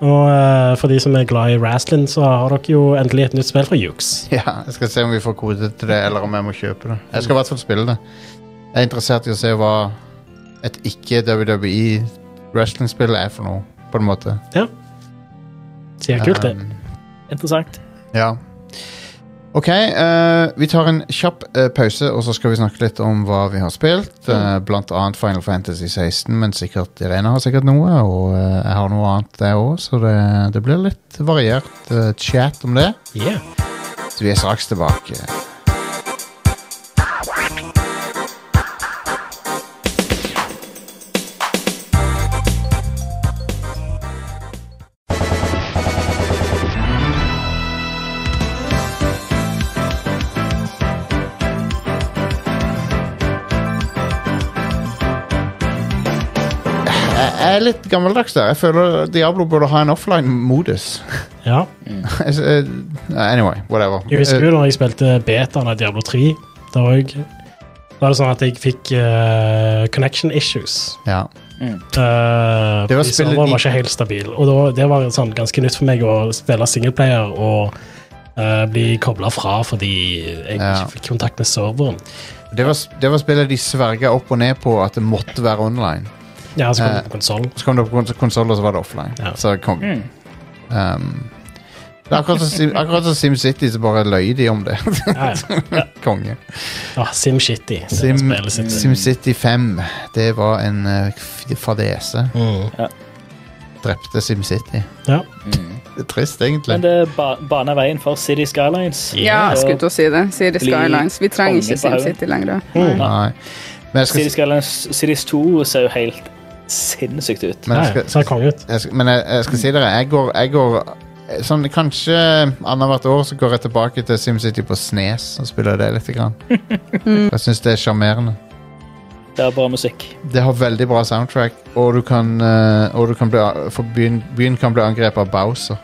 Speaker 3: Og eh, for de som er glad i wrestling, så har dere jo endelig et nytt spill fra Jukes.
Speaker 2: Ja, jeg skal se om vi får kode til det, eller om jeg må kjøpe det. Jeg skal i hvert fall spille det. Jeg er interessert i å se hva et ikke-WWE-wrestlingspill er for noe, på en måte.
Speaker 3: Sier kult, det.
Speaker 2: Um,
Speaker 4: Interessant.
Speaker 2: ja. Ok, eh, vi tar en kjapp eh, pause, og så skal vi snakke litt om hva vi har spilt. eh, blant annet Final Fantasy 16, men sikkert Irene har sikkert noe, og eh, jeg har noe annet jeg òg, så det, det blir litt variert eh, chat om det.
Speaker 3: Yeah.
Speaker 2: Så vi er straks tilbake. Jeg jeg er litt gammeldags der. Jeg føler Diablo burde ha en offline-modus.
Speaker 3: Ja.
Speaker 2: Eh, anyway, whatever. Eh,
Speaker 3: Jeg husker jo når jeg spilte betaen av Diablo 3. Da var, jeg, da var det sånn at jeg fikk eh, connection issues.
Speaker 2: Eh, ja.
Speaker 3: Uh,
Speaker 2: Det var spillet
Speaker 3: serveren
Speaker 2: i-
Speaker 3: var ikke helt stabil. Og da, det var sånn, ganske nytt for meg å spille singleplayer og eh, bli kobla fra fordi jeg
Speaker 2: Ja.
Speaker 3: ikke fikk kontakt med serveren.
Speaker 2: Det var, det var spillet de sverga opp og ned på at det måtte være online.
Speaker 3: Ja, så kom
Speaker 2: Eh.
Speaker 3: det på konsoll.
Speaker 2: Så kom det på konsoller, så var det offline.
Speaker 3: Ja.
Speaker 2: Så kom
Speaker 4: Mm.
Speaker 2: um, det er akkurat som Sim- akkurat som SimCity, så bare løy de om det.
Speaker 3: Ja, ja.
Speaker 2: Konge.
Speaker 3: Ah, SimShitty. det
Speaker 2: Sim-
Speaker 3: er spillet sitt.
Speaker 2: SimCity 5, det var en eh, f- fadese.
Speaker 3: Mm.
Speaker 2: Drepte SimCity.
Speaker 3: Ja.
Speaker 2: Det er trist, egentlig.
Speaker 4: Men det ba baner veien for City Skylines.
Speaker 5: Ja, jeg skulle til å si det. City
Speaker 4: Bli
Speaker 5: Skylines. Vi trenger
Speaker 4: konge
Speaker 5: ikke
Speaker 4: på haugen.
Speaker 5: SimCity lenger.
Speaker 2: Nei. Men jeg skal,
Speaker 4: City Skylines Cities 2 ser jo helt sinnssykt ut.
Speaker 2: men
Speaker 3: Ja,
Speaker 2: jeg
Speaker 3: ja.
Speaker 2: skal,
Speaker 3: Ser konge ut.
Speaker 2: jeg skal, men jeg, jeg skal si dere, jeg går, jeg går eh, sånn, Kanskje annethvert år så går jeg tilbake til SimCity på Snes og spiller det litt. Grann. Jeg syns det er sjarmerende.
Speaker 4: Det er bra musikk.
Speaker 2: Det har veldig bra soundtrack, og du kan, eh, og du kan bli, for byen, byen kan bli angrepet av Bowser.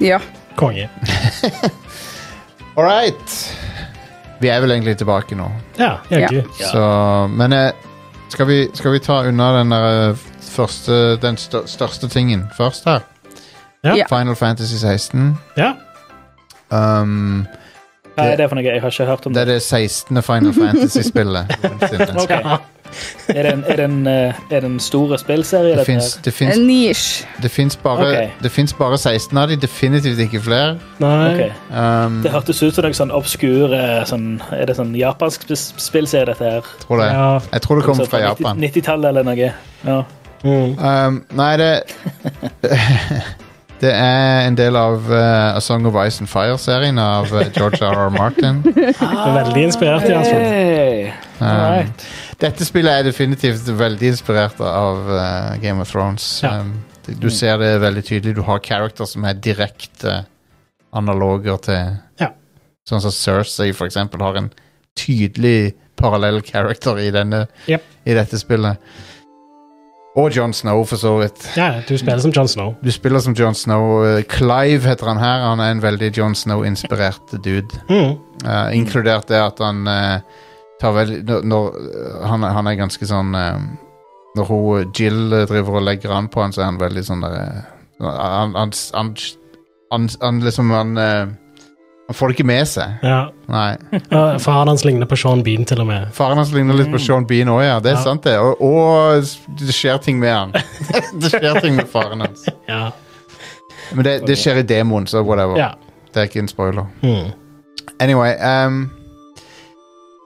Speaker 5: Ja.
Speaker 3: Konge.
Speaker 2: All right! Vi er vel egentlig tilbake nå,
Speaker 3: Ja, jaggu.
Speaker 2: så Men eh, skal, vi, skal vi ta unna den der eh, første Den stør, største tingen først her?
Speaker 3: Ja.
Speaker 5: Ja.
Speaker 2: Final Fantasy 16.
Speaker 3: Ja.
Speaker 2: Um,
Speaker 4: Hva er det for noe? Jeg har ikke hørt om
Speaker 2: det
Speaker 4: det.
Speaker 2: er det 16. Final Fantasy-spillet. noensinne.
Speaker 4: Ok. Er det en, er det en, eh, er det en stor spillserie?
Speaker 2: Det
Speaker 4: dette her?
Speaker 2: fins- Det fins
Speaker 5: En niche.
Speaker 2: det fins bare,
Speaker 4: Ok.
Speaker 2: det fins bare 16 av dem, definitivt ikke flere.
Speaker 3: Nei.
Speaker 4: Ok.
Speaker 2: Um,
Speaker 4: Eh, Det hørtes ut som noe sånn obskur eh, sånn, Er det sånn japansk sp spillserie, dette her?
Speaker 2: tror det.
Speaker 3: Ja.
Speaker 2: Jeg tror det kommer
Speaker 4: Så
Speaker 2: fra
Speaker 4: fra
Speaker 2: Japan.
Speaker 4: 90- 90-tallet eller noe. Ja.
Speaker 3: Mm.
Speaker 2: Um, nei, det Det er en del av eh, A Song of Ice and Fire-serien av eh, George R.R. Martin.
Speaker 3: Veldig inspirert i hans fall.
Speaker 4: Hey.
Speaker 2: Um,
Speaker 4: Alright.
Speaker 2: dette spillet er definitivt veldig inspirert av eh, Game of Thrones.
Speaker 3: Ja.
Speaker 2: Um, du- du ser det veldig tydelig. Du har character som er direkte analoger til
Speaker 3: Ja.
Speaker 2: Sånn som Cersei, for eksempel, har en tydelig parallell character i, denne,
Speaker 3: Jep.
Speaker 2: i dette spillet. Og John Snow, for så vidt.
Speaker 3: Ja, du spiller som John Snow.
Speaker 2: Du spiller som John Snow. Eh, Clive heter han her. Han er en veldig John Snow-inspirert dude.
Speaker 3: Mm.
Speaker 2: Eh, inkludert det at han eh, tar veldig når, når, eh, han, er- han er ganske sånn eh, Når hun Jill eh, driver og legger an på han, så er han veldig sånn der eh, han, han, han, han, han liksom Han eh, Han får det ikke med seg.
Speaker 3: Ja.
Speaker 2: Nei.
Speaker 3: Ja, Faren hans ligner på Sean Bean, til og med.
Speaker 2: Faren hans ligner litt på Sean Bean òg, ja. Det er
Speaker 3: Mm. Ja.
Speaker 2: sant, det. Og, og det skjer ting med han. det skjer ting med faren hans.
Speaker 3: Ja.
Speaker 2: Men det, det skjer i demoen, så whatever.
Speaker 3: ja.
Speaker 2: Det er ikke en spoiler.
Speaker 3: Mm.
Speaker 2: Anyway ehm,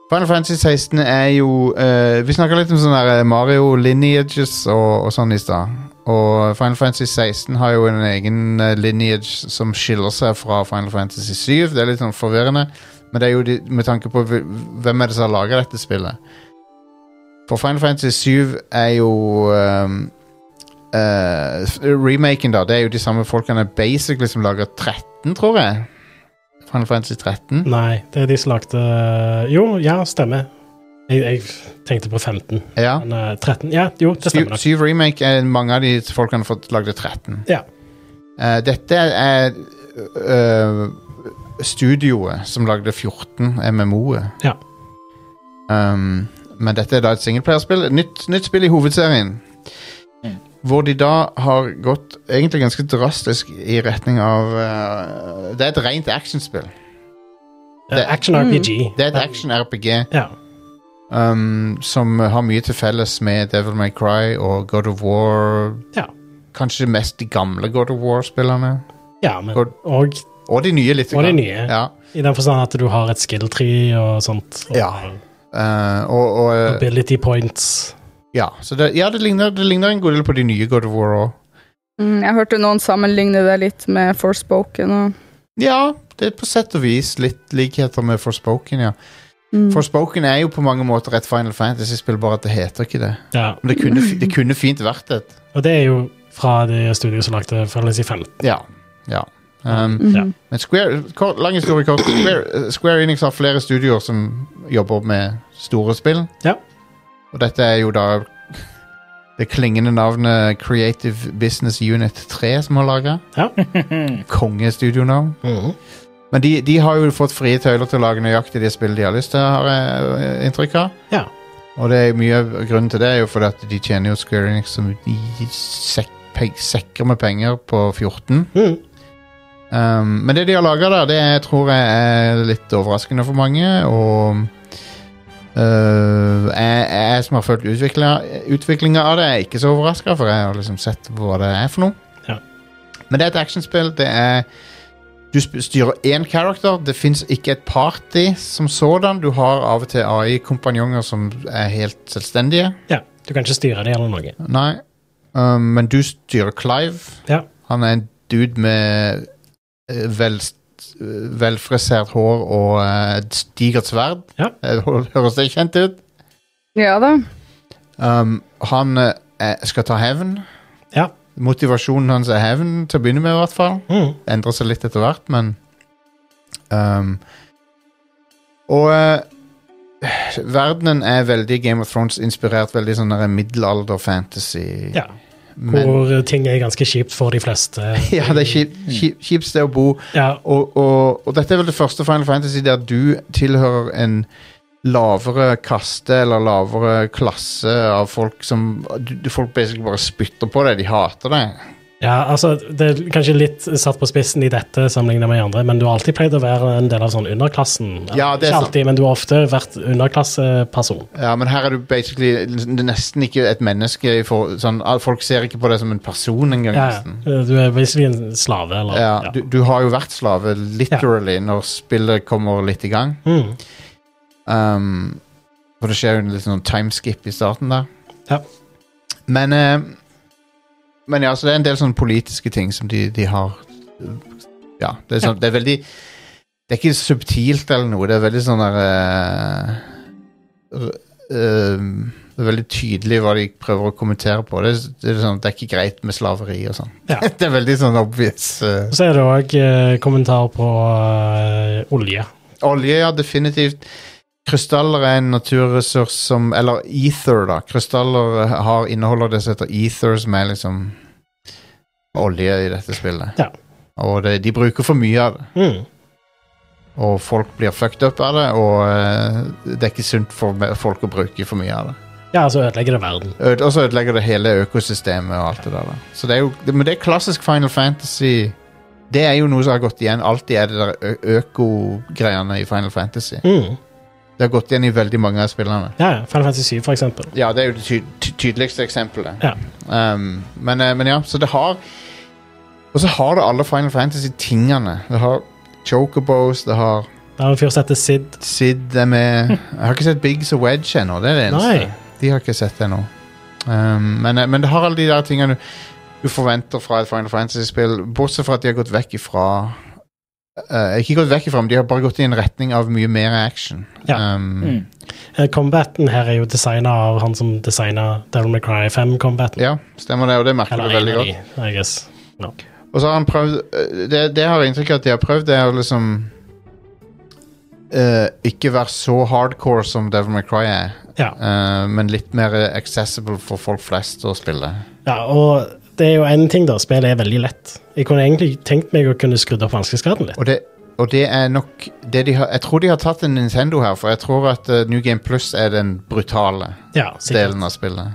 Speaker 2: Final Fantasy 16 er jo eh, Vi snakka litt om sånne der Mario lineages og, og sånn i stad. Og Final Fantasy 16 har jo en egen eh, lineage som skiller seg fra Final Fantasy 7. Det er litt sånn forvirrende, men det er jo de, med tanke på hv- hvem er det som har laga dette spillet. For Final Fantasy 7 er jo ehm, eh, f- Remaken, da. Det er jo de samme folkene basically som lager 13, tror jeg. Final Fantasy 13.
Speaker 3: Nei, det er de som lagde eh, Jo, ja, stemmer. Jeg, jeg tenkte på 15,
Speaker 2: Ja.
Speaker 3: men eh, 13 Ja, jo, det
Speaker 2: Syv,
Speaker 3: stemmer nok.
Speaker 2: syv Remake er mange av de folkene som har fått lagd 13.
Speaker 3: Ja.
Speaker 2: Eh, dette er øh, studioet som lagde 14 MMO-er.
Speaker 3: Ja.
Speaker 2: Um, men dette er da et singelplayerspill. Nytt, nytt spill i hovedserien. Hvor de da har gått egentlig ganske drastisk i retning av eh, Det er et rent actionspill.
Speaker 3: Eh, Action RPG.
Speaker 2: Mm. Det er et action-RPG
Speaker 3: Ja.
Speaker 2: um, som har mye til felles med Devil May Cry og God of War.
Speaker 3: Ja.
Speaker 2: Kanskje mest de gamle God of War-spillerne.
Speaker 3: ja, men
Speaker 2: Og-
Speaker 3: og
Speaker 2: Og de nye, litt.
Speaker 3: Og de
Speaker 2: grann.
Speaker 3: nye.
Speaker 2: Ja.
Speaker 3: i den forstand at du har et skill tree og sånt. Og
Speaker 2: Ja. Eh, og, og, eh,
Speaker 3: Ability points.
Speaker 2: ja, så det, ja, det ligner, det ligner en god del på de nye God of War òg.
Speaker 5: Mm, jeg hørte noen sammenligne det litt med Forspoken og
Speaker 2: Ja, det er på sett og vis litt likheter med Forspoken, ja.
Speaker 5: mm.
Speaker 2: Forspoken er jo på mange måter et Final Fantasy-spill, bare at det heter ikke det.
Speaker 3: Ja.
Speaker 2: Men det kunne, fi- det kunne fint vært et.
Speaker 3: Og det er jo fra det studioet som lagde Final Fantasy 5.
Speaker 2: Ja. ja. Um,
Speaker 5: Mhm.
Speaker 3: Ja.
Speaker 2: men Square, kort, lang historie kort. Square, eh, Square Enix har flere studioer som jobber med store spill.
Speaker 3: Ja.
Speaker 2: Og dette er jo da det klingende navnet Creative Business Unit 3 som har laga.
Speaker 3: Ja.
Speaker 2: Kongestudionavn. Men de, de har jo fått frie tøyler til å lage nøyaktig det spillet de har lyst til, har jeg eh, inntrykk av.
Speaker 3: ja.
Speaker 2: Og det er jo mye av grunnen til det er jo fordi at de tjener jo Square Enix som de sek, pe, sekker med penger på 14.
Speaker 3: Mm.
Speaker 2: Um, men det de har laga der, det er- tror jeg er litt overraskende for mange. Og øh, jeg, jeg som har fulgt utviklinga av det, er ikke så overraska, for jeg har liksom sett hva det er for noe.
Speaker 3: Ja.
Speaker 2: Men det er et actionspill. Det er Du sp- styrer én character. Det fins ikke et party som sådan. Du har av og til AI-kompanjonger som er helt selvstendige.
Speaker 3: ja. Du kan ikke styre det eller noe.
Speaker 2: Nei. Um, men du styrer Clive.
Speaker 3: Ja.
Speaker 2: Han er en dude med eh, vel, velfrisert hår og eh, et digert sverd.
Speaker 3: Ja.
Speaker 2: Eh, Høres det kjent ut?
Speaker 5: Ja da.
Speaker 2: Um, han eh, er- skal ta hevn.
Speaker 3: Ja.
Speaker 2: Motivasjonen hans er hevn, til å begynne med i hvert fall.
Speaker 3: Mm.
Speaker 2: Endrer seg litt etter hvert, men um, Og eh, verdenen er veldig Game of Thrones-inspirert. Veldig sånn der middelalder-fantasy.
Speaker 3: ja.
Speaker 2: Men-
Speaker 3: Hvor eh, ting er ganske kjipt for de fleste.
Speaker 2: ja, det er kjipt kjip, kjip sted å bo.
Speaker 3: Ja.
Speaker 2: og, og, og dette er vel det første Final Fantasy der du tilhører en lavere kaste eller lavere klasse av folk som du- du- Folk basically bare spytter på deg. De hater deg.
Speaker 3: ja, altså, det er kanskje litt satt på spissen i dette sammenlignet med andre, men du har alltid pleid å være en del av sånn underklassen.
Speaker 2: Ja, det er
Speaker 3: ikke
Speaker 2: sant.
Speaker 3: alltid, men du har ofte vært underklasseperson.
Speaker 2: Ja, Men her er du basically nesten ikke et menneske. i For, sånn, ah, folk ser ikke på deg som en person engang.
Speaker 3: Ja,
Speaker 2: nesten.
Speaker 3: ja. Du er basically en slave, eller
Speaker 2: Ja, Du, du har jo vært slave, literally, når spillet kommer litt i gang.
Speaker 3: Mm.
Speaker 2: Um, for det skjer jo en litt sånn timeskip i starten der.
Speaker 3: Ja.
Speaker 2: Men eh, Men ja, så det er en del sånne politiske ting som de, de har Ja, det er, sånn, det er veldig Det er ikke subtilt eller noe, det er veldig sånn der eh, r- eh, Det er veldig tydelig hva de prøver å kommentere på. Det, er- det, er, sånn, det er ikke greit med slaveri og sånn.
Speaker 3: Ja.
Speaker 2: det er veldig sånn obvious. eh,
Speaker 3: Og Så er det òg eh, kommentar på eh, olje.
Speaker 2: Olje, ja, definitivt. Krystaller er en naturressurs som Eller ether, da. Krystaller eh, har, inneholder det som heter ether, som er liksom olje i dette spillet.
Speaker 3: Ja.
Speaker 2: Og det, de bruker for mye av det,
Speaker 3: Mm.
Speaker 2: og folk blir fucked up av det, og eh, det er ikke sunt for me- folk å bruke for mye av det.
Speaker 3: Ja, altså ødelegger det verden.
Speaker 2: Øde- Og så ødelegger det hele økosystemet og alt det der. Da. Så det er jo, det, men det er klassisk Final Fantasy. Det er jo noe som har gått igjen. Alltid er det der ø- øko-greiene i Final Fantasy.
Speaker 3: Mm.
Speaker 2: Det har gått igjen i veldig mange av spillerne.
Speaker 3: Ja, ja. Final Fantasy 7, for eksempel.
Speaker 2: Ja, det er jo det ty ty tydeligste eksempelet.
Speaker 3: Ja.
Speaker 2: Um, men, eh, men ja, så det har Og så har det alle Final Fantasy-tingene. Det har Chocobos, det har
Speaker 3: Det er en fyr som heter Sid.
Speaker 2: Sid er med Jeg har ikke sett Biggs og Wedge ennå. Det er det eneste.
Speaker 3: Nei.
Speaker 2: De har jeg ikke sett ennå. Um, men, eh, men det har alle de der tingene du, du forventer fra et Final Fantasy-spill, bortsett fra at de har gått vekk ifra eh, Ikke gått vekk ifra, men de har bare gått i en retning av mye mer action.
Speaker 3: Ja.
Speaker 2: Um,
Speaker 4: Mm.
Speaker 3: Eh, Combaten her er jo designa av han som designa Devil May Cry 5-combaten.
Speaker 2: ja, stemmer det, og det merker du
Speaker 3: Eller en
Speaker 2: veldig
Speaker 3: av
Speaker 2: godt.
Speaker 3: de, I guess. Ja.
Speaker 2: Og så har han prøvd øh, Det, det har jeg inntrykk av at de har prøvd, det er å liksom øh, Ikke være så hardcore som Devil May Cry er,
Speaker 3: Ja.
Speaker 2: øh, men litt mer accessible for folk flest å spille.
Speaker 3: ja, og det er jo én ting, da. Spillet er veldig lett. Jeg kunne egentlig tenkt meg å kunne skrudd opp vanskelighetsgraden litt.
Speaker 2: Og det, Og det er nok det de har, Jeg tror de har tatt en Nintendo her, for jeg tror at eh, New Game Plus er den brutale
Speaker 3: Ja, sikkert.
Speaker 2: delen av spillet.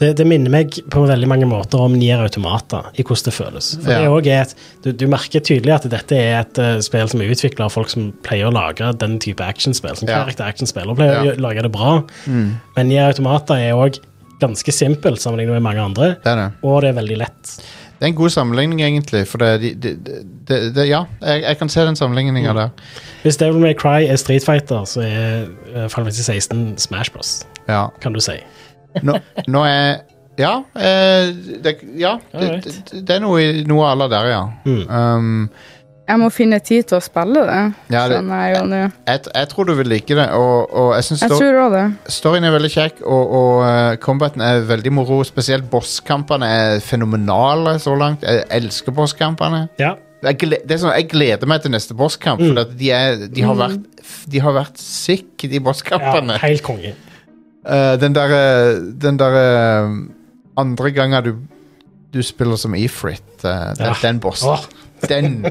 Speaker 3: Det, det minner meg på veldig mange måter om Nier Automata, i hvordan det føles. For
Speaker 2: Ja.
Speaker 3: det også er et, du, du merker tydelig at dette er et eh, spill som er utvikla av folk som pleier å lage den type actionspill. Som
Speaker 2: Ja.
Speaker 3: character actionspill, og
Speaker 2: Ja.
Speaker 3: pleier
Speaker 2: Mm.
Speaker 3: å lage det bra. Men Nier Automata er òg ganske simpelt sammenlignet med mange andre.
Speaker 2: Det er det.
Speaker 3: Og det er veldig lett.
Speaker 2: Det er en god sammenligning, egentlig. For det, de, de, de, de, ja, jeg, jeg kan se den sammenligninga der.
Speaker 3: Hvis Devil May Cry er Street Fighter, så er uh, Final Fantasy 16 Smash Bros,
Speaker 2: Ja.
Speaker 3: kan du si.
Speaker 2: Nå, nå er Ja. eh, det, ja det,
Speaker 4: Alright.
Speaker 2: det, det er noe, i- noe à la der, ja. Um,
Speaker 5: Jeg må finne tid til å spille det,
Speaker 2: Ja, det-
Speaker 5: skjønner jeg jo nå.
Speaker 2: jeg, jeg tror du vil like det, og, og jeg syns
Speaker 5: Jeg tror òg det.
Speaker 2: Storyen er veldig kjekk, og, og eh, combaten er veldig moro. Spesielt bosskampene er fenomenale så langt. Jeg elsker bosskampene.
Speaker 3: Ja.
Speaker 2: Jeg, gle- det er sånn, jeg gleder meg til neste bosskamp, for at de, er, de,
Speaker 5: Mm.
Speaker 2: har vært, de har vært sick, de
Speaker 3: ja
Speaker 2: bosskampene.
Speaker 3: helt konge.
Speaker 2: Eh, den derre Den derre andre gangen du, du spiller som Efrit, eh, den,
Speaker 3: Ja.
Speaker 2: den bossen
Speaker 3: Åh,
Speaker 2: den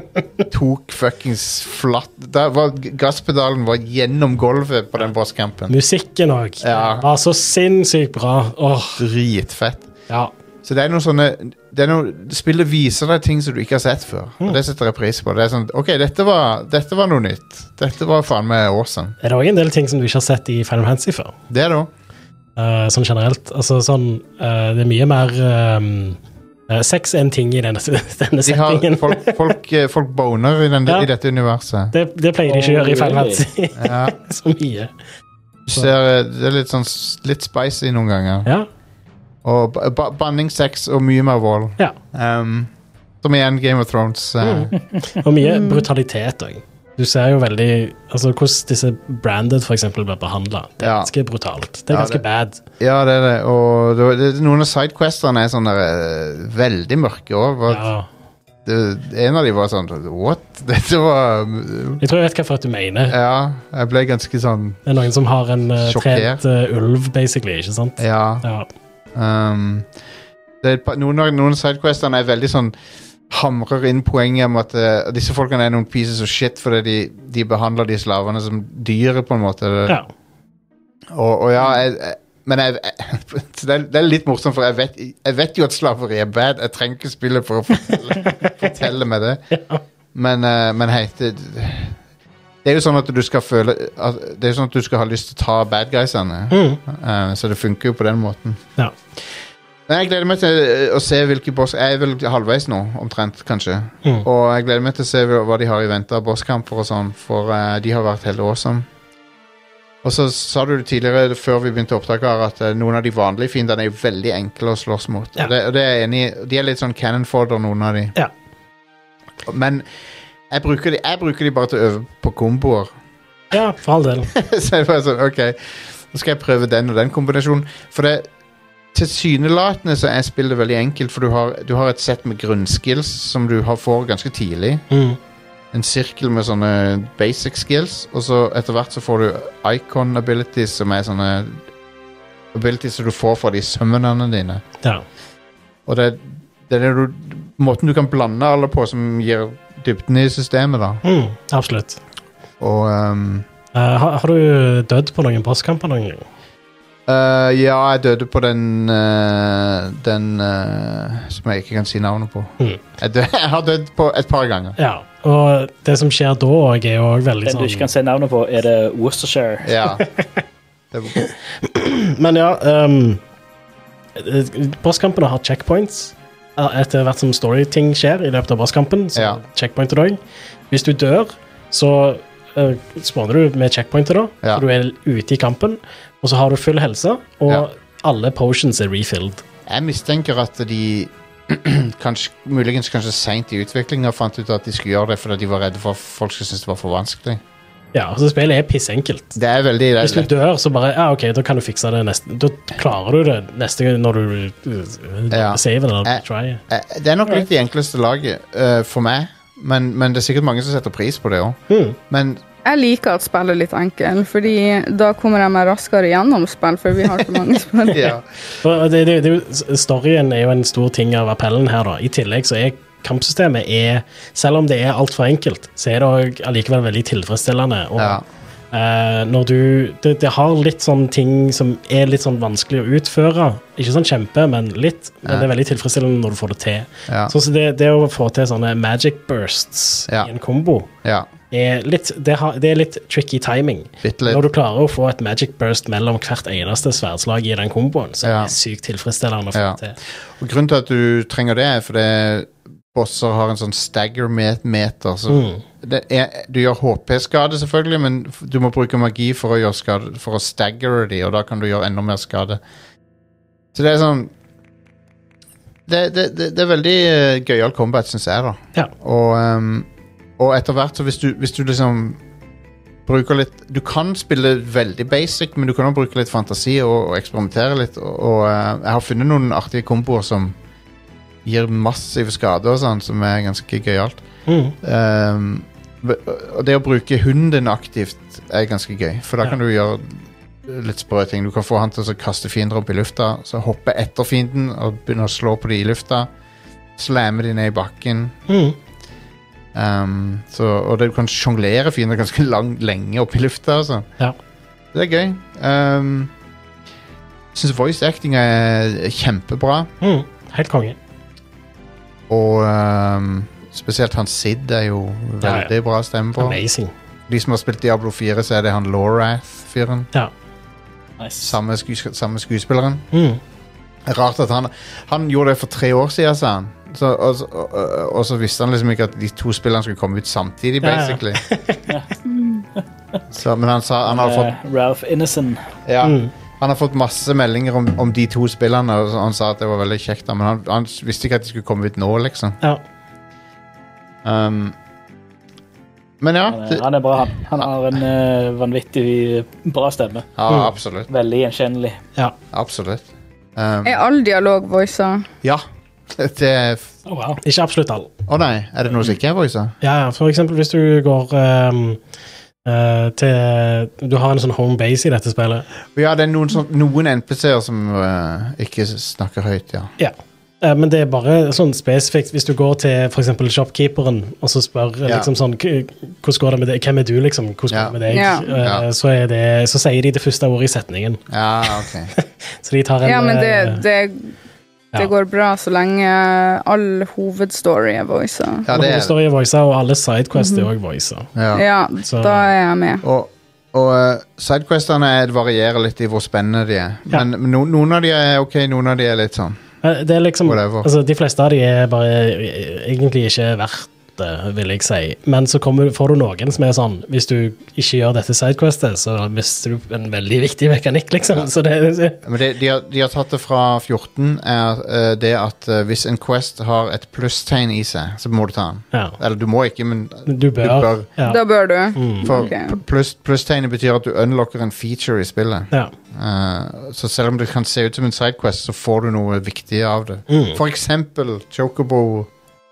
Speaker 2: tok fuckings flatt Der var, Gasspedalen var gjennom gulvet på den bosskampen.
Speaker 3: musikken òg
Speaker 2: Ja.
Speaker 3: var så sinnssykt bra. Åh,
Speaker 2: Dritfett.
Speaker 3: ja.
Speaker 2: Så det er noen sånne det er noe, Spillet viser deg ting som du ikke har sett før.
Speaker 3: Mm.
Speaker 2: Og Det setter jeg pris på. Det er sånn, ok, dette var, dette var noe nytt. Dette var faen meg awesome.
Speaker 3: er det òg en del ting som du ikke har sett i Final Fantasy før.
Speaker 2: Det, da.
Speaker 3: Eh, sånn generelt. Altså sånn eh, Det er mye mer ehm, eh, Sex er en ting i denne, denne
Speaker 2: De har,
Speaker 3: settingen.
Speaker 2: folk, folk, eh, folk boner i, den,
Speaker 3: Ja.
Speaker 2: i dette universet.
Speaker 3: Det, det pleier de ikke å gjøre i Final
Speaker 4: Oh, really?
Speaker 3: Fantasy
Speaker 2: Ja,
Speaker 3: så mye.
Speaker 2: du ser, eh, det er litt sånn s- litt spicy noen ganger.
Speaker 3: Ja.
Speaker 2: Og ba- ba banning, sex og mye mer vold.
Speaker 3: ja. Mm.
Speaker 2: Um, som igjen Game of Thrones. eh,
Speaker 3: Og mye brutalitet òg. Du ser jo veldig altså hvordan disse branded for eksempel blir behandla. Det er
Speaker 2: Ja.
Speaker 3: ganske brutalt. Det er
Speaker 2: Ja,
Speaker 3: ganske
Speaker 2: det-
Speaker 3: bad.
Speaker 2: Ja, det er det. Og det, var- det, noen av sidequestene er sånn der, eh, veldig mørke òg.
Speaker 3: Ja.
Speaker 2: En av de var sånn What? Dette var
Speaker 3: Jeg tror jeg vet hva for at du mener.
Speaker 2: Ja, jeg ble ganske sånn
Speaker 3: Det er noen som har en eh,
Speaker 2: Sjokkert.
Speaker 3: trent eh, ulv, basically, ikke sant?
Speaker 2: Ja.
Speaker 3: Ja.
Speaker 2: Um, det er, et par- noen av noen av sidequestene er veldig sånn Hamrer inn poenget om at eh, disse folkene er noen pieces of shit fordi de, de behandler de slavene som dyr, på en måte.
Speaker 3: ja.
Speaker 2: Og, og ja, jeg, jeg, men jeg, jeg så det, er, det er litt morsomt, for jeg vet, jeg vet jo at slaveri er bad. Jeg trenger ikke spille for å fortelle, fortelle meg det. Men, eh, men hei det, det er jo sånn at du skal føle at, Det er jo sånn at du skal ha lyst til å ta bad guysene. Eh, så det funker jo på den måten.
Speaker 3: ja.
Speaker 2: Men jeg gleder meg til eh, å se hvilke boss Jeg er vel halvveis nå, omtrent, kanskje. Og jeg gleder meg til å se hva de har i vente av bosskamper og sånn, for eh, de har vært helt awesome. Og så sa du det tidligere, før vi begynte opptaket, her, at eh, noen av de vanlige fiendene er jo veldig enkle å slåss mot.
Speaker 3: Ja.
Speaker 2: Og, det, og det er jeg enig i. De er litt sånn cannon fodder, noen av de.
Speaker 3: Ja.
Speaker 2: Men jeg bruker, de, jeg bruker de bare til å øve på komboer.
Speaker 3: ja, for all del.
Speaker 2: så jeg bare sånn, ok Nå skal jeg prøve den og den kombinasjonen For det Tilsynelatende så er spillet veldig enkelt For du har, du har et sett med grunnskills Som du har får ganske tidlig
Speaker 3: Mm.
Speaker 2: En sirkel med sånne basic skills Og så etter hvert så får du icon abilities Som er sånne Abilities som du får fra de summonene dine
Speaker 3: Ja.
Speaker 2: Og det, det er det du, måten du kan blande alle på Som gir dybden i systemet da
Speaker 3: Mm. Absolutt.
Speaker 2: Og ehm,
Speaker 3: Eh, har, har du dødd på noen bosskamper noen gang?
Speaker 2: Eh, ja, jeg døde på den eh, Den eh, som jeg ikke kan si navnet på.
Speaker 3: Mhm.
Speaker 2: Jeg, dø, jeg har dødd på et par ganger.
Speaker 3: Ja, og det som skjer da òg, er jo òg veldig
Speaker 4: Den du ikke
Speaker 3: sånn
Speaker 4: kan se navnet på, er det Worcestershire.
Speaker 2: Ja. Det var-
Speaker 3: Men ja ehm, eh, Bosskampene har checkpoints. Eh, Etter hvert som storyting skjer i løpet av bosskampen, så
Speaker 2: Ja.
Speaker 3: checkpointer du òg. Hvis du dør, så uh, spawner du med checkpointer, da.
Speaker 2: Ja.
Speaker 3: Så du er ute i kampen, og så har du full helse, og
Speaker 2: Ja.
Speaker 3: alle potions er refilled.
Speaker 2: jeg mistenker at de kanskje, Muligens kanskje seint i utviklinga fant ut at de skulle gjøre det fordi de var redde for at folk skulle synes det var for vanskelig.
Speaker 3: Ja, så spillet er pissenkelt.
Speaker 2: Det er veldig det er
Speaker 3: Hvis du
Speaker 2: lett.
Speaker 3: dør, så bare Ja, OK, da kan du fikse det neste Da klarer du det neste gang når du uh,
Speaker 2: Ja.
Speaker 3: saver eller
Speaker 2: Eh.
Speaker 3: try.
Speaker 2: Eh, Det er nok litt det enkleste laget eh, for meg, men, men det er sikkert mange som setter pris på det òg.
Speaker 3: Mhm.
Speaker 2: Men
Speaker 5: Jeg liker at spillet er litt enkelt, fordi da kommer jeg meg raskere gjennom spill, for vi har så mange spill.
Speaker 2: ja.
Speaker 3: Og det, det, det, er jo- storyen er jo en stor ting av appellen her, da. I tillegg så er kampsystemet er Selv om det er altfor enkelt, så er det òg allikevel veldig tilfredsstillende. Og
Speaker 2: Ja.
Speaker 3: eh, når du det, det har litt sånn ting som er litt sånn vanskelig å utføre. Ikke sånn kjempe, men litt. Men det er veldig tilfredsstillende når du får det til.
Speaker 2: Ja.
Speaker 3: Sånn som det, det å få til sånne magic bursts
Speaker 2: Ja.
Speaker 3: i en kombo
Speaker 2: ja.
Speaker 3: er litt, det, har, det er litt tricky timing.
Speaker 2: Bitte litt.
Speaker 3: Når du klarer å få et magic burst mellom hvert eneste sverdslag i den komboen, så
Speaker 2: Ja.
Speaker 3: er det sykt tilfredsstillende å få
Speaker 2: Ja.
Speaker 3: til.
Speaker 2: Og grunnen til at du trenger det, er fordi bosser har en sånn stagger-meter.
Speaker 3: Mm.
Speaker 2: Så det er, du gjør HP-skade, selvfølgelig, men f- du må bruke magi for å gjøre skade, for å staggere de, og da kan du gjøre enda mer skade. Så det er sånn Det, det, det, det er veldig eh, gøyal combat, syns jeg, da.
Speaker 3: Ja.
Speaker 2: Og, ehm, og etter hvert, så hvis du, hvis du liksom bruker litt Du kan spille veldig basic, men du kan også bruke litt fantasi og, og eksperimentere litt. Og, og eh, jeg har funnet noen artige komboer som gir massive skader og sånn, som er ganske gøyalt.
Speaker 3: Mm.
Speaker 2: Ehm, b- og det å bruke hunden din aktivt er ganske gøy, for da
Speaker 3: Ja.
Speaker 2: kan du gjøre litt sprø ting. Du kan få han til å kaste fiender opp i lufta, så hoppe etter fienden og begynne å slå på de i lufta. Slamme de ned i bakken.
Speaker 3: Mm.
Speaker 2: Ehm, så, og det, du kan sjonglere fiender ganske lang, lenge opp i lufta. Altså.
Speaker 3: Ja.
Speaker 2: Det er gøy. Um, Syns voice acting er kjempebra.
Speaker 3: Mm. Helt konge.
Speaker 2: Og ehm, spesielt han Sid er jo
Speaker 3: Ja, ja.
Speaker 2: veldig bra stemme på.
Speaker 3: Amazing.
Speaker 2: De som har spilt Diablo 4, så er det han Lorath-fyren.
Speaker 3: Ja.
Speaker 4: Nice.
Speaker 2: Samme, skues samme skuespilleren.
Speaker 3: Mm.
Speaker 2: Rart at han Han gjorde det for tre år siden, sa han. Så, og, så- og, og- og så visste han liksom ikke at de to spillene skulle komme ut samtidig,
Speaker 3: Ja, ja.
Speaker 2: basically. så, men han sa han har fått
Speaker 4: Eh, Ralph Innocent.
Speaker 2: Ja.
Speaker 3: Mm.
Speaker 2: Han har fått masse meldinger om, om de to spillene, og så- han sa at det var veldig kjekt, da, men han, han visste ikke at de skulle komme ut nå, liksom.
Speaker 3: Ja.
Speaker 2: Um, men ja,
Speaker 4: Han
Speaker 2: det,
Speaker 4: er, han er bra, han. Han har en eh, vanvittig bra stemme.
Speaker 3: Mm.
Speaker 2: ja absolutt.
Speaker 4: Veldig gjenkjennelig.
Speaker 3: ja.
Speaker 2: Absolutt. Um,
Speaker 5: Er all dialog voicer?
Speaker 2: ja. Det er f-
Speaker 3: Ikke absolutt alle.
Speaker 2: Å nei, er det noe som ikke er voisa?
Speaker 3: Ja, ja, for eksempel hvis du går ehm, eh, til Du har en sånn home base i dette spillet.
Speaker 2: Ja, det er noen, sånn- noen NPC-er som eh, ikke snakker høyt, ja.
Speaker 3: Ja. Eh, Men det er bare sånn spesifikt hvis du går til f.eks. shopkeeperen og så spør eh,
Speaker 2: Ja.
Speaker 3: liksom sånn, "K- hvordan går det med deg? Hvem er du, liksom? Hvordan
Speaker 2: Ja.
Speaker 3: går det med deg?
Speaker 5: Ja.
Speaker 3: Eh,
Speaker 2: Ja.
Speaker 3: Så, er det, så sier de det første ordet i setningen.
Speaker 2: Ja, ok.
Speaker 3: Så de tar en
Speaker 5: Ja, men
Speaker 3: eh,
Speaker 5: det, det,
Speaker 3: ja.
Speaker 5: det går bra så lenge all hovedstory er Mhm. voicer.
Speaker 2: Ja, det er det.
Speaker 3: står i voicer, og alle sidequests er òg voicer.
Speaker 2: Ja.
Speaker 5: Ja,
Speaker 3: Så-
Speaker 5: da er jeg med.
Speaker 2: Og, og eh, sidequestene er- varierer litt i hvor spennende de er.
Speaker 3: Ja.
Speaker 2: Men no, noen av de er ok, noen av de er litt sånn.
Speaker 3: Eh, Det er liksom,
Speaker 2: Whatever.
Speaker 3: altså, de fleste av de er bare eh, egentlig ikke verdt det, vil jeg si. Men så kommer, får du noen som er sånn Hvis du ikke gjør dette sidequestet, så mister du en veldig viktig mekanikk, liksom. Så det,
Speaker 2: Men det, de, har, de har tatt det fra 14, er eh, det at eh, hvis en Quest har et plusstegn i seg, så må du ta den.
Speaker 3: ja.
Speaker 2: Eller du må ikke, men
Speaker 3: Du bør.
Speaker 2: Du bør.
Speaker 3: Ja.
Speaker 5: Da bør du.
Speaker 2: for
Speaker 5: Ok.
Speaker 2: pl- pluss, plusstegnet betyr at du unlocker en feature i spillet.
Speaker 3: ja.
Speaker 2: Eh, så selv om det kan se ut som en sidequest, så får du noe viktig av det.
Speaker 3: Mm.
Speaker 2: For eksempel Chocobo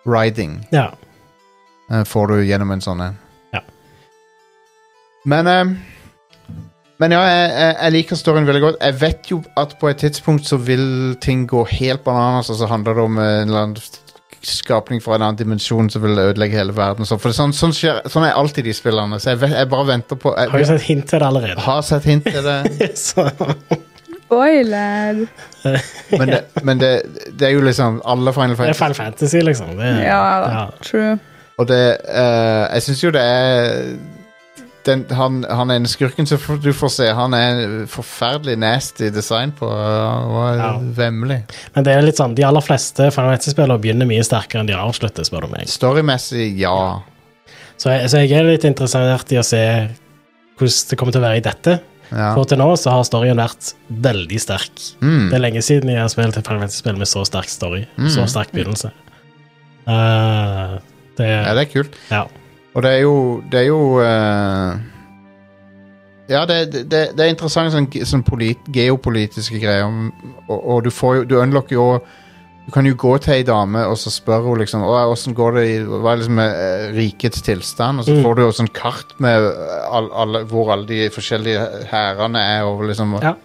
Speaker 2: Riding
Speaker 3: ja.
Speaker 2: eh, får du gjennom en sånn en.
Speaker 3: Ja.
Speaker 2: Men eh, Men ja, jeg, jeg, jeg liker storyen veldig godt. Jeg vet jo at på et tidspunkt så vil ting gå helt bananas, og så handler det om eh, en eller annen skapning fra en annen dimensjon som vil ødelegge hele verden. og sånn. For det er sånn, sånn, skjer, sånn er alltid de spillerne. Så jeg, vet, jeg bare venter på
Speaker 3: Har jo
Speaker 2: Jeg,
Speaker 3: sett hint til det allerede.
Speaker 2: har sett hint til det.
Speaker 3: Så,
Speaker 5: Spoiler!
Speaker 2: Men, det, men det, det er jo liksom alle Final
Speaker 3: det er
Speaker 2: Fantasy
Speaker 3: Final Fantasy, liksom. Det, er-
Speaker 5: Ja da.
Speaker 3: ja.
Speaker 5: True.
Speaker 2: Og det eh, Jeg syns jo det er den, han, han ene skurken som f- du får se, han er forferdelig nasty design på. Han var
Speaker 3: Ja.
Speaker 2: vemmelig.
Speaker 3: Men det er litt sånn, de aller fleste Final Fantasy-spillere begynner mye sterkere enn de avslutter, spør du meg.
Speaker 2: Storymessig, ja.
Speaker 3: Så jeg, så jeg er litt interessert i å se hvordan det kommer til å være i dette.
Speaker 2: ja. Mm.
Speaker 3: For til nå så har storyen vært veldig sterk. Det er lenge siden jeg har spilt et Final Fantasy-spill med så sterk story. Så sterk begynnelse. Eh, det,
Speaker 2: Ja, det er kult.
Speaker 3: ja.
Speaker 2: Og det er jo Det er jo eh, Ja, det, det, det er interessant sånn, ge- sånn polit, geopolitiske greier. om- Og, og du får jo Du unlocker jo Du kan jo gå til ei dame og så spør hun liksom «Å, hvordan går det i, Hva er liksom eh, rikets tilstand? Og så får du jo sånn kart med all, alle, hvor alle de forskjellige hærene er. Og liksom, og-
Speaker 3: Ja.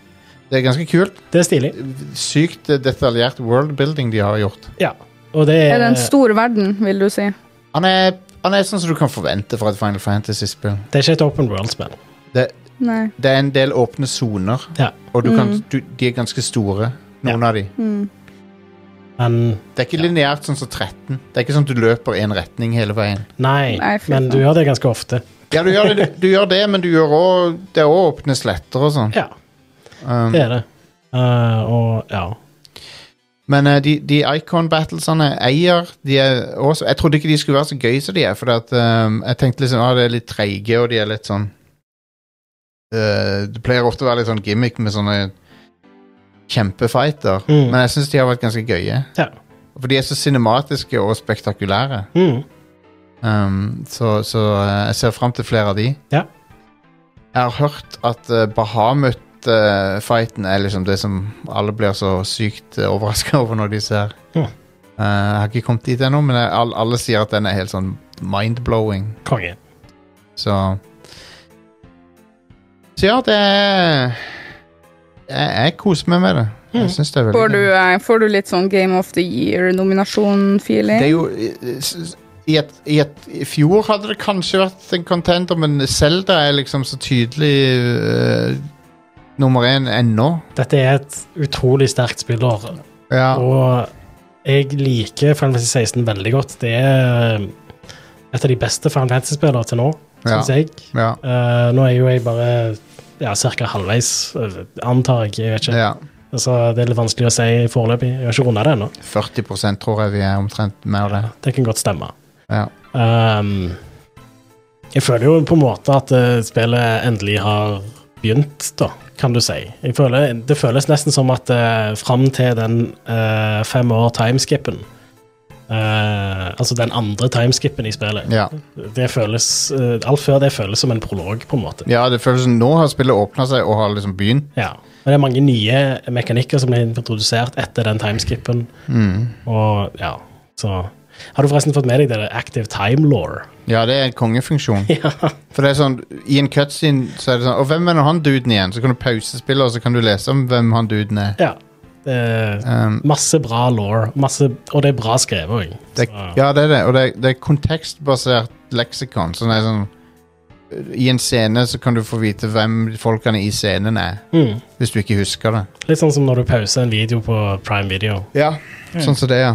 Speaker 2: Det er ganske kult.
Speaker 3: det er stilig.
Speaker 2: Sykt detaljert worldbuilding de har gjort.
Speaker 3: Ja. Og det
Speaker 5: Er
Speaker 3: er,
Speaker 5: det
Speaker 2: Eh,
Speaker 5: en stor verden, vil du si?
Speaker 2: Han er, han er sånn som du kan forvente fra et Final Fantasy-spill.
Speaker 3: det er ikke et open world-spill.
Speaker 2: Det,
Speaker 5: Nei.
Speaker 2: det er en del åpne soner,
Speaker 3: Ja.
Speaker 2: og du kan, du, de er ganske store, noen av de.
Speaker 3: Men
Speaker 2: Det er ikke lineært sånn som 13. Det er ikke sånn at du løper i en retning hele veien.
Speaker 3: nei,
Speaker 5: Nei, fy
Speaker 3: men
Speaker 5: faen.
Speaker 3: du gjør det ganske ofte.
Speaker 2: Ja, du gjør det, du, gjør det men du gjør også, det er òg åpne sletter og sånn.
Speaker 3: Ja,
Speaker 2: Um,
Speaker 3: det er det. Eh, og ja.
Speaker 2: men eh, de, de icon-battlesene eier de er også, Jeg trodde ikke de skulle være så gøy som de er, for at, um, jeg tenkte liksom at ah, det er litt treige, og de er litt sånn eh, Det pleier ofte å være litt sånn gimmick med sånne kjempefighter,
Speaker 3: Mm.
Speaker 2: men jeg syns de har vært ganske gøye.
Speaker 3: Ja.
Speaker 2: For de er så cinematiske og spektakulære.
Speaker 3: Mm.
Speaker 2: Um, så så eh, jeg ser fram til flere av de.
Speaker 3: Ja.
Speaker 2: Jeg har hørt at eh, Bahamut-fighten er liksom det som alle blir så sykt uh, overraska over når de ser.
Speaker 3: Ja.
Speaker 2: Eh, jeg har ikke kommet dit ennå, men jeg, all, alle sier at den er helt sånn mind-blowing.
Speaker 3: Konge.
Speaker 2: Så Så ja, det er Jeg, jeg koser meg med det.
Speaker 3: Mm.
Speaker 2: Jeg synes det er veldig
Speaker 5: Får du,
Speaker 2: gøy.
Speaker 5: eh, får du litt sånn Game of the
Speaker 2: Det
Speaker 5: Year-nominasjon-feeling?
Speaker 2: er jo eh, i et, i et I fjor hadde det kanskje vært en contender, men Zelda er liksom så tydelig øh, nummer én ennå.
Speaker 3: Dette er et utrolig sterkt spillår,
Speaker 2: Ja.
Speaker 3: og jeg liker Final Fantasy 16 veldig godt. Det er eh, et av de beste Final Fantasy-spillene til nå,
Speaker 2: Ja.
Speaker 3: syns jeg.
Speaker 2: ja.
Speaker 3: Eh, nå er jo jeg bare ja, ca. halvveis, eh, antar jeg. jeg vet ikke.
Speaker 2: ja.
Speaker 3: Så det er litt vanskelig å si foreløpig. Jeg har ikke runda det ennå.
Speaker 2: 40 tror jeg vi er omtrent med av det.
Speaker 3: Det kan godt stemme.
Speaker 2: Ja.
Speaker 3: Ehm, jeg føler jo på en måte at eh, spillet endelig har begynt, da, kan du si. Jeg føler, det føles nesten som at uh, fram til den eh, fem år timeskippen eh, Altså den andre timeskippen i spillet.
Speaker 2: Ja.
Speaker 3: Det føles, eh, alt før det føles som en prolog, på en måte.
Speaker 2: ja, det føles som nå har spillet åpna seg og har liksom begynt.
Speaker 3: Ja. Men det er mange nye mekanikker som blir introdusert etter den timeskippen.
Speaker 2: Mm.
Speaker 3: Og ja, så Har du forresten fått med deg det der Active Time Law?
Speaker 2: Ja, det er en kongefunksjon.
Speaker 3: Ja.
Speaker 2: For det er sånn, I en cutscene så er det sånn Og hvem er nå han duden igjen? Så kan du pause spillet, og så kan du lese om hvem han duden er.
Speaker 3: ja. Det er
Speaker 2: Um,
Speaker 3: masse bra law, masse, og det er bra skrevet òg.
Speaker 2: Det, er- ja, det er det. Og det, er- det er kontekstbasert leksikon. Sånn er sånn I en scene så kan du få vite hvem folkene i scenen er,
Speaker 3: Mm.
Speaker 2: hvis du ikke husker det.
Speaker 3: Litt sånn som når du pauser en video på prime video.
Speaker 2: Ja,
Speaker 3: Mm.
Speaker 2: Sånn som det, ja.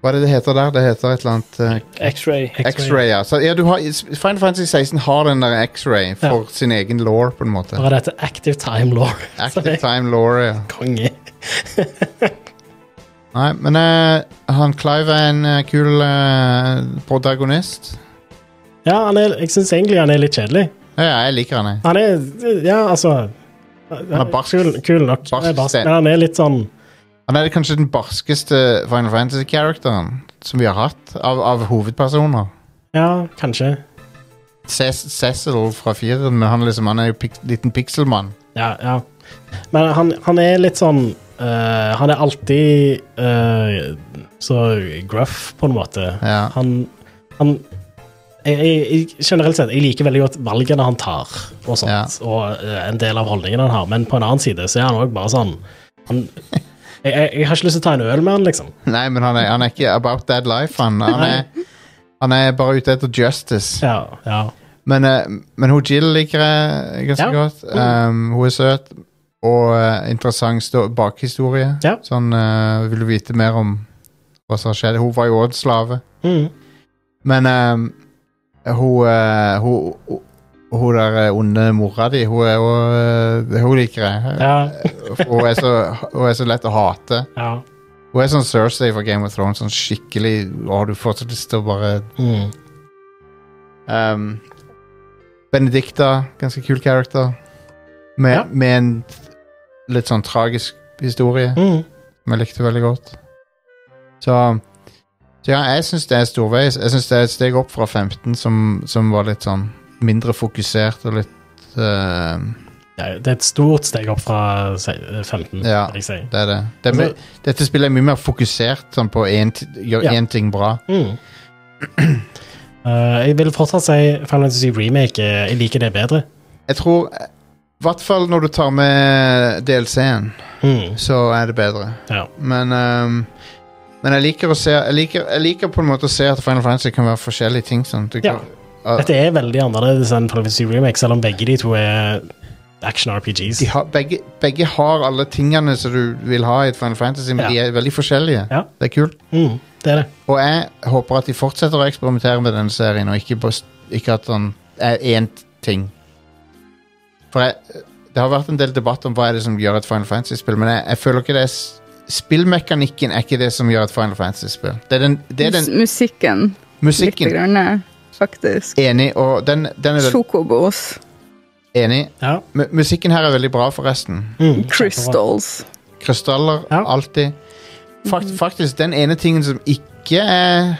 Speaker 2: Hva er det det heter der? Det heter et eller annet eh,
Speaker 4: X-ray.
Speaker 2: X-ray, ja. Så, ja du har, Final Fantasy 16 har den der X-ray for
Speaker 3: Ja.
Speaker 2: sin egen law, på en måte.
Speaker 3: Bare dette Active Time Law.
Speaker 2: Active time law, ja.
Speaker 3: Konge.
Speaker 2: Nei, men eh, han Clive er en eh, kul eh, protagonist.
Speaker 3: Ja, han er, jeg syns egentlig han er litt kjedelig.
Speaker 2: Ja, ja, jeg liker han, jeg.
Speaker 3: Han er Ja, altså Han
Speaker 2: er barsk.
Speaker 3: Kul, kul nok.
Speaker 2: Barsk
Speaker 3: Han er barsk,
Speaker 2: sten.
Speaker 3: men han er litt sånn
Speaker 2: Han er kanskje den barskeste Final Fantasy-characteren som vi har hatt, av, av hovedpersoner.
Speaker 3: Ja, kanskje.
Speaker 2: Ces Cecil fra Fireren, men han, er liksom, han er jo pik liten pikselmann.
Speaker 3: Ja, ja. Men han, han er litt sånn eh, Han er alltid eh, så gruff, på en måte.
Speaker 2: Ja.
Speaker 3: Han, han jeg, jeg, jeg- Generelt sett, jeg liker veldig godt valgene han tar, og sånt,
Speaker 2: Ja.
Speaker 3: og eh, en del av holdningen han har, men på en annen side så er han òg bare sånn han, jeg, jeg, jeg har ikke lyst til å ta en øl med han, liksom.
Speaker 2: Nei, men han er, han er ikke about that life, han. Han er, han er bare ute etter justice.
Speaker 3: Ja, ja.
Speaker 2: Men, eh, men hun Jill liker jeg ganske
Speaker 3: Ja. Mm.
Speaker 2: godt. Um, hun er søt og eh, interessant sto- bakhistorie.
Speaker 3: Ja.
Speaker 2: Sånn eh, vil du vite mer om hva som har skjedd. Hun var jo også slave.
Speaker 3: Mm.
Speaker 2: Men ehm, hun, eh, hun, hun hun der eh, onde mora di, hun er jo eh, Hun liker jeg.
Speaker 3: ja,
Speaker 2: For Hun, er så, hun er så lett å hate.
Speaker 3: ja.
Speaker 2: Hun er sånn Cersei fra Game of Thrones. Sånn skikkelig Å, du får så lyst til å bare
Speaker 3: Mm.
Speaker 2: ehm, Benedicta, ganske kul character. Med,
Speaker 3: Ja.
Speaker 2: med en litt sånn tragisk historie
Speaker 3: Mm.
Speaker 2: som jeg likte veldig godt. Så, så ja, jeg syns det er storveis. Jeg syns det er et steg opp fra 15, som, som var litt sånn mindre fokusert og litt eh,
Speaker 3: Ja, det er et stort steg opp fra se- 15,
Speaker 2: Ja.
Speaker 3: vil jeg si.
Speaker 2: Det er det. det er
Speaker 3: Altså-
Speaker 2: mye- dette spillet er mye mer fokusert sånn på én ti- gjør
Speaker 3: Ja.
Speaker 2: én ting bra.
Speaker 3: Mm. Eh, jeg vil fortsatt si Final Fantasy Remake. eh, Jeg liker det bedre.
Speaker 2: Jeg tror I hvert fall når du tar med DLC-en,
Speaker 3: Mm.
Speaker 2: så er det bedre.
Speaker 3: Ja.
Speaker 2: Men ehm, Men jeg liker, å se, jeg, liker, jeg liker på en måte å se at Final Fantasy kan være forskjellige ting. Sånn. Du
Speaker 3: Ja.
Speaker 2: kan- og
Speaker 3: Dette er veldig annerledes enn Final Fantasy Remake, selv om begge de to er action RPGs.
Speaker 2: de har, begge, begge har alle tingene som du vil ha i et Final Fantasy, men
Speaker 3: Ja.
Speaker 2: de er veldig forskjellige.
Speaker 3: Ja.
Speaker 2: Det er kult.
Speaker 3: Mm, det er det.
Speaker 2: Og jeg håper at de fortsetter å eksperimentere med denne serien, og ikke, bare- ikke at den er én ting. For jeg, det har vært en del debatt om hva er det som gjør et Final Fantasy-spill, men jeg, jeg føler ikke det er s- Spillmekanikken er ikke det som gjør et Final Fantasy-spill. Det er den, det er den
Speaker 5: Musikken. Litt
Speaker 2: musikken.
Speaker 5: grann, faktisk.
Speaker 2: Enig, og den, den er vel
Speaker 5: Chocobos.
Speaker 2: enig.
Speaker 3: Ja.
Speaker 2: Mu- musikken her er veldig bra, forresten.
Speaker 3: Mm, kjempebra.
Speaker 5: Crystals.
Speaker 2: Krystaller,
Speaker 3: Ja.
Speaker 2: alltid. Fakt, Faktisk, den ene tingen som ikke er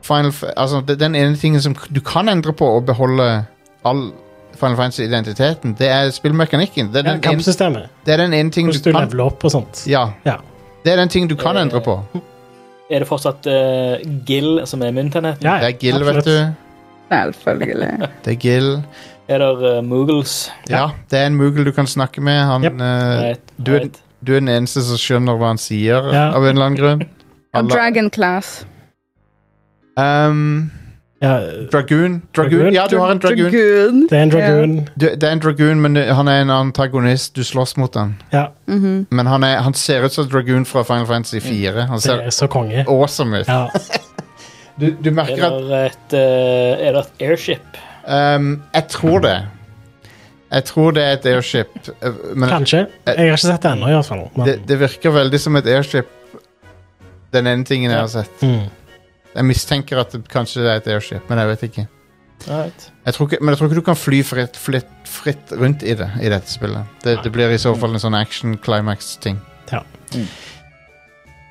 Speaker 2: Final Fa- Altså, det- den ene tingen som k- du kan endre på og beholde all Final Fantasy-identiteten, det er spillmekanikken. Det er
Speaker 3: Ja,
Speaker 2: den, ene,
Speaker 3: kampsystemet.
Speaker 2: det er den ene tingen
Speaker 3: Hvordan du
Speaker 2: du kan
Speaker 3: leveler opp og sånt.
Speaker 2: Ja.
Speaker 3: Ja.
Speaker 2: Det er den tingen du kan endre på.
Speaker 4: Er det fortsatt eh, Gill som er myntenheten?
Speaker 3: Ja, ja,
Speaker 2: Det er Gill,
Speaker 3: absolutt.
Speaker 2: vet du.
Speaker 5: Selvfølgelig.
Speaker 2: Det er Gill.
Speaker 4: Er det eh, Moogles?
Speaker 2: Ja, det er en Moogle du kan snakke med. Han,
Speaker 3: Yep.
Speaker 2: eh,
Speaker 4: Right,
Speaker 2: du, er,
Speaker 4: right.
Speaker 2: du er den eneste som skjønner hva han sier,
Speaker 3: Ja.
Speaker 2: av en eller annen grunn.
Speaker 5: Og
Speaker 2: Alle-
Speaker 5: Dragon Class.
Speaker 2: Um,
Speaker 3: Ja,
Speaker 2: dragoon. dragoon.
Speaker 3: Dragoon?
Speaker 2: Ja, du har en dragoon.
Speaker 5: Dragoon.
Speaker 3: det er en dragoon.
Speaker 2: Du, det er en dragoon, men det- han er en antagonist. Du slåss mot han.
Speaker 3: Ja, Mm.
Speaker 5: Mhm.
Speaker 2: Men han, er, han ser ut som dragoon fra Final Fantasy 4. Han
Speaker 3: det
Speaker 2: ser
Speaker 3: er så konge.
Speaker 2: awesome ut.
Speaker 3: Ja.
Speaker 2: Du, du
Speaker 4: Er
Speaker 2: merker at
Speaker 4: det et, eh, er det et airship?
Speaker 2: ehm, Jeg tror det. Jeg tror det er et airship. eh, Men
Speaker 3: Kanskje. Jeg har ikke sett det ennå, i hvert fall. Men,
Speaker 2: det, det virker veldig som et airship, den ene tingen jeg har sett.
Speaker 3: Mm.
Speaker 2: Jeg mistenker at det kanskje det er et airship, men jeg vet ikke.
Speaker 4: Right.
Speaker 2: Jeg tror ikke men jeg tror ikke du kan fly fritt, fritt, fritt rundt i det i dette spillet. Det, det blir i så fall en sånn action climax-ting.
Speaker 3: Ja.
Speaker 4: Mm.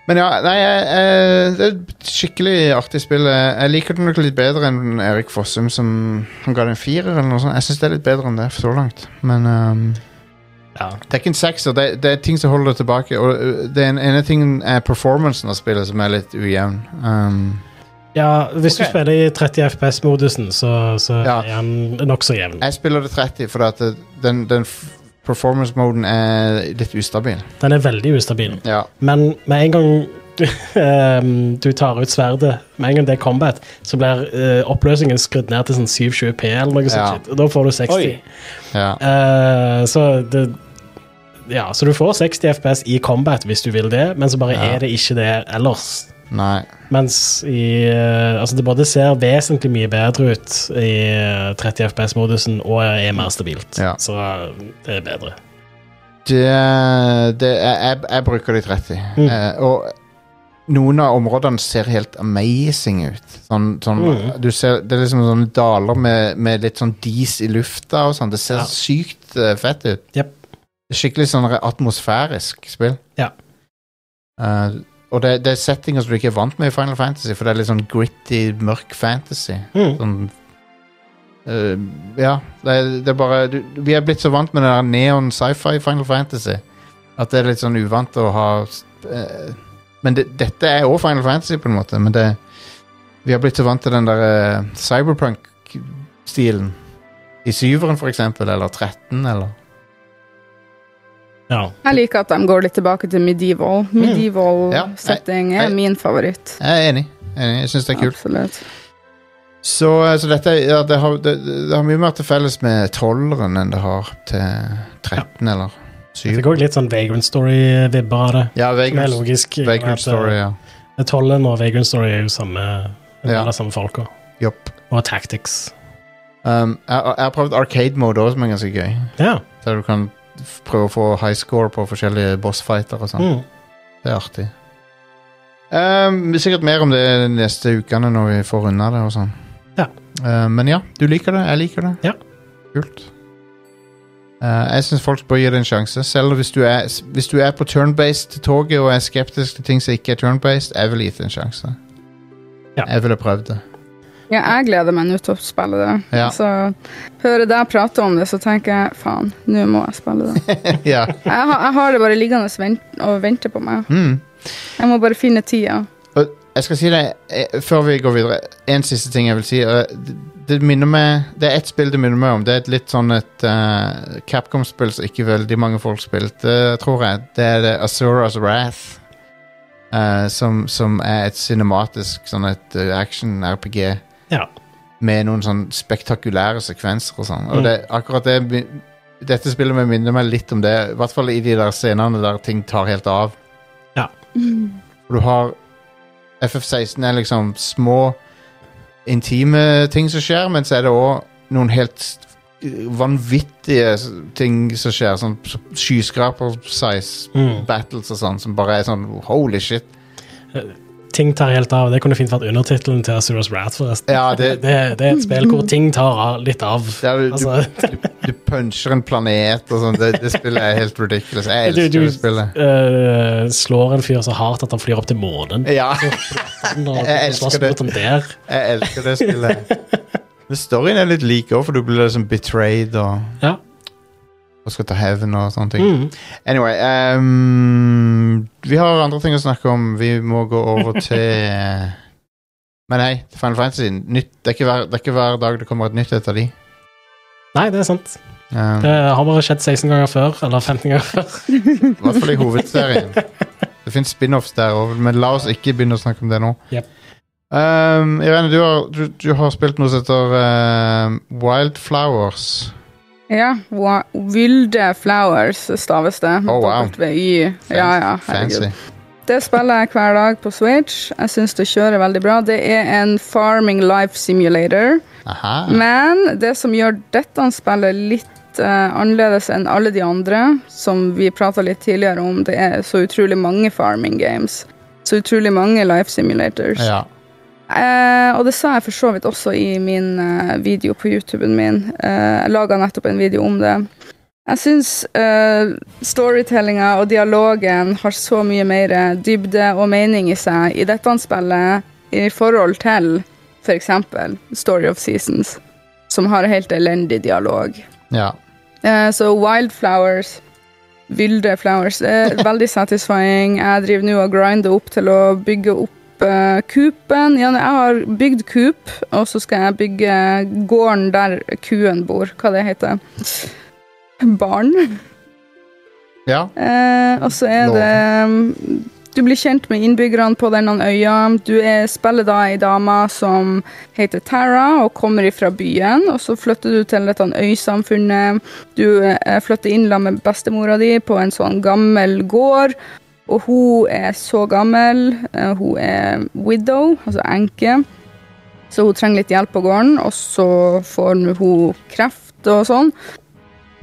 Speaker 2: Men ja, nei, jeg, jeg, det er et skikkelig artig spill. Jeg jeg liker det nok litt bedre enn Erik Fossum, som han ga det en firer eller noe sånt. Jeg syns det er litt bedre enn det så langt. Men ehm,
Speaker 3: ja.
Speaker 2: det er ikke en sekser. Det, det er ting som holder det tilbake. Og øh, det ene, ene tingen er performancen av spillet, som er litt ujevn. Ehm,
Speaker 3: ja, hvis
Speaker 4: Ok.
Speaker 3: du spiller i 30 FPS-modusen, så, så
Speaker 2: Ja.
Speaker 3: er han nokså jevn.
Speaker 2: jeg spiller det 30 fordi at det- den, den f- performance-moden er litt ustabil.
Speaker 3: Den er veldig ustabil.
Speaker 2: Ja.
Speaker 3: Men med en gang ehm, du tar ut sverdet, med en gang det er combat, så blir eh, oppløsningen skrudd ned til sånn 720P eller noe
Speaker 2: Ja.
Speaker 3: sånt. shit, Og da får du 60.
Speaker 4: Oi.
Speaker 2: ja.
Speaker 3: Eh, så det Ja, så du får 60 FPS i combat hvis du vil det, men så bare
Speaker 2: Ja.
Speaker 3: er det ikke det ellers.
Speaker 2: Nei.
Speaker 3: Mens i eh, Altså, det både ser vesentlig mye bedre ut i eh, 30 FPS-modusen og er mer stabilt.
Speaker 2: Ja.
Speaker 3: Så eh, det er bedre.
Speaker 2: Det, det jeg, jeg, jeg bruker de 30.
Speaker 3: Mm.
Speaker 2: Eh, og noen av områdene ser helt amazing ut. Sånn, sånn,
Speaker 3: Mm.
Speaker 2: du ser, det er liksom sånne daler med, med litt sånn dis i lufta og sånn. Det ser
Speaker 3: Ja.
Speaker 2: sykt eh, fett ut.
Speaker 3: Jep.
Speaker 2: Skikkelig sånn re- atmosfærisk spill.
Speaker 3: Ja.
Speaker 2: Eh, og det, det er settinger som du ikke er vant med i Final Fantasy, for det er litt sånn gritty, mørk fantasy.
Speaker 3: Mm.
Speaker 2: Sånn eh, Ja, det, er- det er bare du, Vi er blitt så vant med det der neon sci-fi Final Fantasy at det er litt sånn uvant å ha eh, Men det, dette er òg Final Fantasy, på en måte, men det Vi har blitt så vant til den der eh, cyberpunk-stilen. I syveren, for eksempel, eller 13, eller
Speaker 3: Ja.
Speaker 5: Jeg liker at de går litt tilbake til medieval.
Speaker 2: Mm. Ja,
Speaker 5: Medieval
Speaker 2: jeg-
Speaker 5: setting er
Speaker 2: jeg-
Speaker 5: min favoritt.
Speaker 2: Jeg er enig. Jeg, er enig. jeg syns det er kult.
Speaker 5: Absolutt.
Speaker 2: Så, eh, så dette ja, det, har, det, det har mye mer til felles med tolveren enn det har til 13, eller
Speaker 3: Det
Speaker 2: 7.
Speaker 3: går litt sånn Vagrant Story-vibber av det.
Speaker 2: Ja,
Speaker 3: Det er
Speaker 2: Vagrant
Speaker 3: logisk. i og med
Speaker 2: Vagrant
Speaker 3: at,
Speaker 2: Story, ja.
Speaker 3: eh, Tollen og Vagrant Story er jo samme,
Speaker 2: Ja.
Speaker 3: eller samme folka.
Speaker 2: Jopp.
Speaker 3: Og Tactics.
Speaker 2: Um, jeg, jeg har prøvd arcade mode òg, som er ganske gøy.
Speaker 3: Ja.
Speaker 2: Der du kan f- prøve å få high score på forskjellige bossfighter og sånn.
Speaker 3: Mm.
Speaker 2: Det er artig. Um, sikkert mer om det de neste ukene når vi får unna det og sånn.
Speaker 3: Ja.
Speaker 2: Uh, men ja, du liker det. Jeg liker det.
Speaker 3: Ja.
Speaker 2: Kult. Uh, jeg syns folk bør gi det en sjanse. Selv hvis du er, hvis du er på turn-based-toget og er skeptisk til ting som ikke er turn-based, jeg ville gitt det en sjanse.
Speaker 3: Ja.
Speaker 2: Jeg ville prøvd det.
Speaker 5: Ja, jeg gleder meg nå til å spille det.
Speaker 2: Ja.
Speaker 5: Så hører deg prate om det, så tenker jeg faen, nå må jeg spille det.
Speaker 2: ja.
Speaker 5: Jeg, har- jeg har det bare liggende og vent- og venter på meg.
Speaker 2: Mm.
Speaker 5: Jeg må bare finne tida.
Speaker 2: Og jeg skal si det eh, før vi går videre. En siste ting jeg vil si. eh, det- Det minner meg Det er ett spill det minner meg om. Det er et litt sånn et eh, Capcom-spill som ikke veldig mange folk spilte, tror jeg. Det er det Azuras Wrath. eh, som, som er et cinematisk sånn et eh, action-RPG
Speaker 3: Ja.
Speaker 2: med noen sånn spektakulære sekvenser og sånn. Og det, akkurat det mi- Dette spillet meg minner meg litt om det, i hvert fall i de der scenene der ting tar helt av.
Speaker 3: Ja.
Speaker 2: Og du har FF16 er liksom små, intime ting som skjer, men så er det òg noen helt s- vanvittige s- ting som skjer. Sånn s- skyskraper-size
Speaker 3: Mm.
Speaker 2: battles og sånn, som bare er sånn holy shit.
Speaker 3: Ting tar helt av. Det kunne fint vært undertittelen til Suras Wrath, forresten.
Speaker 2: Ja, det,
Speaker 3: Det, det er et spill hvor ting tar av, litt av.
Speaker 2: Ja, du-
Speaker 3: altså,
Speaker 2: du puncher en planet og sånn. Det, det spillet er helt ridiculous. Jeg
Speaker 3: du,
Speaker 2: elsker
Speaker 3: du
Speaker 2: det spillet.
Speaker 3: eh, slår en fyr så hardt at han flyr opp til månen.
Speaker 2: Ja,
Speaker 3: Og
Speaker 2: jeg elsker
Speaker 3: slåss
Speaker 2: det.
Speaker 3: mot han der.
Speaker 2: jeg elsker det spillet. Men storyen er litt lik òg, for du blir liksom betrayed og,
Speaker 3: Ja.
Speaker 2: og skal ta hevn og sånne ting.
Speaker 3: Mm.
Speaker 2: Anyway ehm, Vi har andre ting å snakke om. Vi må gå over til eh, Men hei, Final Fantasy. Nytt, det, er ikke hver, det er ikke hver dag det kommer et nytt etter de.
Speaker 3: Nei, det er sant.
Speaker 2: Ehm,
Speaker 3: Det har bare skjedd 16 ganger før, eller 15 ganger før.
Speaker 2: I hvert fall i hovedserien. Det fins spin-offs der òg, men la oss ikke begynne å snakke om det nå.
Speaker 3: Jep.
Speaker 2: Ehm, Irene, du har, du, du har spilt noe som heter ehm, Wildflowers.
Speaker 5: Ja, wa- Wilde Flowers staves det.
Speaker 2: Oh, wow.
Speaker 5: W-Y. Ja, ja, herregud.
Speaker 2: Fancy.
Speaker 5: Det spiller jeg hver dag på Switch. Jeg syns det kjører veldig bra. Det er en farming life simulator.
Speaker 2: Aha.
Speaker 5: Men det som gjør dette spillet litt eh, annerledes enn alle de andre, som vi prata litt tidligere om, det er så utrolig mange farming games. Så utrolig mange life simulators.
Speaker 2: Ja.
Speaker 5: Eh, og det sa jeg for så vidt også i min eh, video på YouTuben min. Eh, jeg laga nettopp en video om det. Jeg syns eh, storytellinga og dialogen har så mye mer dybde og mening i seg i dette spillet i forhold til f.eks. Story of Seasons, som har helt elendig dialog.
Speaker 2: ja.
Speaker 5: Eh, Så Wildflowers Vilde flowers. Det er veldig satisfying. Jeg driver nå og grinder opp til å bygge opp eh, kupen. Ja, jeg har bygd kup, og så skal jeg bygge gården der kuen bor. Hva det heter Barn.
Speaker 2: ja.
Speaker 5: Eh, og så er det mm, Du blir kjent med innbyggerne på denne øya. Du er, spiller da ei dame som heter Tara og kommer ifra byen. Og så flytter du til dette øysamfunnet. Du eh, flytter inn sammen med bestemora di på en sånn gammel gård. Og hun er så gammel. eh, Hun er widow, altså enke. Så hun trenger litt hjelp på gården, og så får nå hun kreft og sånn.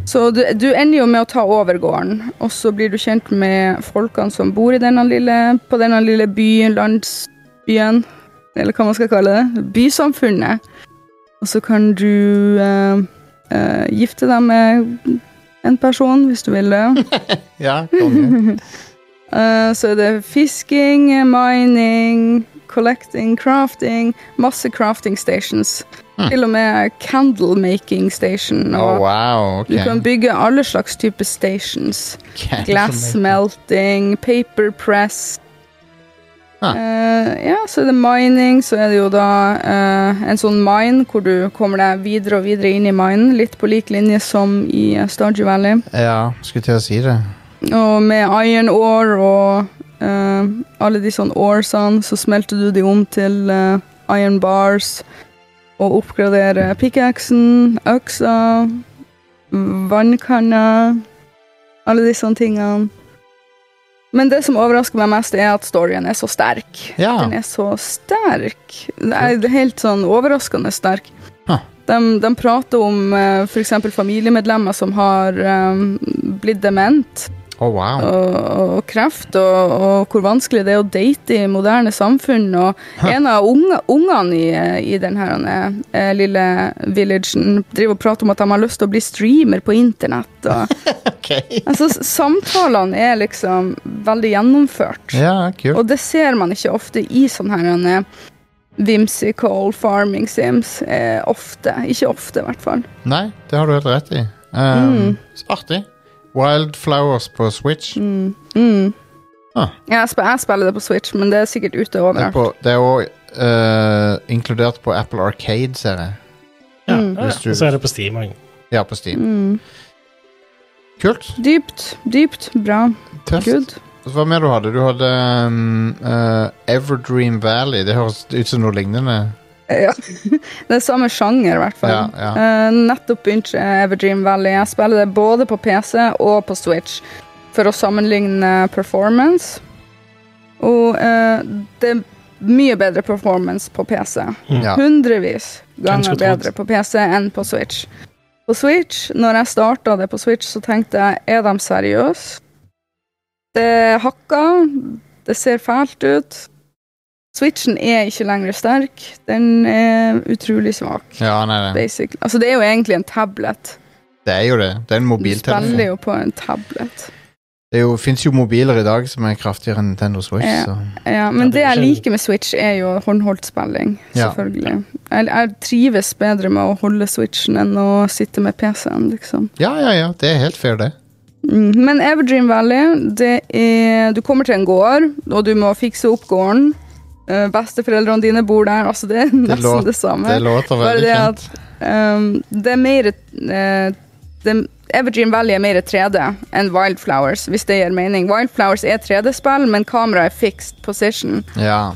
Speaker 5: Så du, du ender jo med å ta over gården, og så blir du kjent med folkene som bor i denne lille, på denne lille byen, landsbyen, eller hva man skal kalle det, bysamfunnet. Og så kan du eh, eh, gifte deg med en person, hvis du vil det.
Speaker 2: ja konge.
Speaker 5: Eh, så er det fisking, mining, collecting, crafting, masse crafting stations. Til og med candle making station. Og
Speaker 2: Hmm. Oh, wow. Ok.
Speaker 5: Du kan bygge alle slags typer stations.
Speaker 2: Candle
Speaker 5: Glass
Speaker 2: making.
Speaker 5: melting, paper press.
Speaker 2: Ah.
Speaker 5: Eh, ja, så er det mining, så er det jo da eh, en sånn mine hvor du kommer deg videre og videre inn i minen, litt på lik linje som i eh, Stardew Valley.
Speaker 2: Ja, skulle til å si det.
Speaker 5: Og med iron ore og eh, alle de sånne oresene, så smelter du de om til eh, iron bars og oppgraderer pickaxen, øksa, vannkanna, alle de sånne tingene. Men det som overrasker meg mest, er at storyen er så sterk.
Speaker 2: Ja.
Speaker 5: Den er så sterk. Det er helt sånn overraskende sterk.
Speaker 2: Huh.
Speaker 5: De, de prater om eh, for f.eks. familiemedlemmer som har eh, blitt dement
Speaker 2: Oh, wow.
Speaker 5: og, og kreft, og, og hvor vanskelig det er å date i moderne samfunn. Og en av unge, ungene i, eh, i den her eh, eh, lille villagen driver og prater om at de har lyst til å bli streamer på internett. Og,
Speaker 2: Ok.
Speaker 5: altså, s- samtalene er liksom veldig gjennomført.
Speaker 2: Ja, kult.
Speaker 5: Og det ser man ikke ofte i sånne her eh, whimsical farming sims. Eh, ofte. Ikke ofte, i hvert fall.
Speaker 2: Nei, det har du helt rett i. Um, Artig. Wildflowers på Switch.
Speaker 5: Mm.
Speaker 2: Ah.
Speaker 5: Ja, jeg, sp jeg spiller det på Switch, men det er sikkert ute
Speaker 2: Det er
Speaker 5: overalt.
Speaker 2: på- Det er òg uh, inkludert på Apple Arcade, ser jeg.
Speaker 3: Ja.
Speaker 2: Mm. Hvis du-
Speaker 3: Og så er det på Steam også.
Speaker 2: Ja, på Steam.
Speaker 5: Mm.
Speaker 2: Kult.
Speaker 5: Dypt, dypt, bra.
Speaker 2: Tøft.
Speaker 5: Good.
Speaker 2: Hva mer du hadde? Du hadde um, eh, Everdream Valley. Det høres ut som noe lignende.
Speaker 5: Eh, Ja. Det er samme sjanger, i hvert fall.
Speaker 2: Ja, ja.
Speaker 5: Eh, nettopp begynt eh, Everdream Valley. Jeg spiller det både på PC og på Switch for å sammenligne performance. Og eh, det er mye bedre performance på PC.
Speaker 2: Ja.
Speaker 5: Hundrevis ganger
Speaker 3: skulle trodd.
Speaker 5: bedre på PC enn på Switch. På Switch, når jeg starta det på Switch, så tenkte jeg er de seriøse? Det hakker, det ser fælt ut. Switchen er ikke lenger sterk. Den er utrolig svak.
Speaker 2: Ja, nei, nei.
Speaker 5: Basically. Altså, det er jo egentlig en tablet.
Speaker 2: Det er jo det. Det er en
Speaker 5: Du spiller
Speaker 2: mobiltelefon.
Speaker 5: jo på en tablet.
Speaker 2: Det fins jo mobiler i dag som er kraftigere enn Nintendo Switch.
Speaker 5: Ja.
Speaker 2: Så.
Speaker 5: Ja,
Speaker 3: Ja,
Speaker 5: men
Speaker 3: det
Speaker 5: det,
Speaker 3: er
Speaker 5: jeg
Speaker 3: ikke-
Speaker 5: liker med Switch, er jo håndholdt spilling.
Speaker 2: Ja.
Speaker 5: Selvfølgelig. Jeg, jeg trives bedre med å holde Switchen enn å sitte med PC-en, liksom.
Speaker 2: ja, ja, ja. Det er helt fair, det.
Speaker 5: Mm, Men Everdream Valley, det er Du kommer til en gård, og du må fikse opp gården. Eh, Besteforeldrene dine bor der. Altså, det er nesten
Speaker 2: låt-
Speaker 5: det samme.
Speaker 2: Det låter
Speaker 5: Bare
Speaker 2: veldig
Speaker 5: det
Speaker 2: kjent.
Speaker 5: at ehm, det er mer eh, det, Evergreen Valley er mer 3D enn Wildflowers, hvis det gir mening. Wildflowers er 3D-spill, men kameraet er fixed position.
Speaker 2: Ja.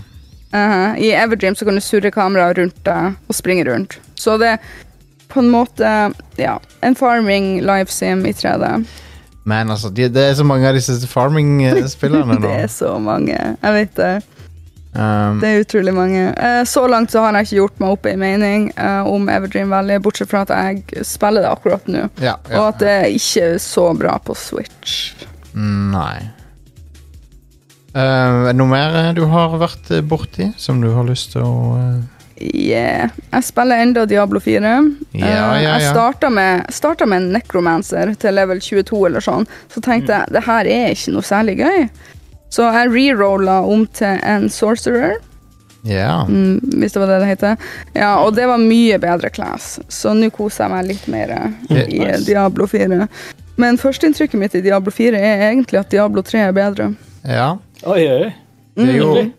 Speaker 5: Eh, I Everdream så kan du surre kameraet rundt deg og springe rundt. Så det er på en måte ja, en farming live sim i 3D.
Speaker 2: Men altså, de, det er så mange av disse farming-spillerne nå.
Speaker 5: Det er så mange. Jeg vet det.
Speaker 2: Um,
Speaker 5: Det er utrolig mange. Eh, så langt så har jeg ikke gjort meg opp en mening eh, om Everdream Valley, bortsett fra at jeg spiller det akkurat nå.
Speaker 2: ja,
Speaker 5: Og
Speaker 2: ja.
Speaker 5: at det ikke er så bra på Switch.
Speaker 2: Nei. Uh, noe mer eh, du har vært eh, borti, som du har lyst til å eh,
Speaker 5: Yeah. Jeg spiller enda Diablo 4. Eh,
Speaker 2: Ja, ja, ja.
Speaker 5: Jeg starta med, starta med en necromancer til level 22 eller sånn. Så tenkte jeg det her er ikke noe særlig gøy. Så jeg rerolla om til en sorcerer.
Speaker 2: Ja.
Speaker 5: Mm, hvis det var det det heter. Ja, og det var mye bedre class, så nå koser jeg meg litt mer i
Speaker 4: nice.
Speaker 5: Diablo 4. Men førsteinntrykket mitt i Diablo 4 er egentlig at Diablo 3 er bedre.
Speaker 2: ja.
Speaker 4: Oi, oi, oi.
Speaker 2: Det er jo
Speaker 4: Mm.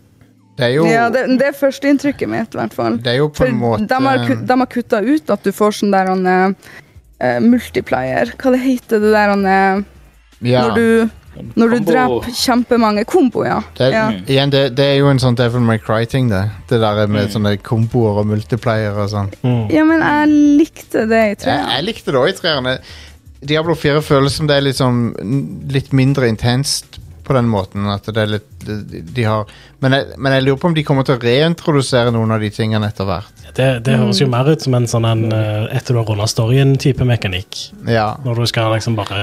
Speaker 2: Det er jo,
Speaker 5: Mm. Ja, det, det er førsteinntrykket mitt, i hvert fall.
Speaker 2: det er jo på
Speaker 5: For
Speaker 2: en måte
Speaker 5: de har, ku- de har kutta ut at du får sånn der han eh, multiplier Hva det heter det der han eh,
Speaker 2: ja.
Speaker 5: Når du, når du
Speaker 4: Kombo.
Speaker 5: dreper kjempemange Kombo, ja.
Speaker 2: Det,
Speaker 5: ja.
Speaker 2: igjen, det, det er jo en sånn Devil May Cry-ting, det. Det der
Speaker 5: Mm.
Speaker 2: med sånne komboer og multiplayer og sånn.
Speaker 4: Mm.
Speaker 5: ja, men jeg likte det i
Speaker 2: Jeg,
Speaker 5: 3.
Speaker 2: jeg likte det òg i treerne. Diablo 4 føles som det er liksom n- litt mindre intenst på den måten. At det er litt de- de har, men, jeg, men jeg lurer på om de kommer til å reintrodusere noen av de tingene etter hvert.
Speaker 3: Det, det høres
Speaker 5: Mm.
Speaker 3: jo mer ut som en sånn en, eh, etter du har runda storyen-type mekanikk.
Speaker 2: Ja.
Speaker 3: Når du skal liksom bare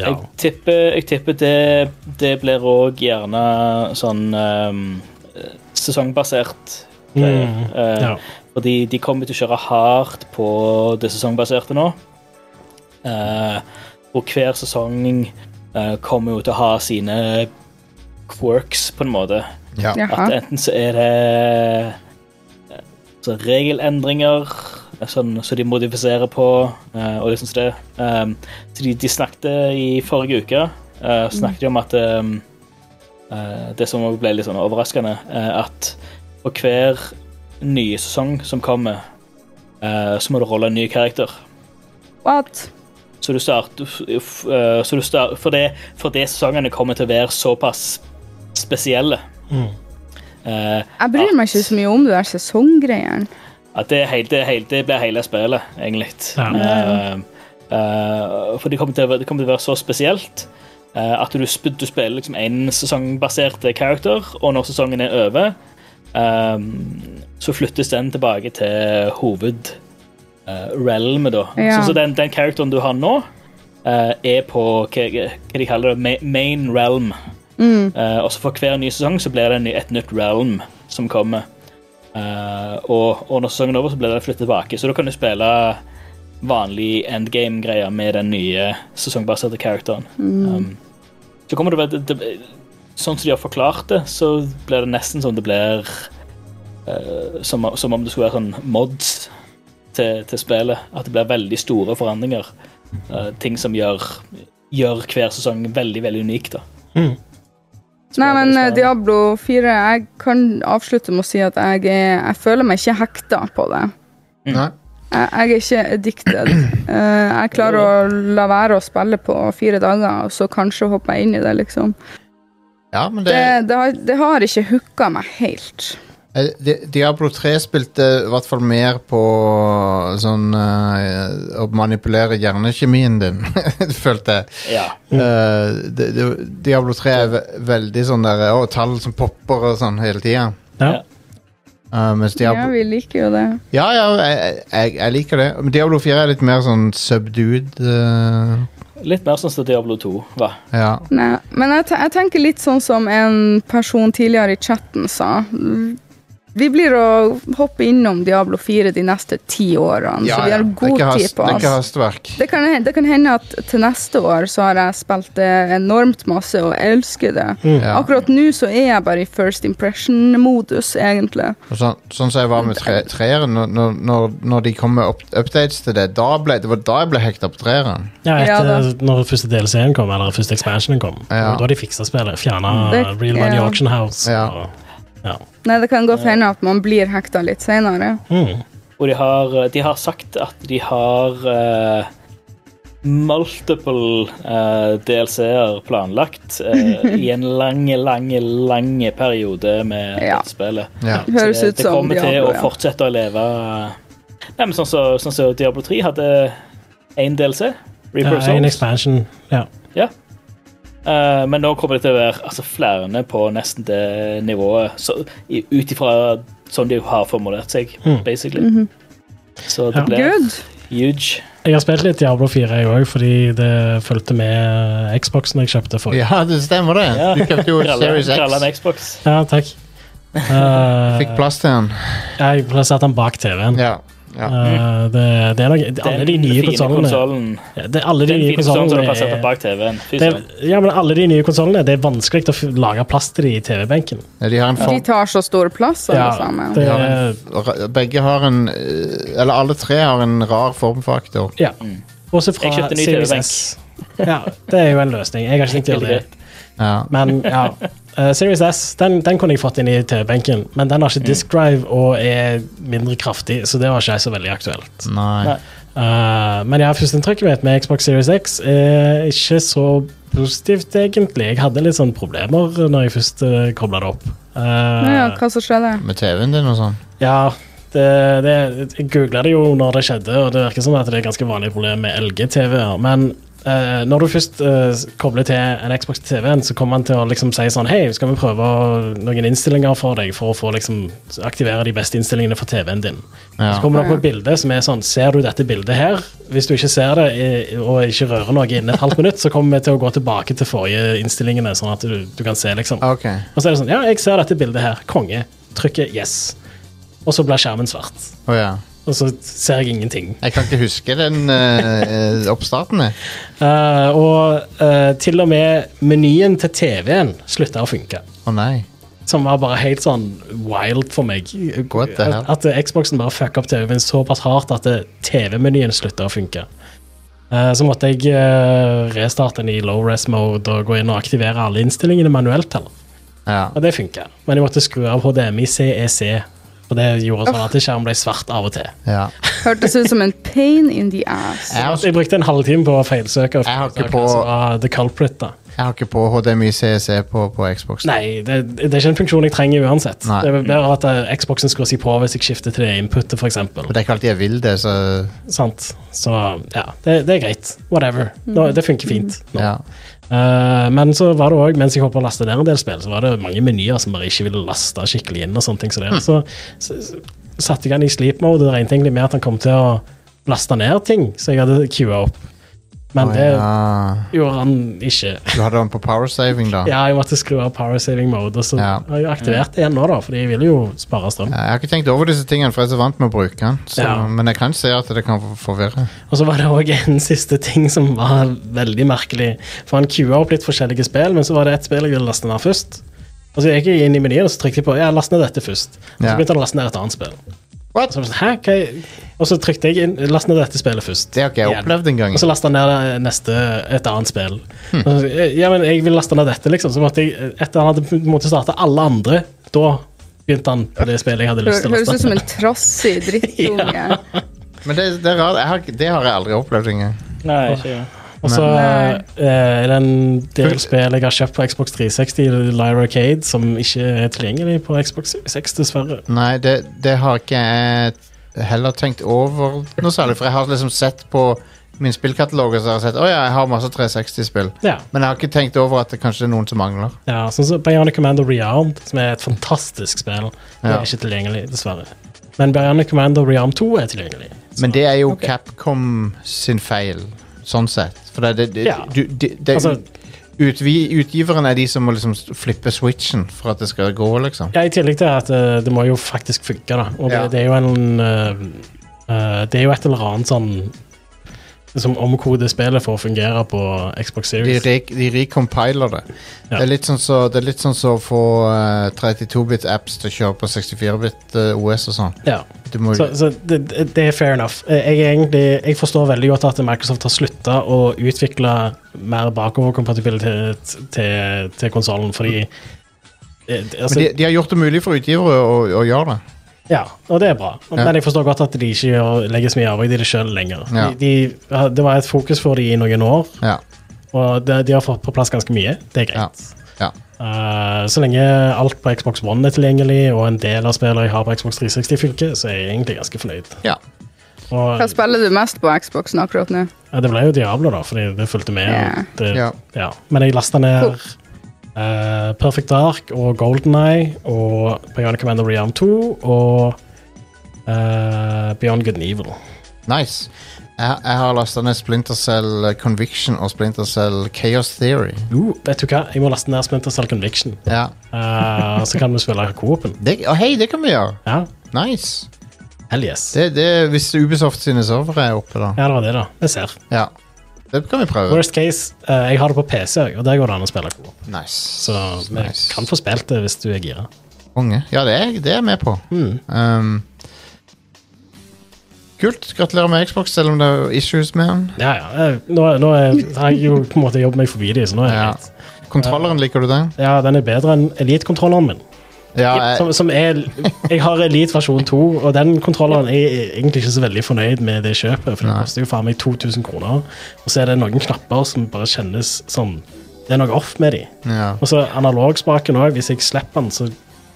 Speaker 3: Ja.
Speaker 4: Jeg tipper, jeg tipper det, det blir òg gjerne sånn ehm, sesongbasert. greier.
Speaker 3: Mm,
Speaker 4: Eh,
Speaker 3: ja.
Speaker 4: Fordi de kommer til å kjøre hardt på det sesongbaserte nå. Eh, og hver sesong eh, kommer jo til å ha sine quirks, på en måte.
Speaker 2: ja.
Speaker 5: Jaha.
Speaker 4: At enten så er det eh, så regelendringer eh, sånn, så de modifiserer på, eh, og liksom så det. Um, så de, de snakket i forrige uke eh, snakket de om at um, eh, Det som også ble litt sånn overraskende, eh, at på hver nye sesong som kommer, eh, så må du rolle en ny karakter.
Speaker 5: What?
Speaker 4: Så du starter f- eh, så du start, for, det, for det sesongene kommer til å være såpass spesielle. Eh,
Speaker 5: Jeg bryr meg ikke så mye om det der sesonggreiene.
Speaker 4: Ja, det, er helt, det, er helt, det blir hele spillet, egentlig.
Speaker 3: Ja.
Speaker 4: Eh, eh, for det kommer, til, å være- det kommer til å være så spesielt eh, at du, sp du spiller liksom en sesongbasert karakter, og når sesongen er over, eh, så flyttes den tilbake til hovedrealmet, da.
Speaker 5: Ja.
Speaker 4: Så, så den, den karakteren du har nå, eh, er på hva, hva de kaller det, ma- main realm. Eh, og så for hver ny sesong så blir det en ny, et nytt realm som kommer. Eh, og, og når sesongen er over, så blir det flyttet tilbake. Så da kan du spille vanlig endgame-greier med den nye sesongbaserte karakteren. Um, så kommer det, det, det Sånn som de har forklart det, så blir det nesten som det blir eh, som, som om det skulle være sånn mods til, til spillet. At det blir veldig store forandringer. Eh, ting som gjør, gjør hver sesong veldig, veldig unik, da.
Speaker 5: Nei, men eh,
Speaker 4: Spennende.
Speaker 5: Diablo 4 Jeg kan avslutte med å si at jeg, er, jeg føler meg ikke hekta på det.
Speaker 2: Nei.
Speaker 5: Jeg, jeg er ikke addicted. Eh, jeg klarer å la være å spille på fire dager, og så kanskje hoppe inn i det, liksom.
Speaker 2: Ja, men det,
Speaker 5: Det, det, har, det har ikke hooka meg helt.
Speaker 2: Eh, Di- Diablo 3 spilte i hvert fall mer på sånn eh, Å manipulere hjernekjemien din, følte jeg.
Speaker 4: Ja.
Speaker 2: Eh, det- det- Diablo 3 er ve veldig sånn der Å, tall som popper og sånn hele tida.
Speaker 3: Ja.
Speaker 2: mens
Speaker 5: Ja,
Speaker 2: Diablo
Speaker 5: vi liker jo det.
Speaker 2: Ja, ja, jeg, jeg, jeg liker det. Men Diablo 4 er litt mer sånn subdued. eh,
Speaker 4: Litt mer sånn som Diablo 2 var.
Speaker 2: ja.
Speaker 5: Nei, men jeg, te- jeg tenker litt sånn som en person tidligere i chatten sa. Vi blir å hoppe innom Diablo 4 de neste ti årene,
Speaker 2: Ja,
Speaker 5: så vi
Speaker 2: ja.
Speaker 5: har
Speaker 2: Det er
Speaker 5: god
Speaker 2: ikke hast-
Speaker 5: tid på
Speaker 2: Det er ikke
Speaker 5: oss.
Speaker 2: hastverk.
Speaker 5: Det kan, det kan hende at til neste år så har jeg spilt det enormt masse og elsker det.
Speaker 3: Mm.
Speaker 2: Ja.
Speaker 5: Akkurat nå så er jeg bare i first impression-modus, egentlig.
Speaker 2: Og Sånn, sånn som jeg var med tre, treeren, når- når, når, når de kom med up, updates til det, da ble, det var da jeg ble hekta på treeren.
Speaker 3: Ja,
Speaker 5: Ja, da.
Speaker 3: etter, når første DLC-en kom, eller første expansionen kom,
Speaker 2: Ja.
Speaker 3: da har de fiksa spillet. Fjerna
Speaker 5: Mm. Det-
Speaker 3: Real Money
Speaker 5: ja.
Speaker 3: Auction House.
Speaker 2: Ja.
Speaker 3: Og, ja.
Speaker 5: Nei, det kan godt hende at man blir hekta litt senere.
Speaker 3: Mm.
Speaker 4: Og de har, eh, de har sagt at de har eh, multiple eh, DLC-er planlagt eh, i en lang, lang, lang periode med
Speaker 5: Ja.
Speaker 4: dette spillet.
Speaker 2: Ja.
Speaker 5: Det høres
Speaker 4: det,
Speaker 5: ut som
Speaker 4: kommer til
Speaker 5: Diablo,
Speaker 4: å
Speaker 5: ja.
Speaker 4: fortsette å leve Nei, men sånn som sånn som Diablo 3 hadde én DLC. Reaper
Speaker 3: Ja,
Speaker 4: of
Speaker 3: en
Speaker 4: Souls.
Speaker 3: expansion. Ja.
Speaker 4: Eh, men nå kommer det til å være altså, flere på nesten det nivået, så- i- ut ifra sånn de har formulert seg,
Speaker 3: Mm.
Speaker 4: basically. Så
Speaker 3: Ja.
Speaker 4: det blir
Speaker 5: Mhm. Good.
Speaker 4: huge.
Speaker 3: Jeg har spilt litt Diablo 4, jeg òg, fordi det fulgte med eh, Xboxen jeg kjøpte forrige.
Speaker 2: ja, det stemmer det.
Speaker 4: Ja.
Speaker 2: Du kjøpte jo
Speaker 4: Kralla-
Speaker 2: Series
Speaker 4: kralla
Speaker 2: X.
Speaker 4: med Xbox.
Speaker 3: Ja, takk. Eh,
Speaker 2: Fikk plass til den.
Speaker 3: Jeg plasserte den bak TV-en.
Speaker 2: Ja. ja.
Speaker 3: Eh, det, det er nok alle de nye konsollene
Speaker 4: konsollen.
Speaker 3: det- Alle de
Speaker 4: Den
Speaker 3: nye
Speaker 4: fine konsollen som du
Speaker 3: konsollene
Speaker 4: plasserte
Speaker 3: er
Speaker 4: bak TV-en. Fy
Speaker 3: det,
Speaker 4: søren.
Speaker 3: ja, men alle de nye konsollene Det er vanskelig å f- lage plass til de i TV-benken.
Speaker 2: De har en
Speaker 5: De
Speaker 2: form
Speaker 5: tar så stor plass, alle sammen.
Speaker 3: det,
Speaker 2: de har en, ra- Begge har en eh, Eller alle tre har en rar formfaktor.
Speaker 3: ja. Også fra
Speaker 4: Jeg kjøpte ny
Speaker 3: Series
Speaker 4: TV-benk.
Speaker 3: S. Ja, det er jo en løsning. Jeg har ikke tenkt å gjøre det.
Speaker 2: Ja.
Speaker 3: Men ja. Eh, Series S den, den kunne jeg fått inn i TV-benken, men den har ikke disk drive og er mindre kraftig, så det var ikke så veldig aktuelt.
Speaker 2: Nei.
Speaker 4: Nei.
Speaker 3: Eh, men ja, førsteinntrykket mitt med Xbox Series X er ikke så positivt, egentlig. Jeg hadde litt sånn problemer når jeg først uh, kobla det opp. Eh,
Speaker 5: Ja, ja, hva som skjedde?
Speaker 2: Med TV-en din og sånn.
Speaker 3: ja, det, det, jeg googla det jo når det skjedde, og det virker som at det er ganske vanlige problem med LG-TV-er. Men eh, når du først eh, kobler til en Xbox til TV-en, så kommer han til å liksom si sånn Hei, skal vi prøve å- noen innstillinger for deg for å få liksom aktivere de beste innstillingene for TV-en din? Så
Speaker 2: Ja.
Speaker 3: kommer det opp et bilde som er sånn Ser du dette bildet her? Hvis du ikke ser det eh, og ikke rører noe innen et halvt minutt, så kommer vi til å gå tilbake til forrige innstillingene, sånn at du, du kan se, liksom.
Speaker 2: Ok.
Speaker 3: Og så er det sånn, ja, jeg ser dette bildet her. Konge. Trykker yes. Og så blir skjermen svart.
Speaker 2: Å ja.
Speaker 3: Og så ser jeg ingenting.
Speaker 2: Jeg kan ikke huske den eh, eh, oppstarten, jeg.
Speaker 3: Eh, og eh, til og med menyen til TV-en slutta å funke.
Speaker 2: Å nei.
Speaker 3: Som var bare helt sånn wild for meg.
Speaker 2: What the hell?
Speaker 3: At, at eh, Xboxen bare fucka opp TV-en såpass hardt at eh, TV-menyen slutta å funke. Eh, så måtte jeg eh, restarte den i low res mode og gå inn og aktivere alle innstillingene manuelt. heller.
Speaker 2: Ja.
Speaker 3: Og det funka. Men jeg måtte skru av HDMI CEC, E og det gjorde sånn at skjermen ble svart av og til.
Speaker 2: ja.
Speaker 5: Hørtes ut som en pain in the ass.
Speaker 2: Jeg, har,
Speaker 3: Jeg brukte en halvtime på å feilsøke. og
Speaker 2: Jeg har ikke
Speaker 3: finne ut
Speaker 2: på-
Speaker 3: hva som var The culprit, da.
Speaker 2: jeg har ikke på HDMI CC E på, på Xbox.
Speaker 3: Nei, det, det er ikke en funksjon jeg trenger uansett.
Speaker 2: Nei.
Speaker 3: Det er bedre at eh, Xboxen skrur seg på hvis jeg skifter til det inputet, f.eks.
Speaker 2: Men det er ikke alltid jeg vil det, så
Speaker 3: Sant? Så ja, det, det er greit. Whatever. Nå, det funker fint. nå.
Speaker 2: ja.
Speaker 3: Eh, men så var det òg, mens jeg holdt på å laste ned en del spill, så var det mange menyer som bare ikke ville laste skikkelig inn. og sånne ting som
Speaker 2: Mm.
Speaker 3: det. Så, så, så satte jeg han i sleep mode, og det regnet egentlig med at han kom til å laste ned ting som jeg hadde queua opp. Men
Speaker 2: Å,
Speaker 3: det
Speaker 2: ja.
Speaker 3: gjorde han ikke.
Speaker 2: Du hadde den på power saving, da?
Speaker 3: Ja, jeg måtte skru av power saving mode, og så
Speaker 2: Ja.
Speaker 3: har jeg aktivert en nå, da, fordi jeg vil jo spare strøm.
Speaker 2: Jeg har ikke tenkt over disse tingene, for jeg er så vant med å bruke den. Så,
Speaker 3: Ja.
Speaker 2: Men jeg kan se at det kan forvirre.
Speaker 3: Og så var det òg en siste ting som var veldig merkelig. For han queua opp litt forskjellige spill, men så var det ett spill jeg ville laste ned først. Og så gikk jeg inn i menyen og så trykte jeg på ja, last ned dette først. Og så
Speaker 2: Ja.
Speaker 3: begynte han å laste ned et annet spill.
Speaker 2: What?
Speaker 3: Så, jeg var sånn, Hæ, hva er-" og så trykte jeg inn last ned dette spillet først.
Speaker 2: Det har ikke jeg
Speaker 3: Igjen.
Speaker 2: opplevd engang. Hm.
Speaker 3: Og så lasta han ned neste, et annet spill. Og så, Ja, men jeg vil laste ned dette, liksom. Så måtte jeg, etter han hadde måttet starte alle andre, da begynte han på det spillet jeg hadde lyst
Speaker 5: Hør,
Speaker 3: til å
Speaker 5: høres ut
Speaker 3: laste
Speaker 5: som
Speaker 3: ned.
Speaker 5: en trassig drittunge.
Speaker 2: Men det, det er rart. Jeg har, ikke- det har jeg aldri opplevd engang.
Speaker 4: Nei, ikke jeg.
Speaker 3: Og så
Speaker 5: Nei.
Speaker 3: eh, er det en del spill jeg har kjøpt på Xbox 360, Lyra Cade, som ikke er tilgjengelig på Xbox 6, dessverre.
Speaker 2: Nei, det, det har ikke jeg heller tenkt over noe særlig, for jeg har liksom sett på min spillkatalog og så har jeg sett, å ja, jeg har masse 360-spill.
Speaker 3: Ja.
Speaker 2: Men jeg har ikke tenkt over at det kanskje er noen som mangler.
Speaker 3: ja sånn som Bionic Commando Rearmed, som er et fantastisk spill. Det
Speaker 2: Ja.
Speaker 3: er ikke tilgjengelig, dessverre. Men Bionic Commando Rearmed 2 er tilgjengelig.
Speaker 2: Men det er jo
Speaker 5: Ok.
Speaker 2: Capcom sin feil, sånn sett. For det, det, det,
Speaker 3: Ja.
Speaker 2: du, det, det
Speaker 3: Altså-
Speaker 2: utvi, Utgiveren er de som må liksom flippe switchen for at det skal gå, liksom.
Speaker 3: Ja, I tillegg til at eh, det må jo faktisk funke, da. Og det,
Speaker 2: Ja.
Speaker 3: det er jo en eh, eh, Det er jo et eller annet sånn Som omkoder spillet for å fungere på Xbox
Speaker 2: De,
Speaker 3: Series.
Speaker 2: re, de recompiler det.
Speaker 3: Ja.
Speaker 2: Det er litt sånn så, det er litt sånn så å få 32-bit-apps til å kjøre på 64-bit eh, OS og sånn.
Speaker 3: Ja.
Speaker 2: Du må
Speaker 3: Så, så det, det- det er fair enough. Eh, Jeg, er egentlig, jeg forstår veldig godt at Microsoft har slutta å utvikle mer bakoverkompatibilitet til, til konsollen, fordi eh, altså,
Speaker 2: Men de, de har gjort det mulig for utgivere å, å gjøre det.
Speaker 3: Ja, og det er bra.
Speaker 2: Ja.
Speaker 3: Men jeg forstår godt at de ikke gjør, legger så mye arbeid i det sjøl lenger.
Speaker 2: Ja.
Speaker 3: De, de, det var et fokus for de i noen år,
Speaker 2: Ja.
Speaker 3: og de, de har fått på plass ganske mye. Det er greit.
Speaker 2: ja.
Speaker 3: Eh, så lenge alt på Xbox One er tilgjengelig, og en del av spillene jeg har på Xbox 360 funker, så er jeg egentlig ganske fornøyd.
Speaker 2: ja.
Speaker 3: Og,
Speaker 5: Hva spiller du mest på Xboxen akkurat nå?
Speaker 3: ja, det ble jo Diablo, da, fordi det fulgte med.
Speaker 5: Ja.
Speaker 3: Det,
Speaker 2: Ja.
Speaker 3: ja. Men jeg lasta ned
Speaker 5: Cool.
Speaker 3: eh, Perfect Dark og Golden Eye og Bionic Commander Rearm 2 og eh, Beyond Good and Evil.
Speaker 2: Nice. Jeg, jeg har lasta ned Splintercell Conviction og Splintercell Chaos Theory.
Speaker 3: Uh, vet du hva? Jeg må laste ned Splinter Cell Conviction.
Speaker 2: Ja.
Speaker 3: Eh, så kan vi spille Coopen.
Speaker 2: Det, å, hei, det kan vi gjøre!
Speaker 3: Ja,
Speaker 2: Nice.
Speaker 3: hell yes.
Speaker 2: Det, det, hvis Ubisoft sine servere er oppe, da.
Speaker 3: Ja, det var det, da. Vi ser.
Speaker 2: Ja. Det kan vi prøve.
Speaker 3: Worst case, eh, jeg har det på PC òg, og der går det an å spille Coop.
Speaker 2: Nice.
Speaker 3: Så vi
Speaker 2: Nice.
Speaker 3: kan få spilt det hvis du er gira.
Speaker 2: Konge. Ja, det er, det er jeg med på. Um, kult. Gratulerer med Xbox, selv om det er issues med den.
Speaker 3: Ja, ja. eh, Nå, nå er, har jeg jo på en måte jobbet meg forbi de, så nå er det
Speaker 2: Ja.
Speaker 3: greit.
Speaker 2: Kontrolleren, liker du den?
Speaker 3: Ja, den er bedre enn Elite-kontrolleren min.
Speaker 2: Ja,
Speaker 3: Som,
Speaker 2: jeg,
Speaker 3: som er, jeg har Elite versjon 2, og den kontrolleren er jeg egentlig ikke så veldig fornøyd med det kjøpet, for det
Speaker 2: Nei.
Speaker 3: koster jo faen meg 2000 kroner. Og så er det noen knapper som bare kjennes som Det er noe off med de.
Speaker 2: ja.
Speaker 3: Og så analogspaken òg. Hvis jeg slipper den, så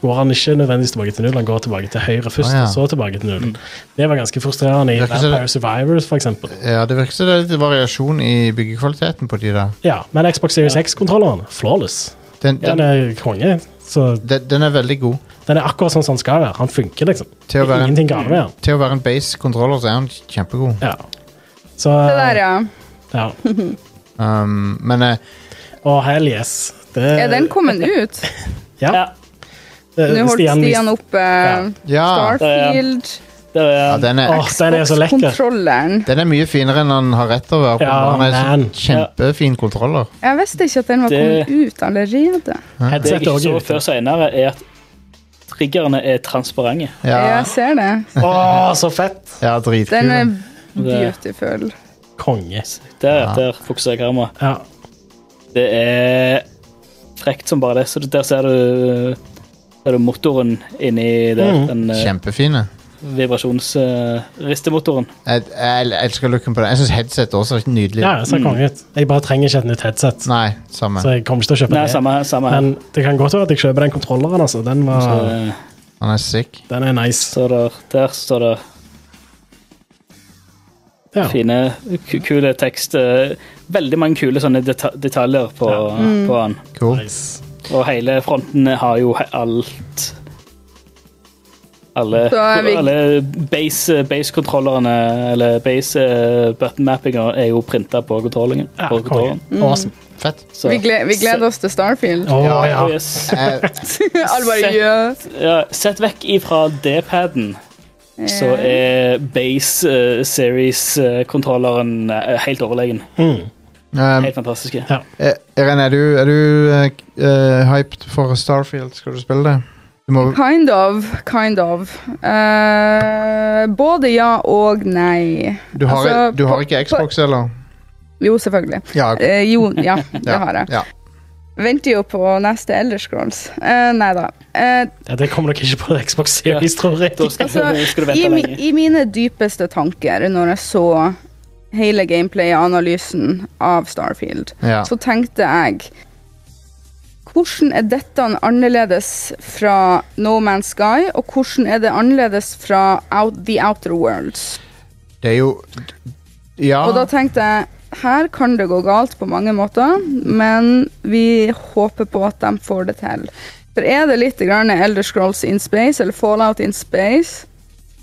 Speaker 3: går han ikke nødvendigvis tilbake til null. Han går tilbake til høyre først,
Speaker 2: Å, ja.
Speaker 3: og så tilbake til null. Det var ganske frustrerende i
Speaker 2: Det er ikke så-
Speaker 3: Vampire Survivors, for eksempel.
Speaker 2: ja, det virker som det er litt variasjon i byggekvaliteten på de der.
Speaker 3: Ja, men Xbox Series X-kontrolleren, flawless.
Speaker 2: Den,
Speaker 3: Den
Speaker 2: den,
Speaker 3: er konge. Så
Speaker 2: den, den er veldig god.
Speaker 3: den er akkurat sånn som den skal være. Han funker, liksom. Det
Speaker 2: Til å
Speaker 3: er
Speaker 2: være en-
Speaker 3: Ingenting galt med den.
Speaker 2: Til å være en base controller så er han kjempegod.
Speaker 3: Ja. Så
Speaker 5: Det der, ja.
Speaker 3: ja.
Speaker 2: Um, men eh,
Speaker 3: Og hell yes. Det,
Speaker 5: Er den kommet ut?
Speaker 3: Ja. Eh,
Speaker 4: Ja,
Speaker 3: det-
Speaker 5: Nå holdt Stian
Speaker 3: viste-
Speaker 5: opp eh,
Speaker 2: ja.
Speaker 5: Starfield.
Speaker 4: det
Speaker 2: ja
Speaker 4: er,
Speaker 2: den, er,
Speaker 3: Åh, den er så lekker.
Speaker 5: Kontrolleren.
Speaker 2: den er mye finere enn han har rett til å være. på.
Speaker 3: Ja,
Speaker 2: Han er så
Speaker 3: man.
Speaker 2: kjempefin kontroller.
Speaker 5: Jeg visste ikke at den var
Speaker 4: Det-
Speaker 5: kommet ut allerede.
Speaker 4: det jeg
Speaker 3: Headset
Speaker 4: ikke
Speaker 3: også er
Speaker 4: så
Speaker 3: ute.
Speaker 4: før senere, er at triggerne er transparente.
Speaker 2: Ja,
Speaker 5: Jeg ser det.
Speaker 3: Å, så fett!
Speaker 2: ja
Speaker 5: Den er
Speaker 2: dritkul.
Speaker 5: beautiful.
Speaker 3: Konge.
Speaker 4: Der, der fokuserer kameraet.
Speaker 3: Ja.
Speaker 4: Det er frekt som bare det. Så der ser du, ser du motoren inni der.
Speaker 3: Mm.
Speaker 4: Den eh,
Speaker 2: Kjempefine.
Speaker 4: vibrasjons... eh, ristemotoren.
Speaker 2: Jeg, jeg, jeg elsker looken på den. Jeg syns headset også er nydelig.
Speaker 3: ja, det ser konge ut. Jeg bare trenger ikke et nytt headset.
Speaker 2: Mm. Nei, samme.
Speaker 3: Så jeg kommer ikke til å kjøpe
Speaker 4: Nei,
Speaker 3: det.
Speaker 4: samme, samme her.
Speaker 3: Men det kan godt være at jeg kjøper den kontrolleren. Altså. Den, var,
Speaker 4: Eh,
Speaker 2: Han er sick.
Speaker 3: den er nice.
Speaker 4: så der, der står det
Speaker 3: Ja.
Speaker 4: fine, ku- kule tekst. eh, Veldig mange kule sånne deta detaljer på, på han.
Speaker 2: Cool.
Speaker 3: Nice.
Speaker 4: Og hele fronten har jo he- alt Alle,
Speaker 5: Så er vi-
Speaker 4: alle base- base-kontrollerne, eller base-button-mappinger, er jo printa på kontrollingen.
Speaker 3: Ja, konge.
Speaker 4: på kontrolleren.
Speaker 3: Awesome.
Speaker 2: Mm. Fett.
Speaker 4: Så-
Speaker 5: Vi, gle vi gleder oss til Starfield.
Speaker 3: Å,
Speaker 2: Ja,
Speaker 3: ja.
Speaker 4: Oh, yes.
Speaker 2: Jeg,
Speaker 5: Alle bare yeah.
Speaker 4: ja, sett vekk ifra D-paden, så
Speaker 5: Eh,
Speaker 4: er base eh, series-kontrolleren eh, helt overlegen.
Speaker 2: um,
Speaker 4: Helt fantastiske.
Speaker 3: Mm. Ja.
Speaker 2: Eh, Irene, er du, er du eh, k- eh, hyped for Starfield? Skal du spille det? Du må,
Speaker 5: Kind of, kind of. Eh, både ja og nei.
Speaker 2: du, har,
Speaker 5: altså,
Speaker 2: du har
Speaker 5: på-
Speaker 2: ikke Xbox, eller?
Speaker 5: Jo, selvfølgelig.
Speaker 2: Ja, ok.
Speaker 5: Eh, jo, ja, det
Speaker 2: ja,
Speaker 5: har jeg.
Speaker 2: Ja.
Speaker 5: Venter jo på neste Elder Scrolls. Eh, nei da. Eh,
Speaker 3: Ja, det kommer nok ikke på Xbox Series, tror jeg.
Speaker 4: Da skal,
Speaker 5: Altså,
Speaker 4: skal du
Speaker 5: i,
Speaker 4: vente
Speaker 5: mi-
Speaker 4: lenge.
Speaker 5: I mine dypeste tanker når jeg så hele gameplayanalysen av Starfield,
Speaker 2: Ja.
Speaker 5: så tenkte jeg hvordan er dette annerledes fra No Man's Sky, og hvordan er det annerledes fra out, The Outer Worlds?
Speaker 2: Det er jo Ja.
Speaker 5: Og da tenkte jeg her kan det gå galt på mange måter, men vi håper på at de får det til. For er det litt grann Elder Scrolls in space eller Fallout in space,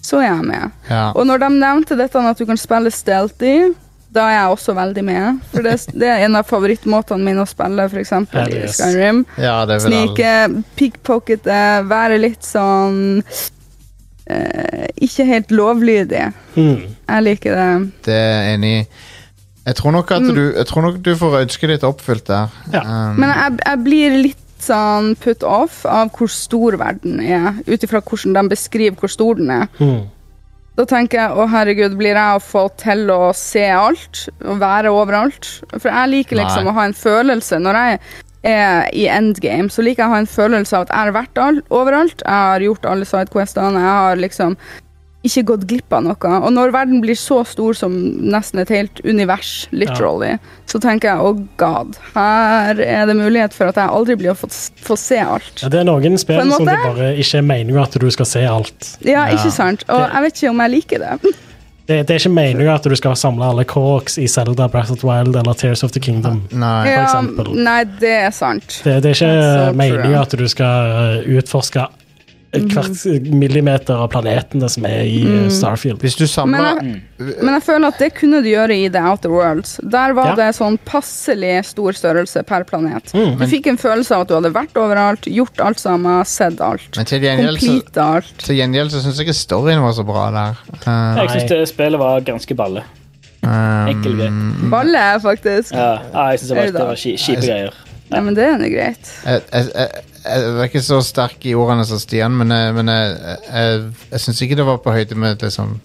Speaker 5: så er jeg med.
Speaker 2: ja.
Speaker 5: Og når de nevnte dette at du kan spille stealthy, da er jeg også veldig med. For det, det er en av favorittmåtene mine å spille, f.eks.
Speaker 3: Hell
Speaker 5: i
Speaker 3: yes.
Speaker 5: Skyrim.
Speaker 2: ja, det er vel alle-
Speaker 5: Snike, pickpockete, være litt sånn eh, Ikke helt lovlydig.
Speaker 3: Mm.
Speaker 5: Jeg liker det.
Speaker 2: Det er jeg enig i. Jeg tror nok at du, jeg tror nok du får ønsket ditt oppfylt der.
Speaker 3: Ja.
Speaker 2: Um,
Speaker 5: Mm. Men jeg, jeg blir litt sånn put off av hvor stor verden er, ut ifra hvordan de beskriver hvor stor den er.
Speaker 3: Mm.
Speaker 5: Da tenker jeg å herregud, blir jeg å få til å se alt og være overalt? For jeg liker liksom
Speaker 2: Nei.
Speaker 5: å ha en følelse når jeg er i endgame, så liker jeg å ha en følelse av at jeg har vært all, overalt. Jeg har gjort alle sidequestene, jeg har liksom ikke gått glipp av noe. Og når verden blir så stor som nesten et helt univers, literally, så tenker jeg oh god, her er det mulighet for at jeg aldri blir å få, få se alt.
Speaker 3: Ja, det er noen
Speaker 5: På
Speaker 3: spill
Speaker 5: en
Speaker 3: som det
Speaker 5: måte.
Speaker 3: bare ikke er meninga at du skal se alt.
Speaker 5: Ja,
Speaker 2: Ja.
Speaker 5: ikke sant? Og jeg vet ikke om jeg liker det.
Speaker 3: Det, det er ikke meninga at du skal samle alle Corks i Zelda, Breath of the Wild eller Tears of the Kingdom.
Speaker 2: nei.
Speaker 5: Ja,
Speaker 3: eksempel.
Speaker 5: nei, det er sant.
Speaker 3: Det, det er
Speaker 5: That's so
Speaker 3: ikke meninga
Speaker 5: true. Mhm.
Speaker 3: at du skal eh, utforske hvert millimeter av planetene som er i eh,
Speaker 5: Mm.
Speaker 3: Starfield.
Speaker 2: Hvis du
Speaker 5: Men
Speaker 2: samler
Speaker 5: jeg, men jeg føler at det kunne du gjøre i The Outer Worlds. Der var
Speaker 3: Ja.
Speaker 5: det sånn passelig stor størrelse per planet.
Speaker 2: Mm,
Speaker 5: Du fikk en følelse av at du hadde vært overalt, gjort alt sammen, sett alt.
Speaker 2: Men til gjengjeld så,
Speaker 5: Complete alt.
Speaker 2: til gjengjeld så syns jeg ikke storyen var så bra der. Uh,
Speaker 4: Jeg syns det spillet var ganske balle.
Speaker 3: Um,
Speaker 4: Enkel greit.
Speaker 2: Mm.
Speaker 5: Balle, faktisk.
Speaker 4: Ja, ja, jeg syns det var, det var ki- kjipe greier.
Speaker 5: Nei, men det er nå greit.
Speaker 2: jeg, jeg, jeg, jeg var ikke så sterk i ordene som Stian, men, jeg- men jeg, jeg, jeg syns ikke det var på høyde med liksom,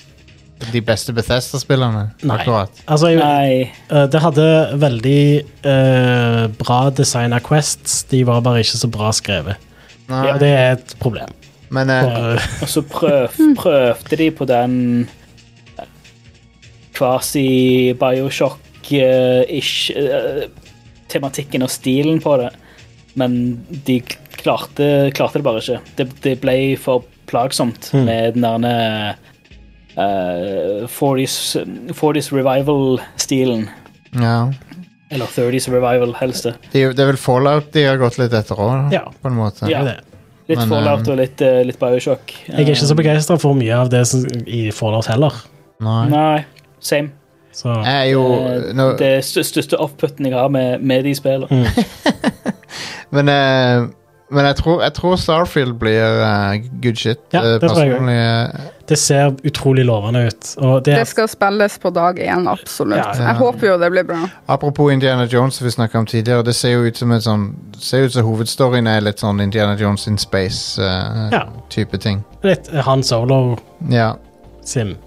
Speaker 2: de beste Bethesda-spillerne.
Speaker 3: Nei.
Speaker 2: Akkurat.
Speaker 3: Altså, jeg,
Speaker 4: Nei,
Speaker 3: eh, det hadde veldig eh, bra designa quests, de var bare ikke så bra skrevet.
Speaker 2: Nei,
Speaker 3: Og det er et problem.
Speaker 2: men eh,
Speaker 3: For, eh,
Speaker 4: og så prøv, prøvde de på den kvasi-Bioshock-ish-tematikken eh, og stilen på det, men de klarte, klarte det bare ikke. Det, det ble for plagsomt
Speaker 3: Mm.
Speaker 4: med den der eh, 40s, 40s revival-stilen.
Speaker 2: ja.
Speaker 4: Eller 30s revival, helst. det.
Speaker 2: det, er jo- det er vel Fallout de har gått litt etter òg,
Speaker 3: Ja.
Speaker 2: på en måte.
Speaker 3: det
Speaker 4: Ja.
Speaker 3: er det.
Speaker 4: Litt
Speaker 2: Men,
Speaker 4: Fallout og litt, eh, litt Bioshock. Eh,
Speaker 3: Jeg er ikke så begeistra for mye av det som, i Fallout heller.
Speaker 2: Nei.
Speaker 4: Nei, same.
Speaker 3: Så
Speaker 2: Jeg er jo
Speaker 3: Eh,
Speaker 2: nå,
Speaker 4: Eh,
Speaker 2: Mm,
Speaker 4: Det er stør- største oppputten jeg har med, med de spillene.
Speaker 2: Men, eh, men jeg, tror, jeg tror Starfield blir eh, good shit.
Speaker 3: Ja,
Speaker 2: eh,
Speaker 3: det tror jeg også.
Speaker 2: personlig. eh,
Speaker 3: det ser utrolig lovende ut. Og det,
Speaker 5: Det skal spilles på dag én, absolutt.
Speaker 3: Ja,
Speaker 2: ja.
Speaker 5: Jeg håper jo det blir bra.
Speaker 2: apropos Indiana Jones, som vi snakka om tidligere. Det ser jo ut som en sånn ser ut som hovedstoryen er litt sånn Indiana Jones in
Speaker 3: Ja.
Speaker 2: space-type ting.
Speaker 3: er litt eh, Han Solo-sim.
Speaker 2: Ja. Finne,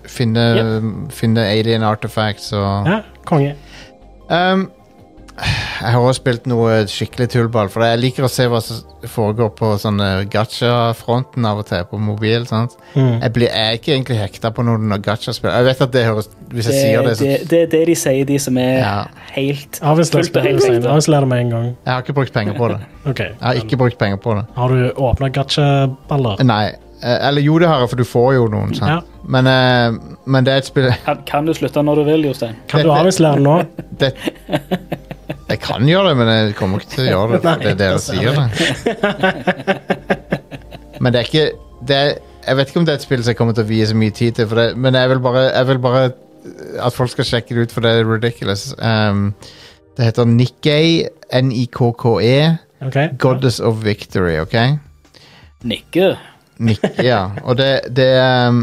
Speaker 2: finne alien artifacts og
Speaker 3: Ja, konge.
Speaker 2: um, Jeg har også spilt noe skikkelig tullball, for jeg liker å se hva som foregår på sånne gacha-fronten av og til, på mobil. sant?
Speaker 3: Mm.
Speaker 2: Jeg, blir, jeg er ikke egentlig hekta på noen av gacha-spill. Jeg vet at det høres Hvis jeg
Speaker 4: Det,
Speaker 2: sier det, så
Speaker 4: det, det er det de sier, de som er
Speaker 2: Ja.
Speaker 4: helt
Speaker 3: Avslør
Speaker 4: fullt og helt ekte.
Speaker 3: det med en gang.
Speaker 2: Jeg har ikke brukt penger på det.
Speaker 3: Ok.
Speaker 2: Jeg har ikke brukt penger på det.
Speaker 3: Har du åpna gacha-baller?
Speaker 2: Nei. eh, Eller jo, det har jeg, for du får jo noen, sant.
Speaker 3: Ja.
Speaker 2: Men, eh, men det er et spill
Speaker 4: Kan, kan du slutte når du vil, Jostein?
Speaker 3: Kan du avinslære nå?
Speaker 2: det, Jeg kan gjøre det, men jeg kommer ikke til å gjøre det. for det er dere sier det. Men det er ikke det er, Jeg vet ikke om det er et spill som jeg kommer til å vie så mye tid til, for det, men jeg vil, bare, jeg vil bare eh, at folk skal sjekke det ut, for det er ridiculous. Um, det heter Nikkei, N-I-K-K-E,
Speaker 3: Ok.
Speaker 2: E, Goddess of Victory, OK?
Speaker 4: Nikke.
Speaker 2: Nick, ja. Og det, det, um,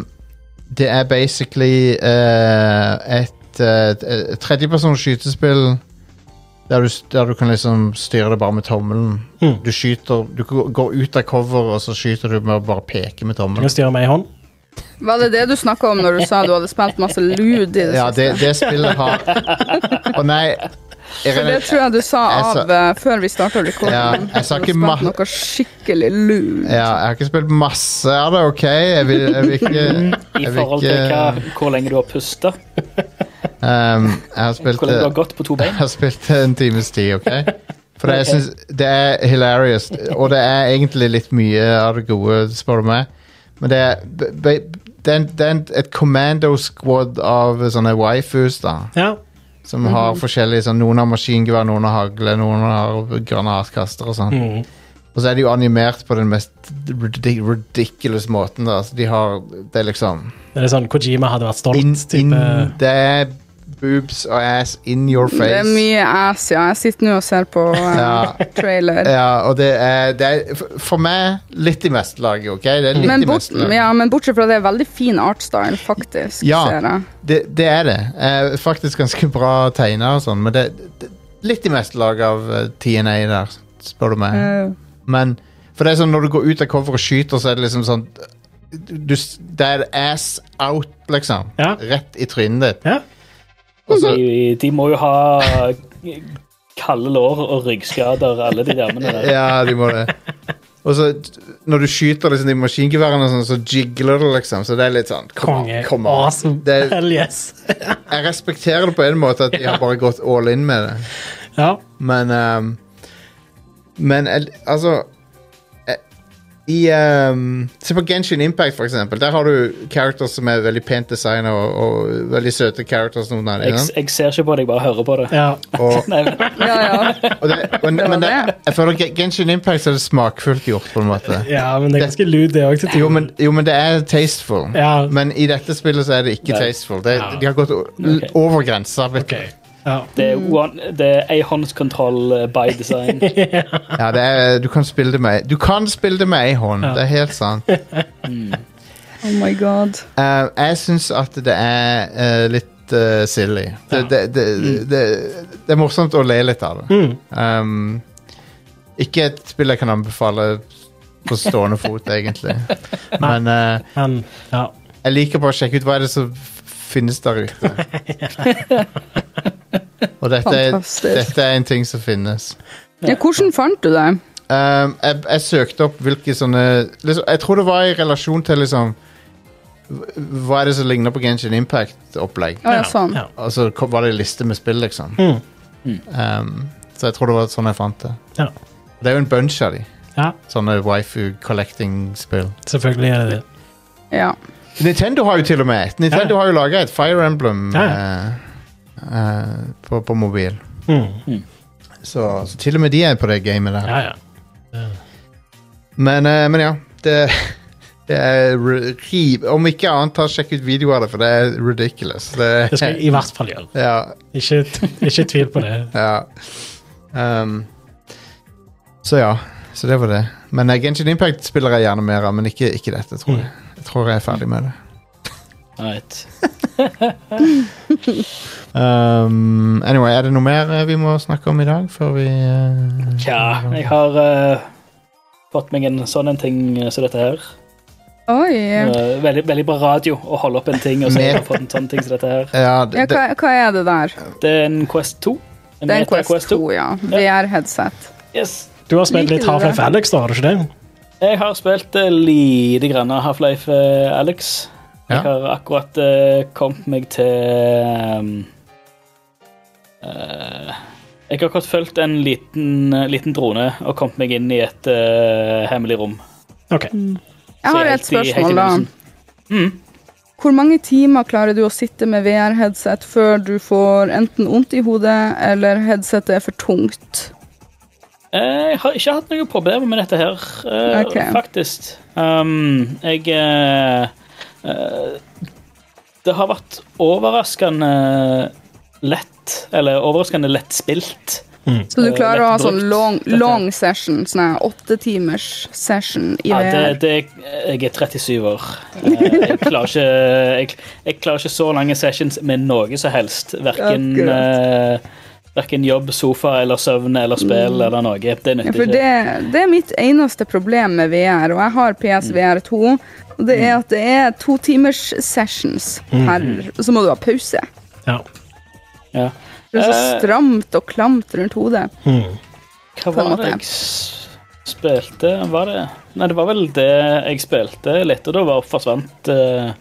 Speaker 2: det er basically eh, et, uh, tredjepersons skytespill der du, der du kan liksom styre det bare med tommelen.
Speaker 3: Mm.
Speaker 2: Du skyter Du går går ut av cover, og så skyter du med å bare peke med
Speaker 3: Du kan
Speaker 2: tommelen.
Speaker 3: styre med ei hånd.
Speaker 5: Var det det du snakka om når du sa du hadde spilt masse lud i det
Speaker 2: Ja,
Speaker 5: siste?
Speaker 2: det, det spillet har Å nei.
Speaker 5: For det
Speaker 2: Irene,
Speaker 5: tror jeg du sa
Speaker 2: Jeg sa-
Speaker 5: av eh, før vi starta rekorden.
Speaker 2: Ja, jeg sa
Speaker 5: Du har
Speaker 2: ikke
Speaker 5: spilt
Speaker 2: ma-
Speaker 5: noe skikkelig lud.
Speaker 2: ja, jeg har ikke spilt masse av det, OK? Jeg vil, jeg vil ikke
Speaker 4: Mm. I
Speaker 2: jeg vil
Speaker 4: forhold til
Speaker 2: ikke-
Speaker 4: hva, hvor lenge du har pusta.
Speaker 2: Um, jeg har spilt eh,
Speaker 4: Hvordan du
Speaker 2: det-
Speaker 4: har gått på to
Speaker 2: Jeg
Speaker 4: bein.
Speaker 2: har spilt det en times tid, OK? For jeg synes det er hilarious, og det er egentlig litt mye av det gode, spør du meg. Men det er, b- b- det er, en- det er en- et commando squad av sånne waifus, da.
Speaker 3: Ja.
Speaker 2: Som har forskjellige sånn Noen har maskingevær, noen har hagle, noen har granatkaster og sånn. Og så er de jo animert på den mest ridi- ridiculous måten, da. Så de har Det er liksom
Speaker 3: Det er sånn Kojima hadde vært stolt.
Speaker 2: in, in,
Speaker 3: type.
Speaker 2: Det er boobs og ass in your face.
Speaker 5: Det er mye ass, ja. Jeg sitter nå og ser på eh, trailer.
Speaker 2: Ja, og det er, det er for- for meg litt i mestelaget, OK? Det er litt
Speaker 5: Men,
Speaker 2: i
Speaker 5: bort,
Speaker 2: mestelaget.
Speaker 5: ja, men bortsett fra det, veldig fin artstyle, faktisk.
Speaker 2: Ja.
Speaker 5: Ser jeg.
Speaker 2: Det, det er det. Eh, faktisk ganske bra tegna og sånn, men det, det litt i mestelaget av eh, TNA der, spør du meg.
Speaker 5: Eh,
Speaker 2: Men for det er sånn når du går ut av cover og skyter, så er det liksom sånn du, s- Det er ass out, liksom.
Speaker 3: Ja.
Speaker 2: Rett i trynet ditt.
Speaker 3: Ja.
Speaker 2: Og så-
Speaker 4: De, de må jo ha kalde lår og ryggskader, alle de damene der.
Speaker 2: Ja, de må det. Og så når du skyter liksom, de maskingeværene, og sånn, så jigler det, liksom. Så det er litt sånn Come on.
Speaker 3: Konge.
Speaker 2: Come on.
Speaker 3: Awesome.
Speaker 2: Det er,
Speaker 3: Hell yes.
Speaker 2: jeg respekterer det på en måte at de har bare gått all in med det.
Speaker 3: Ja.
Speaker 2: Men ehm, Men el- altså eh, i, ehm, Se på Genshin Impact, for eksempel. Der har du characters som er veldig pent designa og, og veldig søte characters. Noen av dem,
Speaker 4: Jeg,
Speaker 2: sant?
Speaker 4: jeg ser ikke på det, jeg bare hører på det.
Speaker 3: ja.
Speaker 2: og,
Speaker 4: Nei, men-
Speaker 5: ja, ja.
Speaker 2: og det, men, men det,
Speaker 5: det.
Speaker 2: jeg føler Gen- Genshin Impact så er det smakfullt gjort, på en måte.
Speaker 3: ja, men det er ganske lud, det òg.
Speaker 2: Jo, men, jo, men det er tasteful.
Speaker 3: Ja.
Speaker 2: Men i dette spillet så er det ikke
Speaker 4: Nei.
Speaker 2: tasteful. Det, De har gått o- l-
Speaker 4: Ok.
Speaker 2: over grensa. vet du.
Speaker 3: Okay. Ja.
Speaker 4: Det er, one, det er A-håndskontroll eh, by design.
Speaker 2: Ja, det er, du kan spille det med Du kan spille det med ei hånd. Det er helt sant.
Speaker 5: Oh my god.
Speaker 2: Eh, jeg syns at det er eh, litt eh, silly. Det, det, det, det, det, er morsomt å le litt av det. Um, ikke et spill jeg kan anbefale på stående fot, egentlig. Men eh,
Speaker 3: Men ja.
Speaker 2: jeg liker bare å sjekke ut hva er det som finnes der ute. Og dette er,
Speaker 5: Fantastisk.
Speaker 2: dette er en ting som finnes.
Speaker 5: Ja, hvordan fant du det?
Speaker 2: Um, jeg, jeg søkte opp hvilke sånne liksom, Jeg tror det var i relasjon til liksom hv- Hva er det som ligner på Genshin Impact-opplegg?
Speaker 5: Å ja, sånn.
Speaker 3: Ja.
Speaker 2: Og så Altså, kom- var det en liste med spill, liksom.
Speaker 3: Mm.
Speaker 2: Um, så jeg tror det var sånn jeg fant det.
Speaker 3: Ja.
Speaker 2: Det er jo en bunch av de.
Speaker 3: ja.
Speaker 2: Sånne waifu collecting-spill.
Speaker 3: Selvfølgelig er det det.
Speaker 5: Ja.
Speaker 2: Nintendo har jo til og med et. Nintendo
Speaker 3: Ja.
Speaker 2: har jo laga et Fire Emblem
Speaker 3: Ja,
Speaker 2: eh, eh, på, på mobil.
Speaker 3: Mm.
Speaker 2: Så, så til og med de er på det gamet der.
Speaker 3: Ja, ja.
Speaker 2: Men, eh, men ja, det, det er ri- riv... Om ikke annet, ta og sjekk ut videoer av det, for det er ridiculous. Det,
Speaker 3: Det skal jeg i hvert fall gjøre.
Speaker 2: ja,
Speaker 3: Ikke, ikke tvil på det.
Speaker 2: ja. Um, så ja, så det var det. Men eh, Genshin Impact spiller jeg gjerne mer av, men ikke, ikke dette, tror jeg. Jeg tror jeg er ferdig med det.
Speaker 4: Right.
Speaker 2: Um, anyway, er det noe mer eh, vi må snakke om i dag før vi eh,
Speaker 4: Tja, jeg har eh, fått meg en sånn en ting eh, som dette her.
Speaker 5: Oi. Ja,
Speaker 4: Eh, veldig, veldig bra radio å holde opp en ting, og så har jeg fått en sånn ting som dette her.
Speaker 2: Ja, det,
Speaker 5: hva, hva er det der?
Speaker 4: Det er en Quest 2. En
Speaker 5: Det er en
Speaker 4: Meta
Speaker 5: Quest 2, ja. VR-headset.
Speaker 4: Yes.
Speaker 3: Du har spilt
Speaker 5: Liker
Speaker 3: litt
Speaker 5: du
Speaker 3: Half-Life
Speaker 5: det?
Speaker 3: Alex, da, har du ikke det?
Speaker 4: Jeg har spilt eh, lite grann av Half-Life eh, Alex.
Speaker 2: Ja.
Speaker 4: Jeg har akkurat eh, kommet meg til ehm, eh, Jeg har akkurat fulgt en liten, eh, liten drone og kommet meg inn i et eh, hemmelig rom.
Speaker 3: Ok.
Speaker 5: Jeg
Speaker 4: Så
Speaker 5: har
Speaker 4: er
Speaker 5: et
Speaker 4: helt i- helt i
Speaker 5: spørsmål, da.
Speaker 4: begynnelsen. Mm.
Speaker 5: Hvor mange timer klarer du å sitte med VR-headset før du får enten vondt i hodet, eller headsetet er for tungt?
Speaker 4: Eh, Jeg har ikke hatt noe problem med dette her, eh,
Speaker 5: Ok.
Speaker 4: faktisk. Um, jeg eh, eh, Det har vært overraskende lett, eller overraskende lett spilt.
Speaker 5: Så du
Speaker 4: Eh,
Speaker 5: klarer å ha
Speaker 4: lett
Speaker 5: sånn
Speaker 4: brukt,
Speaker 5: long,
Speaker 4: dette.
Speaker 5: long session, sånn her åtte timers session i
Speaker 4: Ja,
Speaker 5: VR?
Speaker 4: det, det, jeg er 37 år. Eh, Jeg klarer ikke, jeg, jeg klarer ikke så lange sessions med noe som helst. Verken,
Speaker 5: Akkurat. Mm.
Speaker 4: eh, verken jobb, sofa eller søvn eller spill eller noe. Det
Speaker 5: Ja,
Speaker 4: nytter
Speaker 5: for
Speaker 4: ikke.
Speaker 5: det, det er mitt eneste problem med VR, og jeg har
Speaker 4: Mm.
Speaker 5: PSVR 2. Og det er at det er to timers sessions
Speaker 4: Mm.
Speaker 5: her, og så må du ha pause.
Speaker 3: Ja.
Speaker 4: Ja.
Speaker 5: Det er så
Speaker 4: Eh.
Speaker 5: stramt og klamt rundt hodet.
Speaker 4: Hva
Speaker 5: på en
Speaker 4: var
Speaker 5: måte.
Speaker 4: det jeg s- spilte? Var det Nei, det var vel det jeg spilte litt, og da var, forsvant, eh,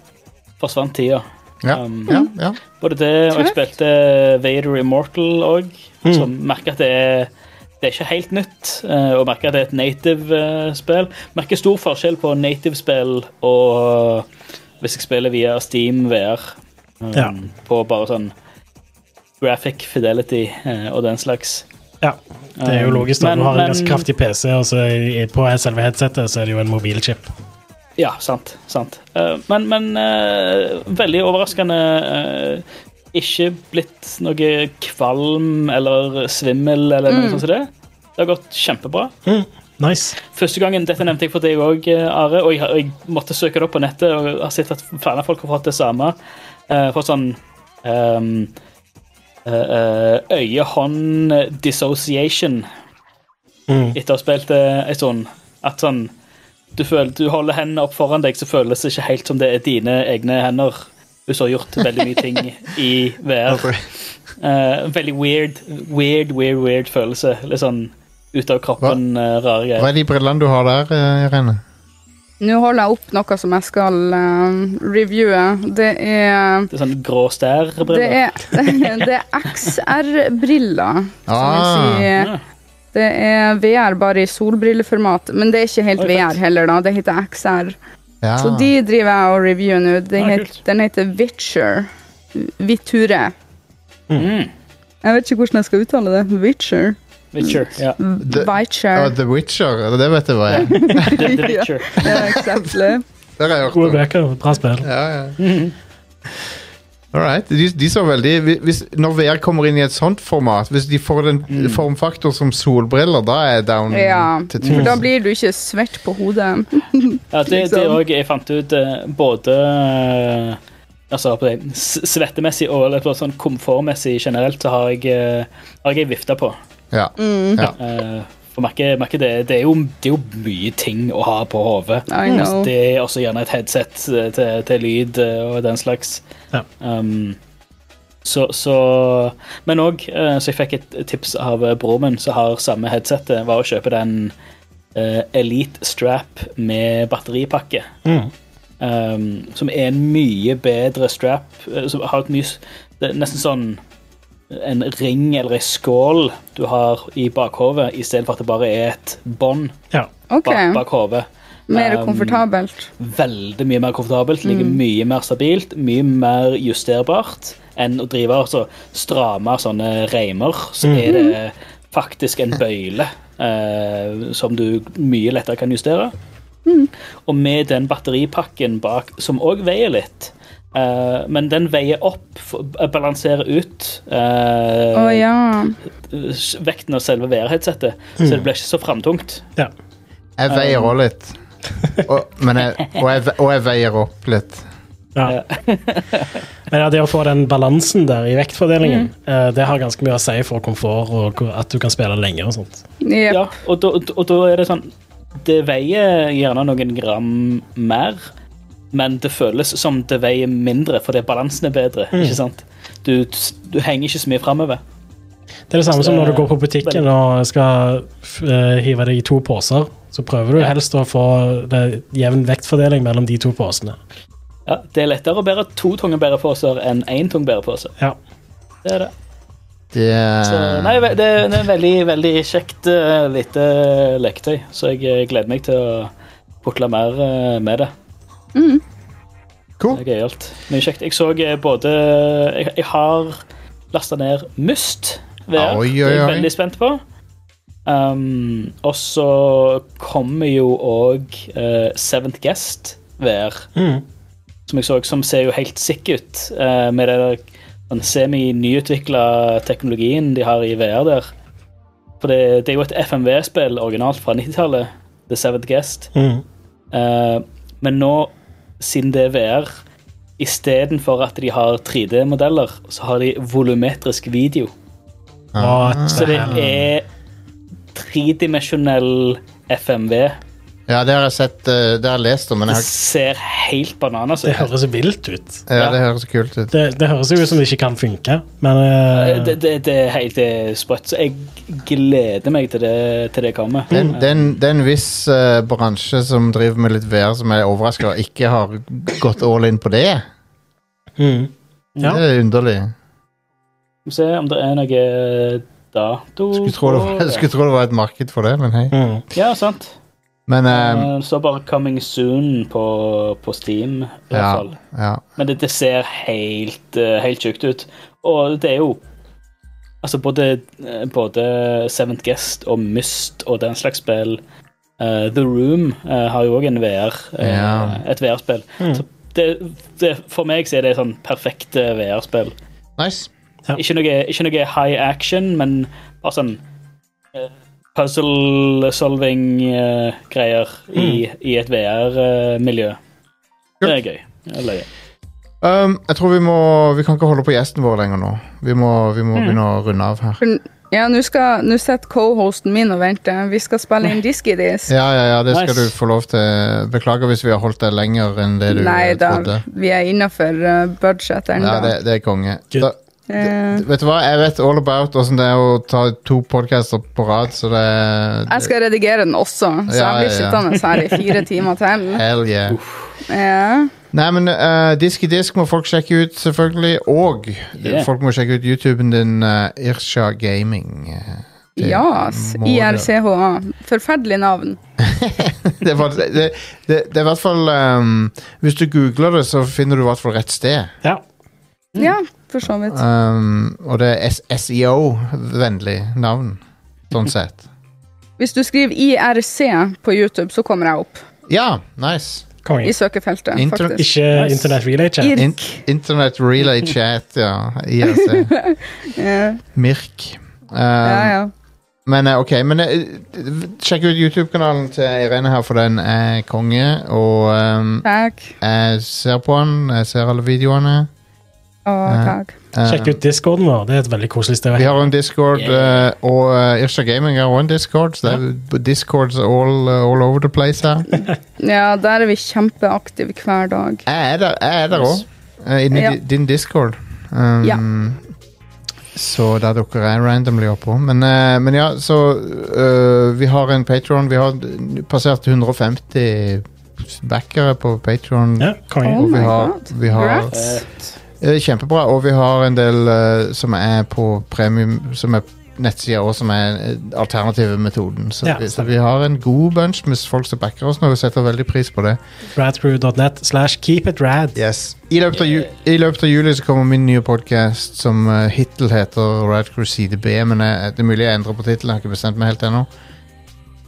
Speaker 4: forsvant tida.
Speaker 2: Ja,
Speaker 4: Um,
Speaker 2: ja, ja.
Speaker 4: Både det, og jeg
Speaker 5: Tøft.
Speaker 4: spilte Vader Immortal òg, så merker at det er det er ikke helt nytt, eh, og merker at det er et native-spill. Merker stor forskjell på native-spill og hvis jeg spiller via Steam VR. eh,
Speaker 3: Ja.
Speaker 4: På bare sånn graphic fidelity eh, og den slags.
Speaker 3: Ja, det er jo
Speaker 4: Um,
Speaker 3: logisk. da. Du
Speaker 4: men-
Speaker 3: har en
Speaker 4: men-
Speaker 3: ganske kraftig PC, og så i- på selve headsetet så er det jo en mobilchip.
Speaker 4: Ja, sant. sant. Eh, men men eh, veldig overraskende eh, ikke blitt noe kvalm eller svimmel eller noe sånt som det. Det har gått kjempebra.
Speaker 3: Nice.
Speaker 4: Første gangen, Dette nevnte jeg for deg òg, Are, og jeg, har- jeg måtte søke det opp på nettet. og har sett at flere folk har fått det samme. Uh, fått sånn um, eh, eh, øye-hånd dissociation etter å ha spilt det en stund. At sånn du, føler, du holder hendene opp foran deg, så føles det ikke helt som det er dine egne hender. Hvis du har gjort veldig mye ting i VR. Eh, veldig weird, weird, weird weird følelse. Litt sånn ut av kroppen, eh, rare greier.
Speaker 2: Hva er de brillene du har der, eh, Irene?
Speaker 5: Nå holder jeg opp noe som jeg skal eh, reviewe. Det er
Speaker 4: Det er sånn grå
Speaker 5: Det
Speaker 4: stær-briller.
Speaker 5: er, det er XR-briller.
Speaker 2: Ah.
Speaker 5: som jeg sier. Det er VR bare i solbrilleformat, men det er ikke helt
Speaker 4: Oi, fett.
Speaker 5: VR heller, da. Det heter XR.
Speaker 2: Ja.
Speaker 5: Så de driver jeg og reviewer nå. Den,
Speaker 4: Ah,
Speaker 5: het,
Speaker 4: kult.
Speaker 5: den heter Witcher. Viture.
Speaker 4: Mm.
Speaker 5: Jeg vet ikke hvordan jeg skal uttale det. Witcher.
Speaker 4: Witcher. Ja.
Speaker 2: The-
Speaker 5: Witcher.
Speaker 2: Ja, The Witcher, det vet jeg hva jeg er.
Speaker 4: The, the Witcher.
Speaker 5: Ja, eksempler.
Speaker 2: Der har jeg hørt
Speaker 3: Gode
Speaker 2: om.
Speaker 3: bøker, bra spill.
Speaker 2: Ja, ja. All right. De, de så veldig hvi- hvis, Når VR kommer inn i et sånt format, hvis de får den formfaktor som solbriller, da er jeg down
Speaker 5: Mm. Ja,
Speaker 2: til
Speaker 5: for da
Speaker 2: tusen.
Speaker 5: blir du ikke svett på hodet.
Speaker 4: Ja, det, det
Speaker 5: Liksom.
Speaker 4: òg jeg fant ut eh, både eh, Altså på det, s- svettemessig og eller på sånn komfortmessig generelt, så har jeg, eh, har jeg ei vifte på.
Speaker 2: Ja.
Speaker 5: Mm.
Speaker 4: Eh, for merke, merke det, det, er jo, det er jo mye ting å ha på hodet.
Speaker 5: I know.
Speaker 4: Det er også gjerne et headset eh, til, til lyd eh, og den slags.
Speaker 3: Ja.
Speaker 4: Um, så, så Men òg, så jeg fikk et tips av eh, broren min, som har samme headsetet, var å kjøpe den eh, Elite Strap med batteripakke. Um, som er en mye bedre strap, eh, som har et mye s- Det er nesten sånn en ring eller ei skål du har i bakhovet, istedenfor at det bare er et bånd
Speaker 3: Ja.
Speaker 5: OK.
Speaker 4: bak, bak hodet
Speaker 5: Mer
Speaker 4: um,
Speaker 5: komfortabelt.
Speaker 4: veldig mye mer komfortabelt, ligger
Speaker 5: Mm.
Speaker 4: mye mer stabilt, mye mer justerbart enn å drive altså stramme sånne reimer, så
Speaker 5: Mm.
Speaker 4: er det faktisk en bøyle eh, som du mye lettere kan justere.
Speaker 5: Mm.
Speaker 4: Og med den batteripakken bak, som òg veier litt, eh, men den veier opp, for- eh, balanserer ut eh,
Speaker 5: Å ja.
Speaker 4: vekten av selve VR-headsetet, så
Speaker 5: Mm.
Speaker 4: det blir ikke så framtungt.
Speaker 3: ja.
Speaker 2: Jeg veier òg litt. Og, men jeg, og, jeg, ve- og jeg veier opp litt.
Speaker 3: Ja. Men ja, det å få den balansen der i vektfordelingen, eh, det har ganske mye å si for komfort og hvor- at du kan spille lenger og sånt.
Speaker 5: Jep.
Speaker 4: Ja, og da, og da er det sånn Det veier gjerne noen gram mer, men det føles som det veier mindre fordi balansen er bedre. ikke sant? Du, du henger ikke så mye framover.
Speaker 3: Det er det samme som når du går på butikken og skal eh, hive deg i to poser. Så prøver du helst å få det jevn vektfordeling mellom de to posene.
Speaker 4: Ja, det er lettere å bære to tunge bæreposer enn én tung bærepose.
Speaker 3: Ja.
Speaker 4: Det er det.
Speaker 2: Det er-
Speaker 4: Så, nei, ve- det er det er en veldig, veldig kjekt eh, lite leketøy, så jeg eh, gleder meg til å putle mer eh, med det.
Speaker 2: Cool.
Speaker 4: Det er gøyalt. Mye kjekt. Jeg så eh, både Jeg, jeg har lasta ned Must. VR.
Speaker 2: Oi, oi,
Speaker 4: Det er jeg
Speaker 2: oi.
Speaker 4: veldig spent på. Um, og så kommer jo òg Seventh Guest VR.
Speaker 3: Mm,
Speaker 4: Som jeg så, som ser jo helt sick ut eh, med det der, den sånn semi-nyutvikla teknologien de har i VR der. For det, det er jo et FMV-spill originalt fra 90-tallet, The Seventh Guest.
Speaker 3: mm.
Speaker 4: Eh, men nå, siden det er VR, istedenfor at de har 3D-modeller, så har de volumetrisk video.
Speaker 2: Ah.
Speaker 3: Og,
Speaker 4: Så det er tredimensjonell FMV.
Speaker 2: Ja, det har jeg sett eh, Det har jeg lest om, men
Speaker 4: Det
Speaker 2: jeg har,
Speaker 4: ser helt bananas
Speaker 3: det
Speaker 4: ut.
Speaker 3: høres vilt ut.
Speaker 2: ja, det høres kult ut.
Speaker 3: Det, det høres jo ut som det ikke kan funke, men eh,
Speaker 4: Det, det, det er helt eh, sprøtt. Så jeg gleder meg til det, til det kommer. Eh,
Speaker 2: Det er en- det er en- det er en viss eh, bransje som driver med litt VR, som jeg er overraska ikke har gått all in på det.
Speaker 3: Ja.
Speaker 2: Det er underlig.
Speaker 4: Skal vi se om det er noe dato
Speaker 2: Skulle tro, det
Speaker 4: på
Speaker 2: var, skulle tro det var et marked for det, men hei.
Speaker 4: Ja, sant.
Speaker 2: Men eh,
Speaker 4: Eh, så bare 'Coming Soon' på, på Steam, i hvert
Speaker 2: ja,
Speaker 4: fall.
Speaker 2: ja.
Speaker 4: Men det, det ser helt, eh, helt sjukt ut. Og det er jo Altså, både, eh, både Seventh Guest og Myst og den slags spill eh, The Room eh, har jo òg en VR, eh,
Speaker 2: Ja.
Speaker 4: et VR-spill. Så det, det, for meg så er det sånn perfekte VR-spill.
Speaker 2: Nice.
Speaker 3: Ja.
Speaker 4: Ikke, noe, ikke noe high action, men bare sånn eh, puzzle-solving-greier i, i et VR-miljø. Det er gøy. Det er løye.
Speaker 2: Um, jeg tror vi må Vi kan ikke holde på gjesten vår lenger nå. Vi må, vi
Speaker 4: Mm.
Speaker 2: må begynne å runde av her.
Speaker 5: For, ja, nå skal- nå sitter co-hosten min og venter. Vi skal spille inn Diskidis.
Speaker 2: Ja, ja, ja, det skal
Speaker 4: Nice.
Speaker 2: du få lov til. Beklager hvis vi har holdt deg lenger enn det du
Speaker 5: Nei
Speaker 2: eh,
Speaker 5: da,
Speaker 2: trodde.
Speaker 5: vi er innafor uh, budget
Speaker 2: Ja,
Speaker 5: ennå.
Speaker 2: det, det er konge.
Speaker 3: Good.
Speaker 2: Da,
Speaker 5: Eh,
Speaker 2: vet du hva, jeg vet all about åssen det er å ta to podcaster på rad, så det
Speaker 5: jeg skal redigere den også, så
Speaker 2: Ja,
Speaker 5: jeg blir
Speaker 2: ja, ja.
Speaker 5: sittende her i fire timer til.
Speaker 2: Hell yeah.
Speaker 5: Ja.
Speaker 2: Nei, men eh, Disk i disk må folk sjekke ut, selvfølgelig. Og
Speaker 4: Yeah.
Speaker 2: folk må sjekke ut YouTuben din, uh, Irsha Gaming. Det
Speaker 5: Ja,
Speaker 2: må det.
Speaker 5: IRCHA. Forferdelig navn.
Speaker 2: det, var, det, det, det er i hvert fall ehm, Hvis du googler det, så finner du i hvert fall rett sted.
Speaker 3: ja.
Speaker 2: Mm.
Speaker 5: Ja, for så vidt.
Speaker 2: Ehm, og det er S- SEO-vennlig navn, sånn sett.
Speaker 5: Hvis du skriver IRC på YouTube, så kommer jeg opp
Speaker 2: Ja, nice.
Speaker 5: i
Speaker 3: Konge.
Speaker 5: søkefeltet,
Speaker 2: Inter-
Speaker 5: faktisk.
Speaker 3: Ikke Internett Relay Chat.
Speaker 2: In
Speaker 5: IRC.
Speaker 2: Internet Relay Chat, ja. IRC.
Speaker 5: Ja,
Speaker 2: Mirk. Ehm,
Speaker 5: ja, ja.
Speaker 2: Men eh, ok, men eh, sjekk ut YouTube-kanalen til Irene her, for den er konge. Og ehm,
Speaker 5: Takk.
Speaker 2: jeg ser på den, jeg ser alle videoene.
Speaker 5: Å,
Speaker 2: Ja.
Speaker 5: takk.
Speaker 2: Ehm,
Speaker 3: Sjekk ut discorden vår. Det er et veldig koselig sted. å
Speaker 2: Vi
Speaker 3: henge.
Speaker 2: har en Discord,
Speaker 4: Yeah.
Speaker 2: eh, og uh, Irsha Gaming har også en Discord. Så det er Discords all, eh, all over the place her.
Speaker 5: Ja, der er vi kjempeaktive hver dag.
Speaker 2: Jeg er der- jeg er der òg, inni
Speaker 5: Ja.
Speaker 2: di- din Discord. Um,
Speaker 5: Ja.
Speaker 2: Så der dukker jeg randomly opp også. Men, eh, men ja, så eh, Vi har en Patron. Vi har passert 150 backere på Patron.
Speaker 3: Ja, konge.
Speaker 5: Oh
Speaker 2: vi
Speaker 5: my
Speaker 2: har,
Speaker 5: god.
Speaker 2: vi har
Speaker 5: Congrats.
Speaker 2: Eh, Kjempebra, og vi har en del eh, som er på premium, som er nettsider og som er eh, alternative metoden. Så,
Speaker 3: Ja,
Speaker 2: vi, så
Speaker 3: stemmer.
Speaker 2: vi har en god bunch med folk som backer oss nå, og vi setter veldig pris på det.
Speaker 3: Radcrew.net slash keep it rad.
Speaker 2: I, løpet av ju, I løpet av juli så kommer min nye podcast som eh, hittil heter Rad Crusade B, men jeg, det er mulig jeg endrer på tittelen, jeg har ikke bestemt meg helt ennå.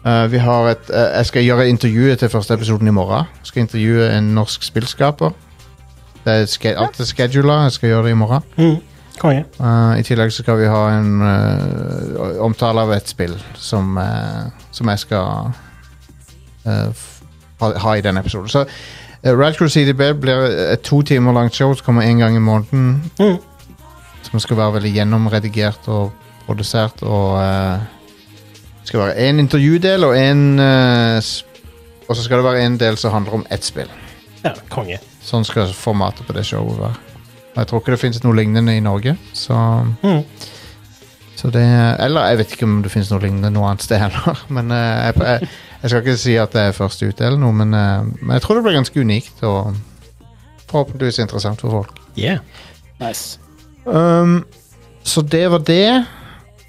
Speaker 2: Eh, vi har et, eh, jeg skal gjøre intervjuet til første episoden i morgen. Jeg skal intervjue en norsk spillskaper. Det er ske, alt er schedula, jeg skal gjøre det i morgen.
Speaker 3: Mm. Konge.
Speaker 2: Eh, I tillegg så skal vi ha en eh, omtale av et spill som, eh, som jeg skal eh, f- ha, ha i denne episoden. Så uh, Rad Crew CDB blir et to timer langt show som kommer én gang i måneden.
Speaker 3: Mm.
Speaker 2: Som skal være veldig gjennomredigert og produsert og eh, Det skal være én intervjudel og en eh, sp- Og så skal det være en del som handler om ett spill.
Speaker 3: Ja, konge.
Speaker 2: Sånn skal formatet på det showet være. Og jeg tror ikke det finnes noe lignende i Norge, så,
Speaker 3: Mm.
Speaker 2: så det Eller jeg vet ikke om det finnes noe lignende noe annet sted heller. Men eh, jeg, jeg, jeg skal ikke si at det er først ute eller noe, men, eh, men jeg tror det blir ganske unikt og forhåpentligvis interessant for folk.
Speaker 3: Yeah.
Speaker 4: Nice.
Speaker 2: Um, så det var det.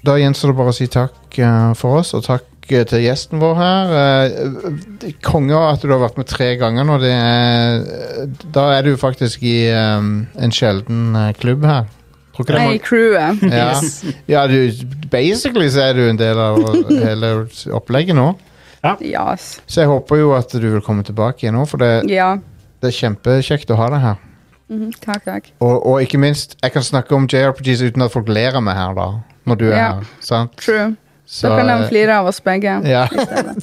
Speaker 2: Da gjenstår det bare å si takk eh, for oss, og takk eh, til gjesten vår her. Uh, Konge at du har vært med tre ganger nå. Det er, eh, da er du faktisk i um, en sjelden eh, klubb her. Tror ikke det
Speaker 5: Nei,
Speaker 2: er
Speaker 5: crewet.
Speaker 2: mange- ja. ja, du Basically så er du en del av hele opplegget nå.
Speaker 5: Yes.
Speaker 2: Så jeg håper jo at du vil komme tilbake igjen nå, for det,
Speaker 5: Ja.
Speaker 2: det er kjempekjekt å ha deg her.
Speaker 5: Mhm, Takk, takk.
Speaker 2: Og, og ikke minst, jeg kan snakke om JRPGs uten at folk ler av meg her, da. Når du er
Speaker 5: Ja.
Speaker 2: her. sant?
Speaker 5: True.
Speaker 2: Så,
Speaker 5: Da kan de
Speaker 2: eh,
Speaker 5: flire av oss begge.
Speaker 2: Ja. Nou,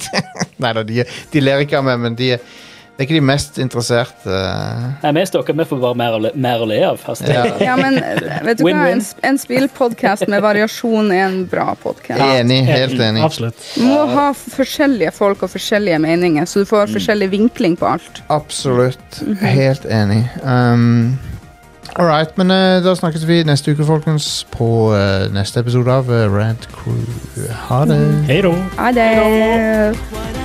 Speaker 2: Nei da, de, de ler ikke av meg, men de, det er ikke de mest eh. interesserte.
Speaker 4: Nei, vi stokker, vi får bare mer å le, mer å le av. Altså, det,
Speaker 2: Ja.
Speaker 5: Ja, men eh, vet du hva?
Speaker 4: Win-win.
Speaker 5: En, sp- en spillpodkast med variasjon er en bra podkast.
Speaker 2: Enig, helt enig.
Speaker 3: Absolutt.
Speaker 5: Må ha f- forskjellige folk og forskjellige meninger, så du
Speaker 2: Mm.
Speaker 5: får forskjellig vinkling på alt.
Speaker 2: Absolutt. Helt enig. Um, All right, men eh, da snakkes vi neste uke, folkens, på eh, neste episode av uh, Rant Crew. Ha det.
Speaker 3: Hei då.
Speaker 5: Ha det.
Speaker 8: What I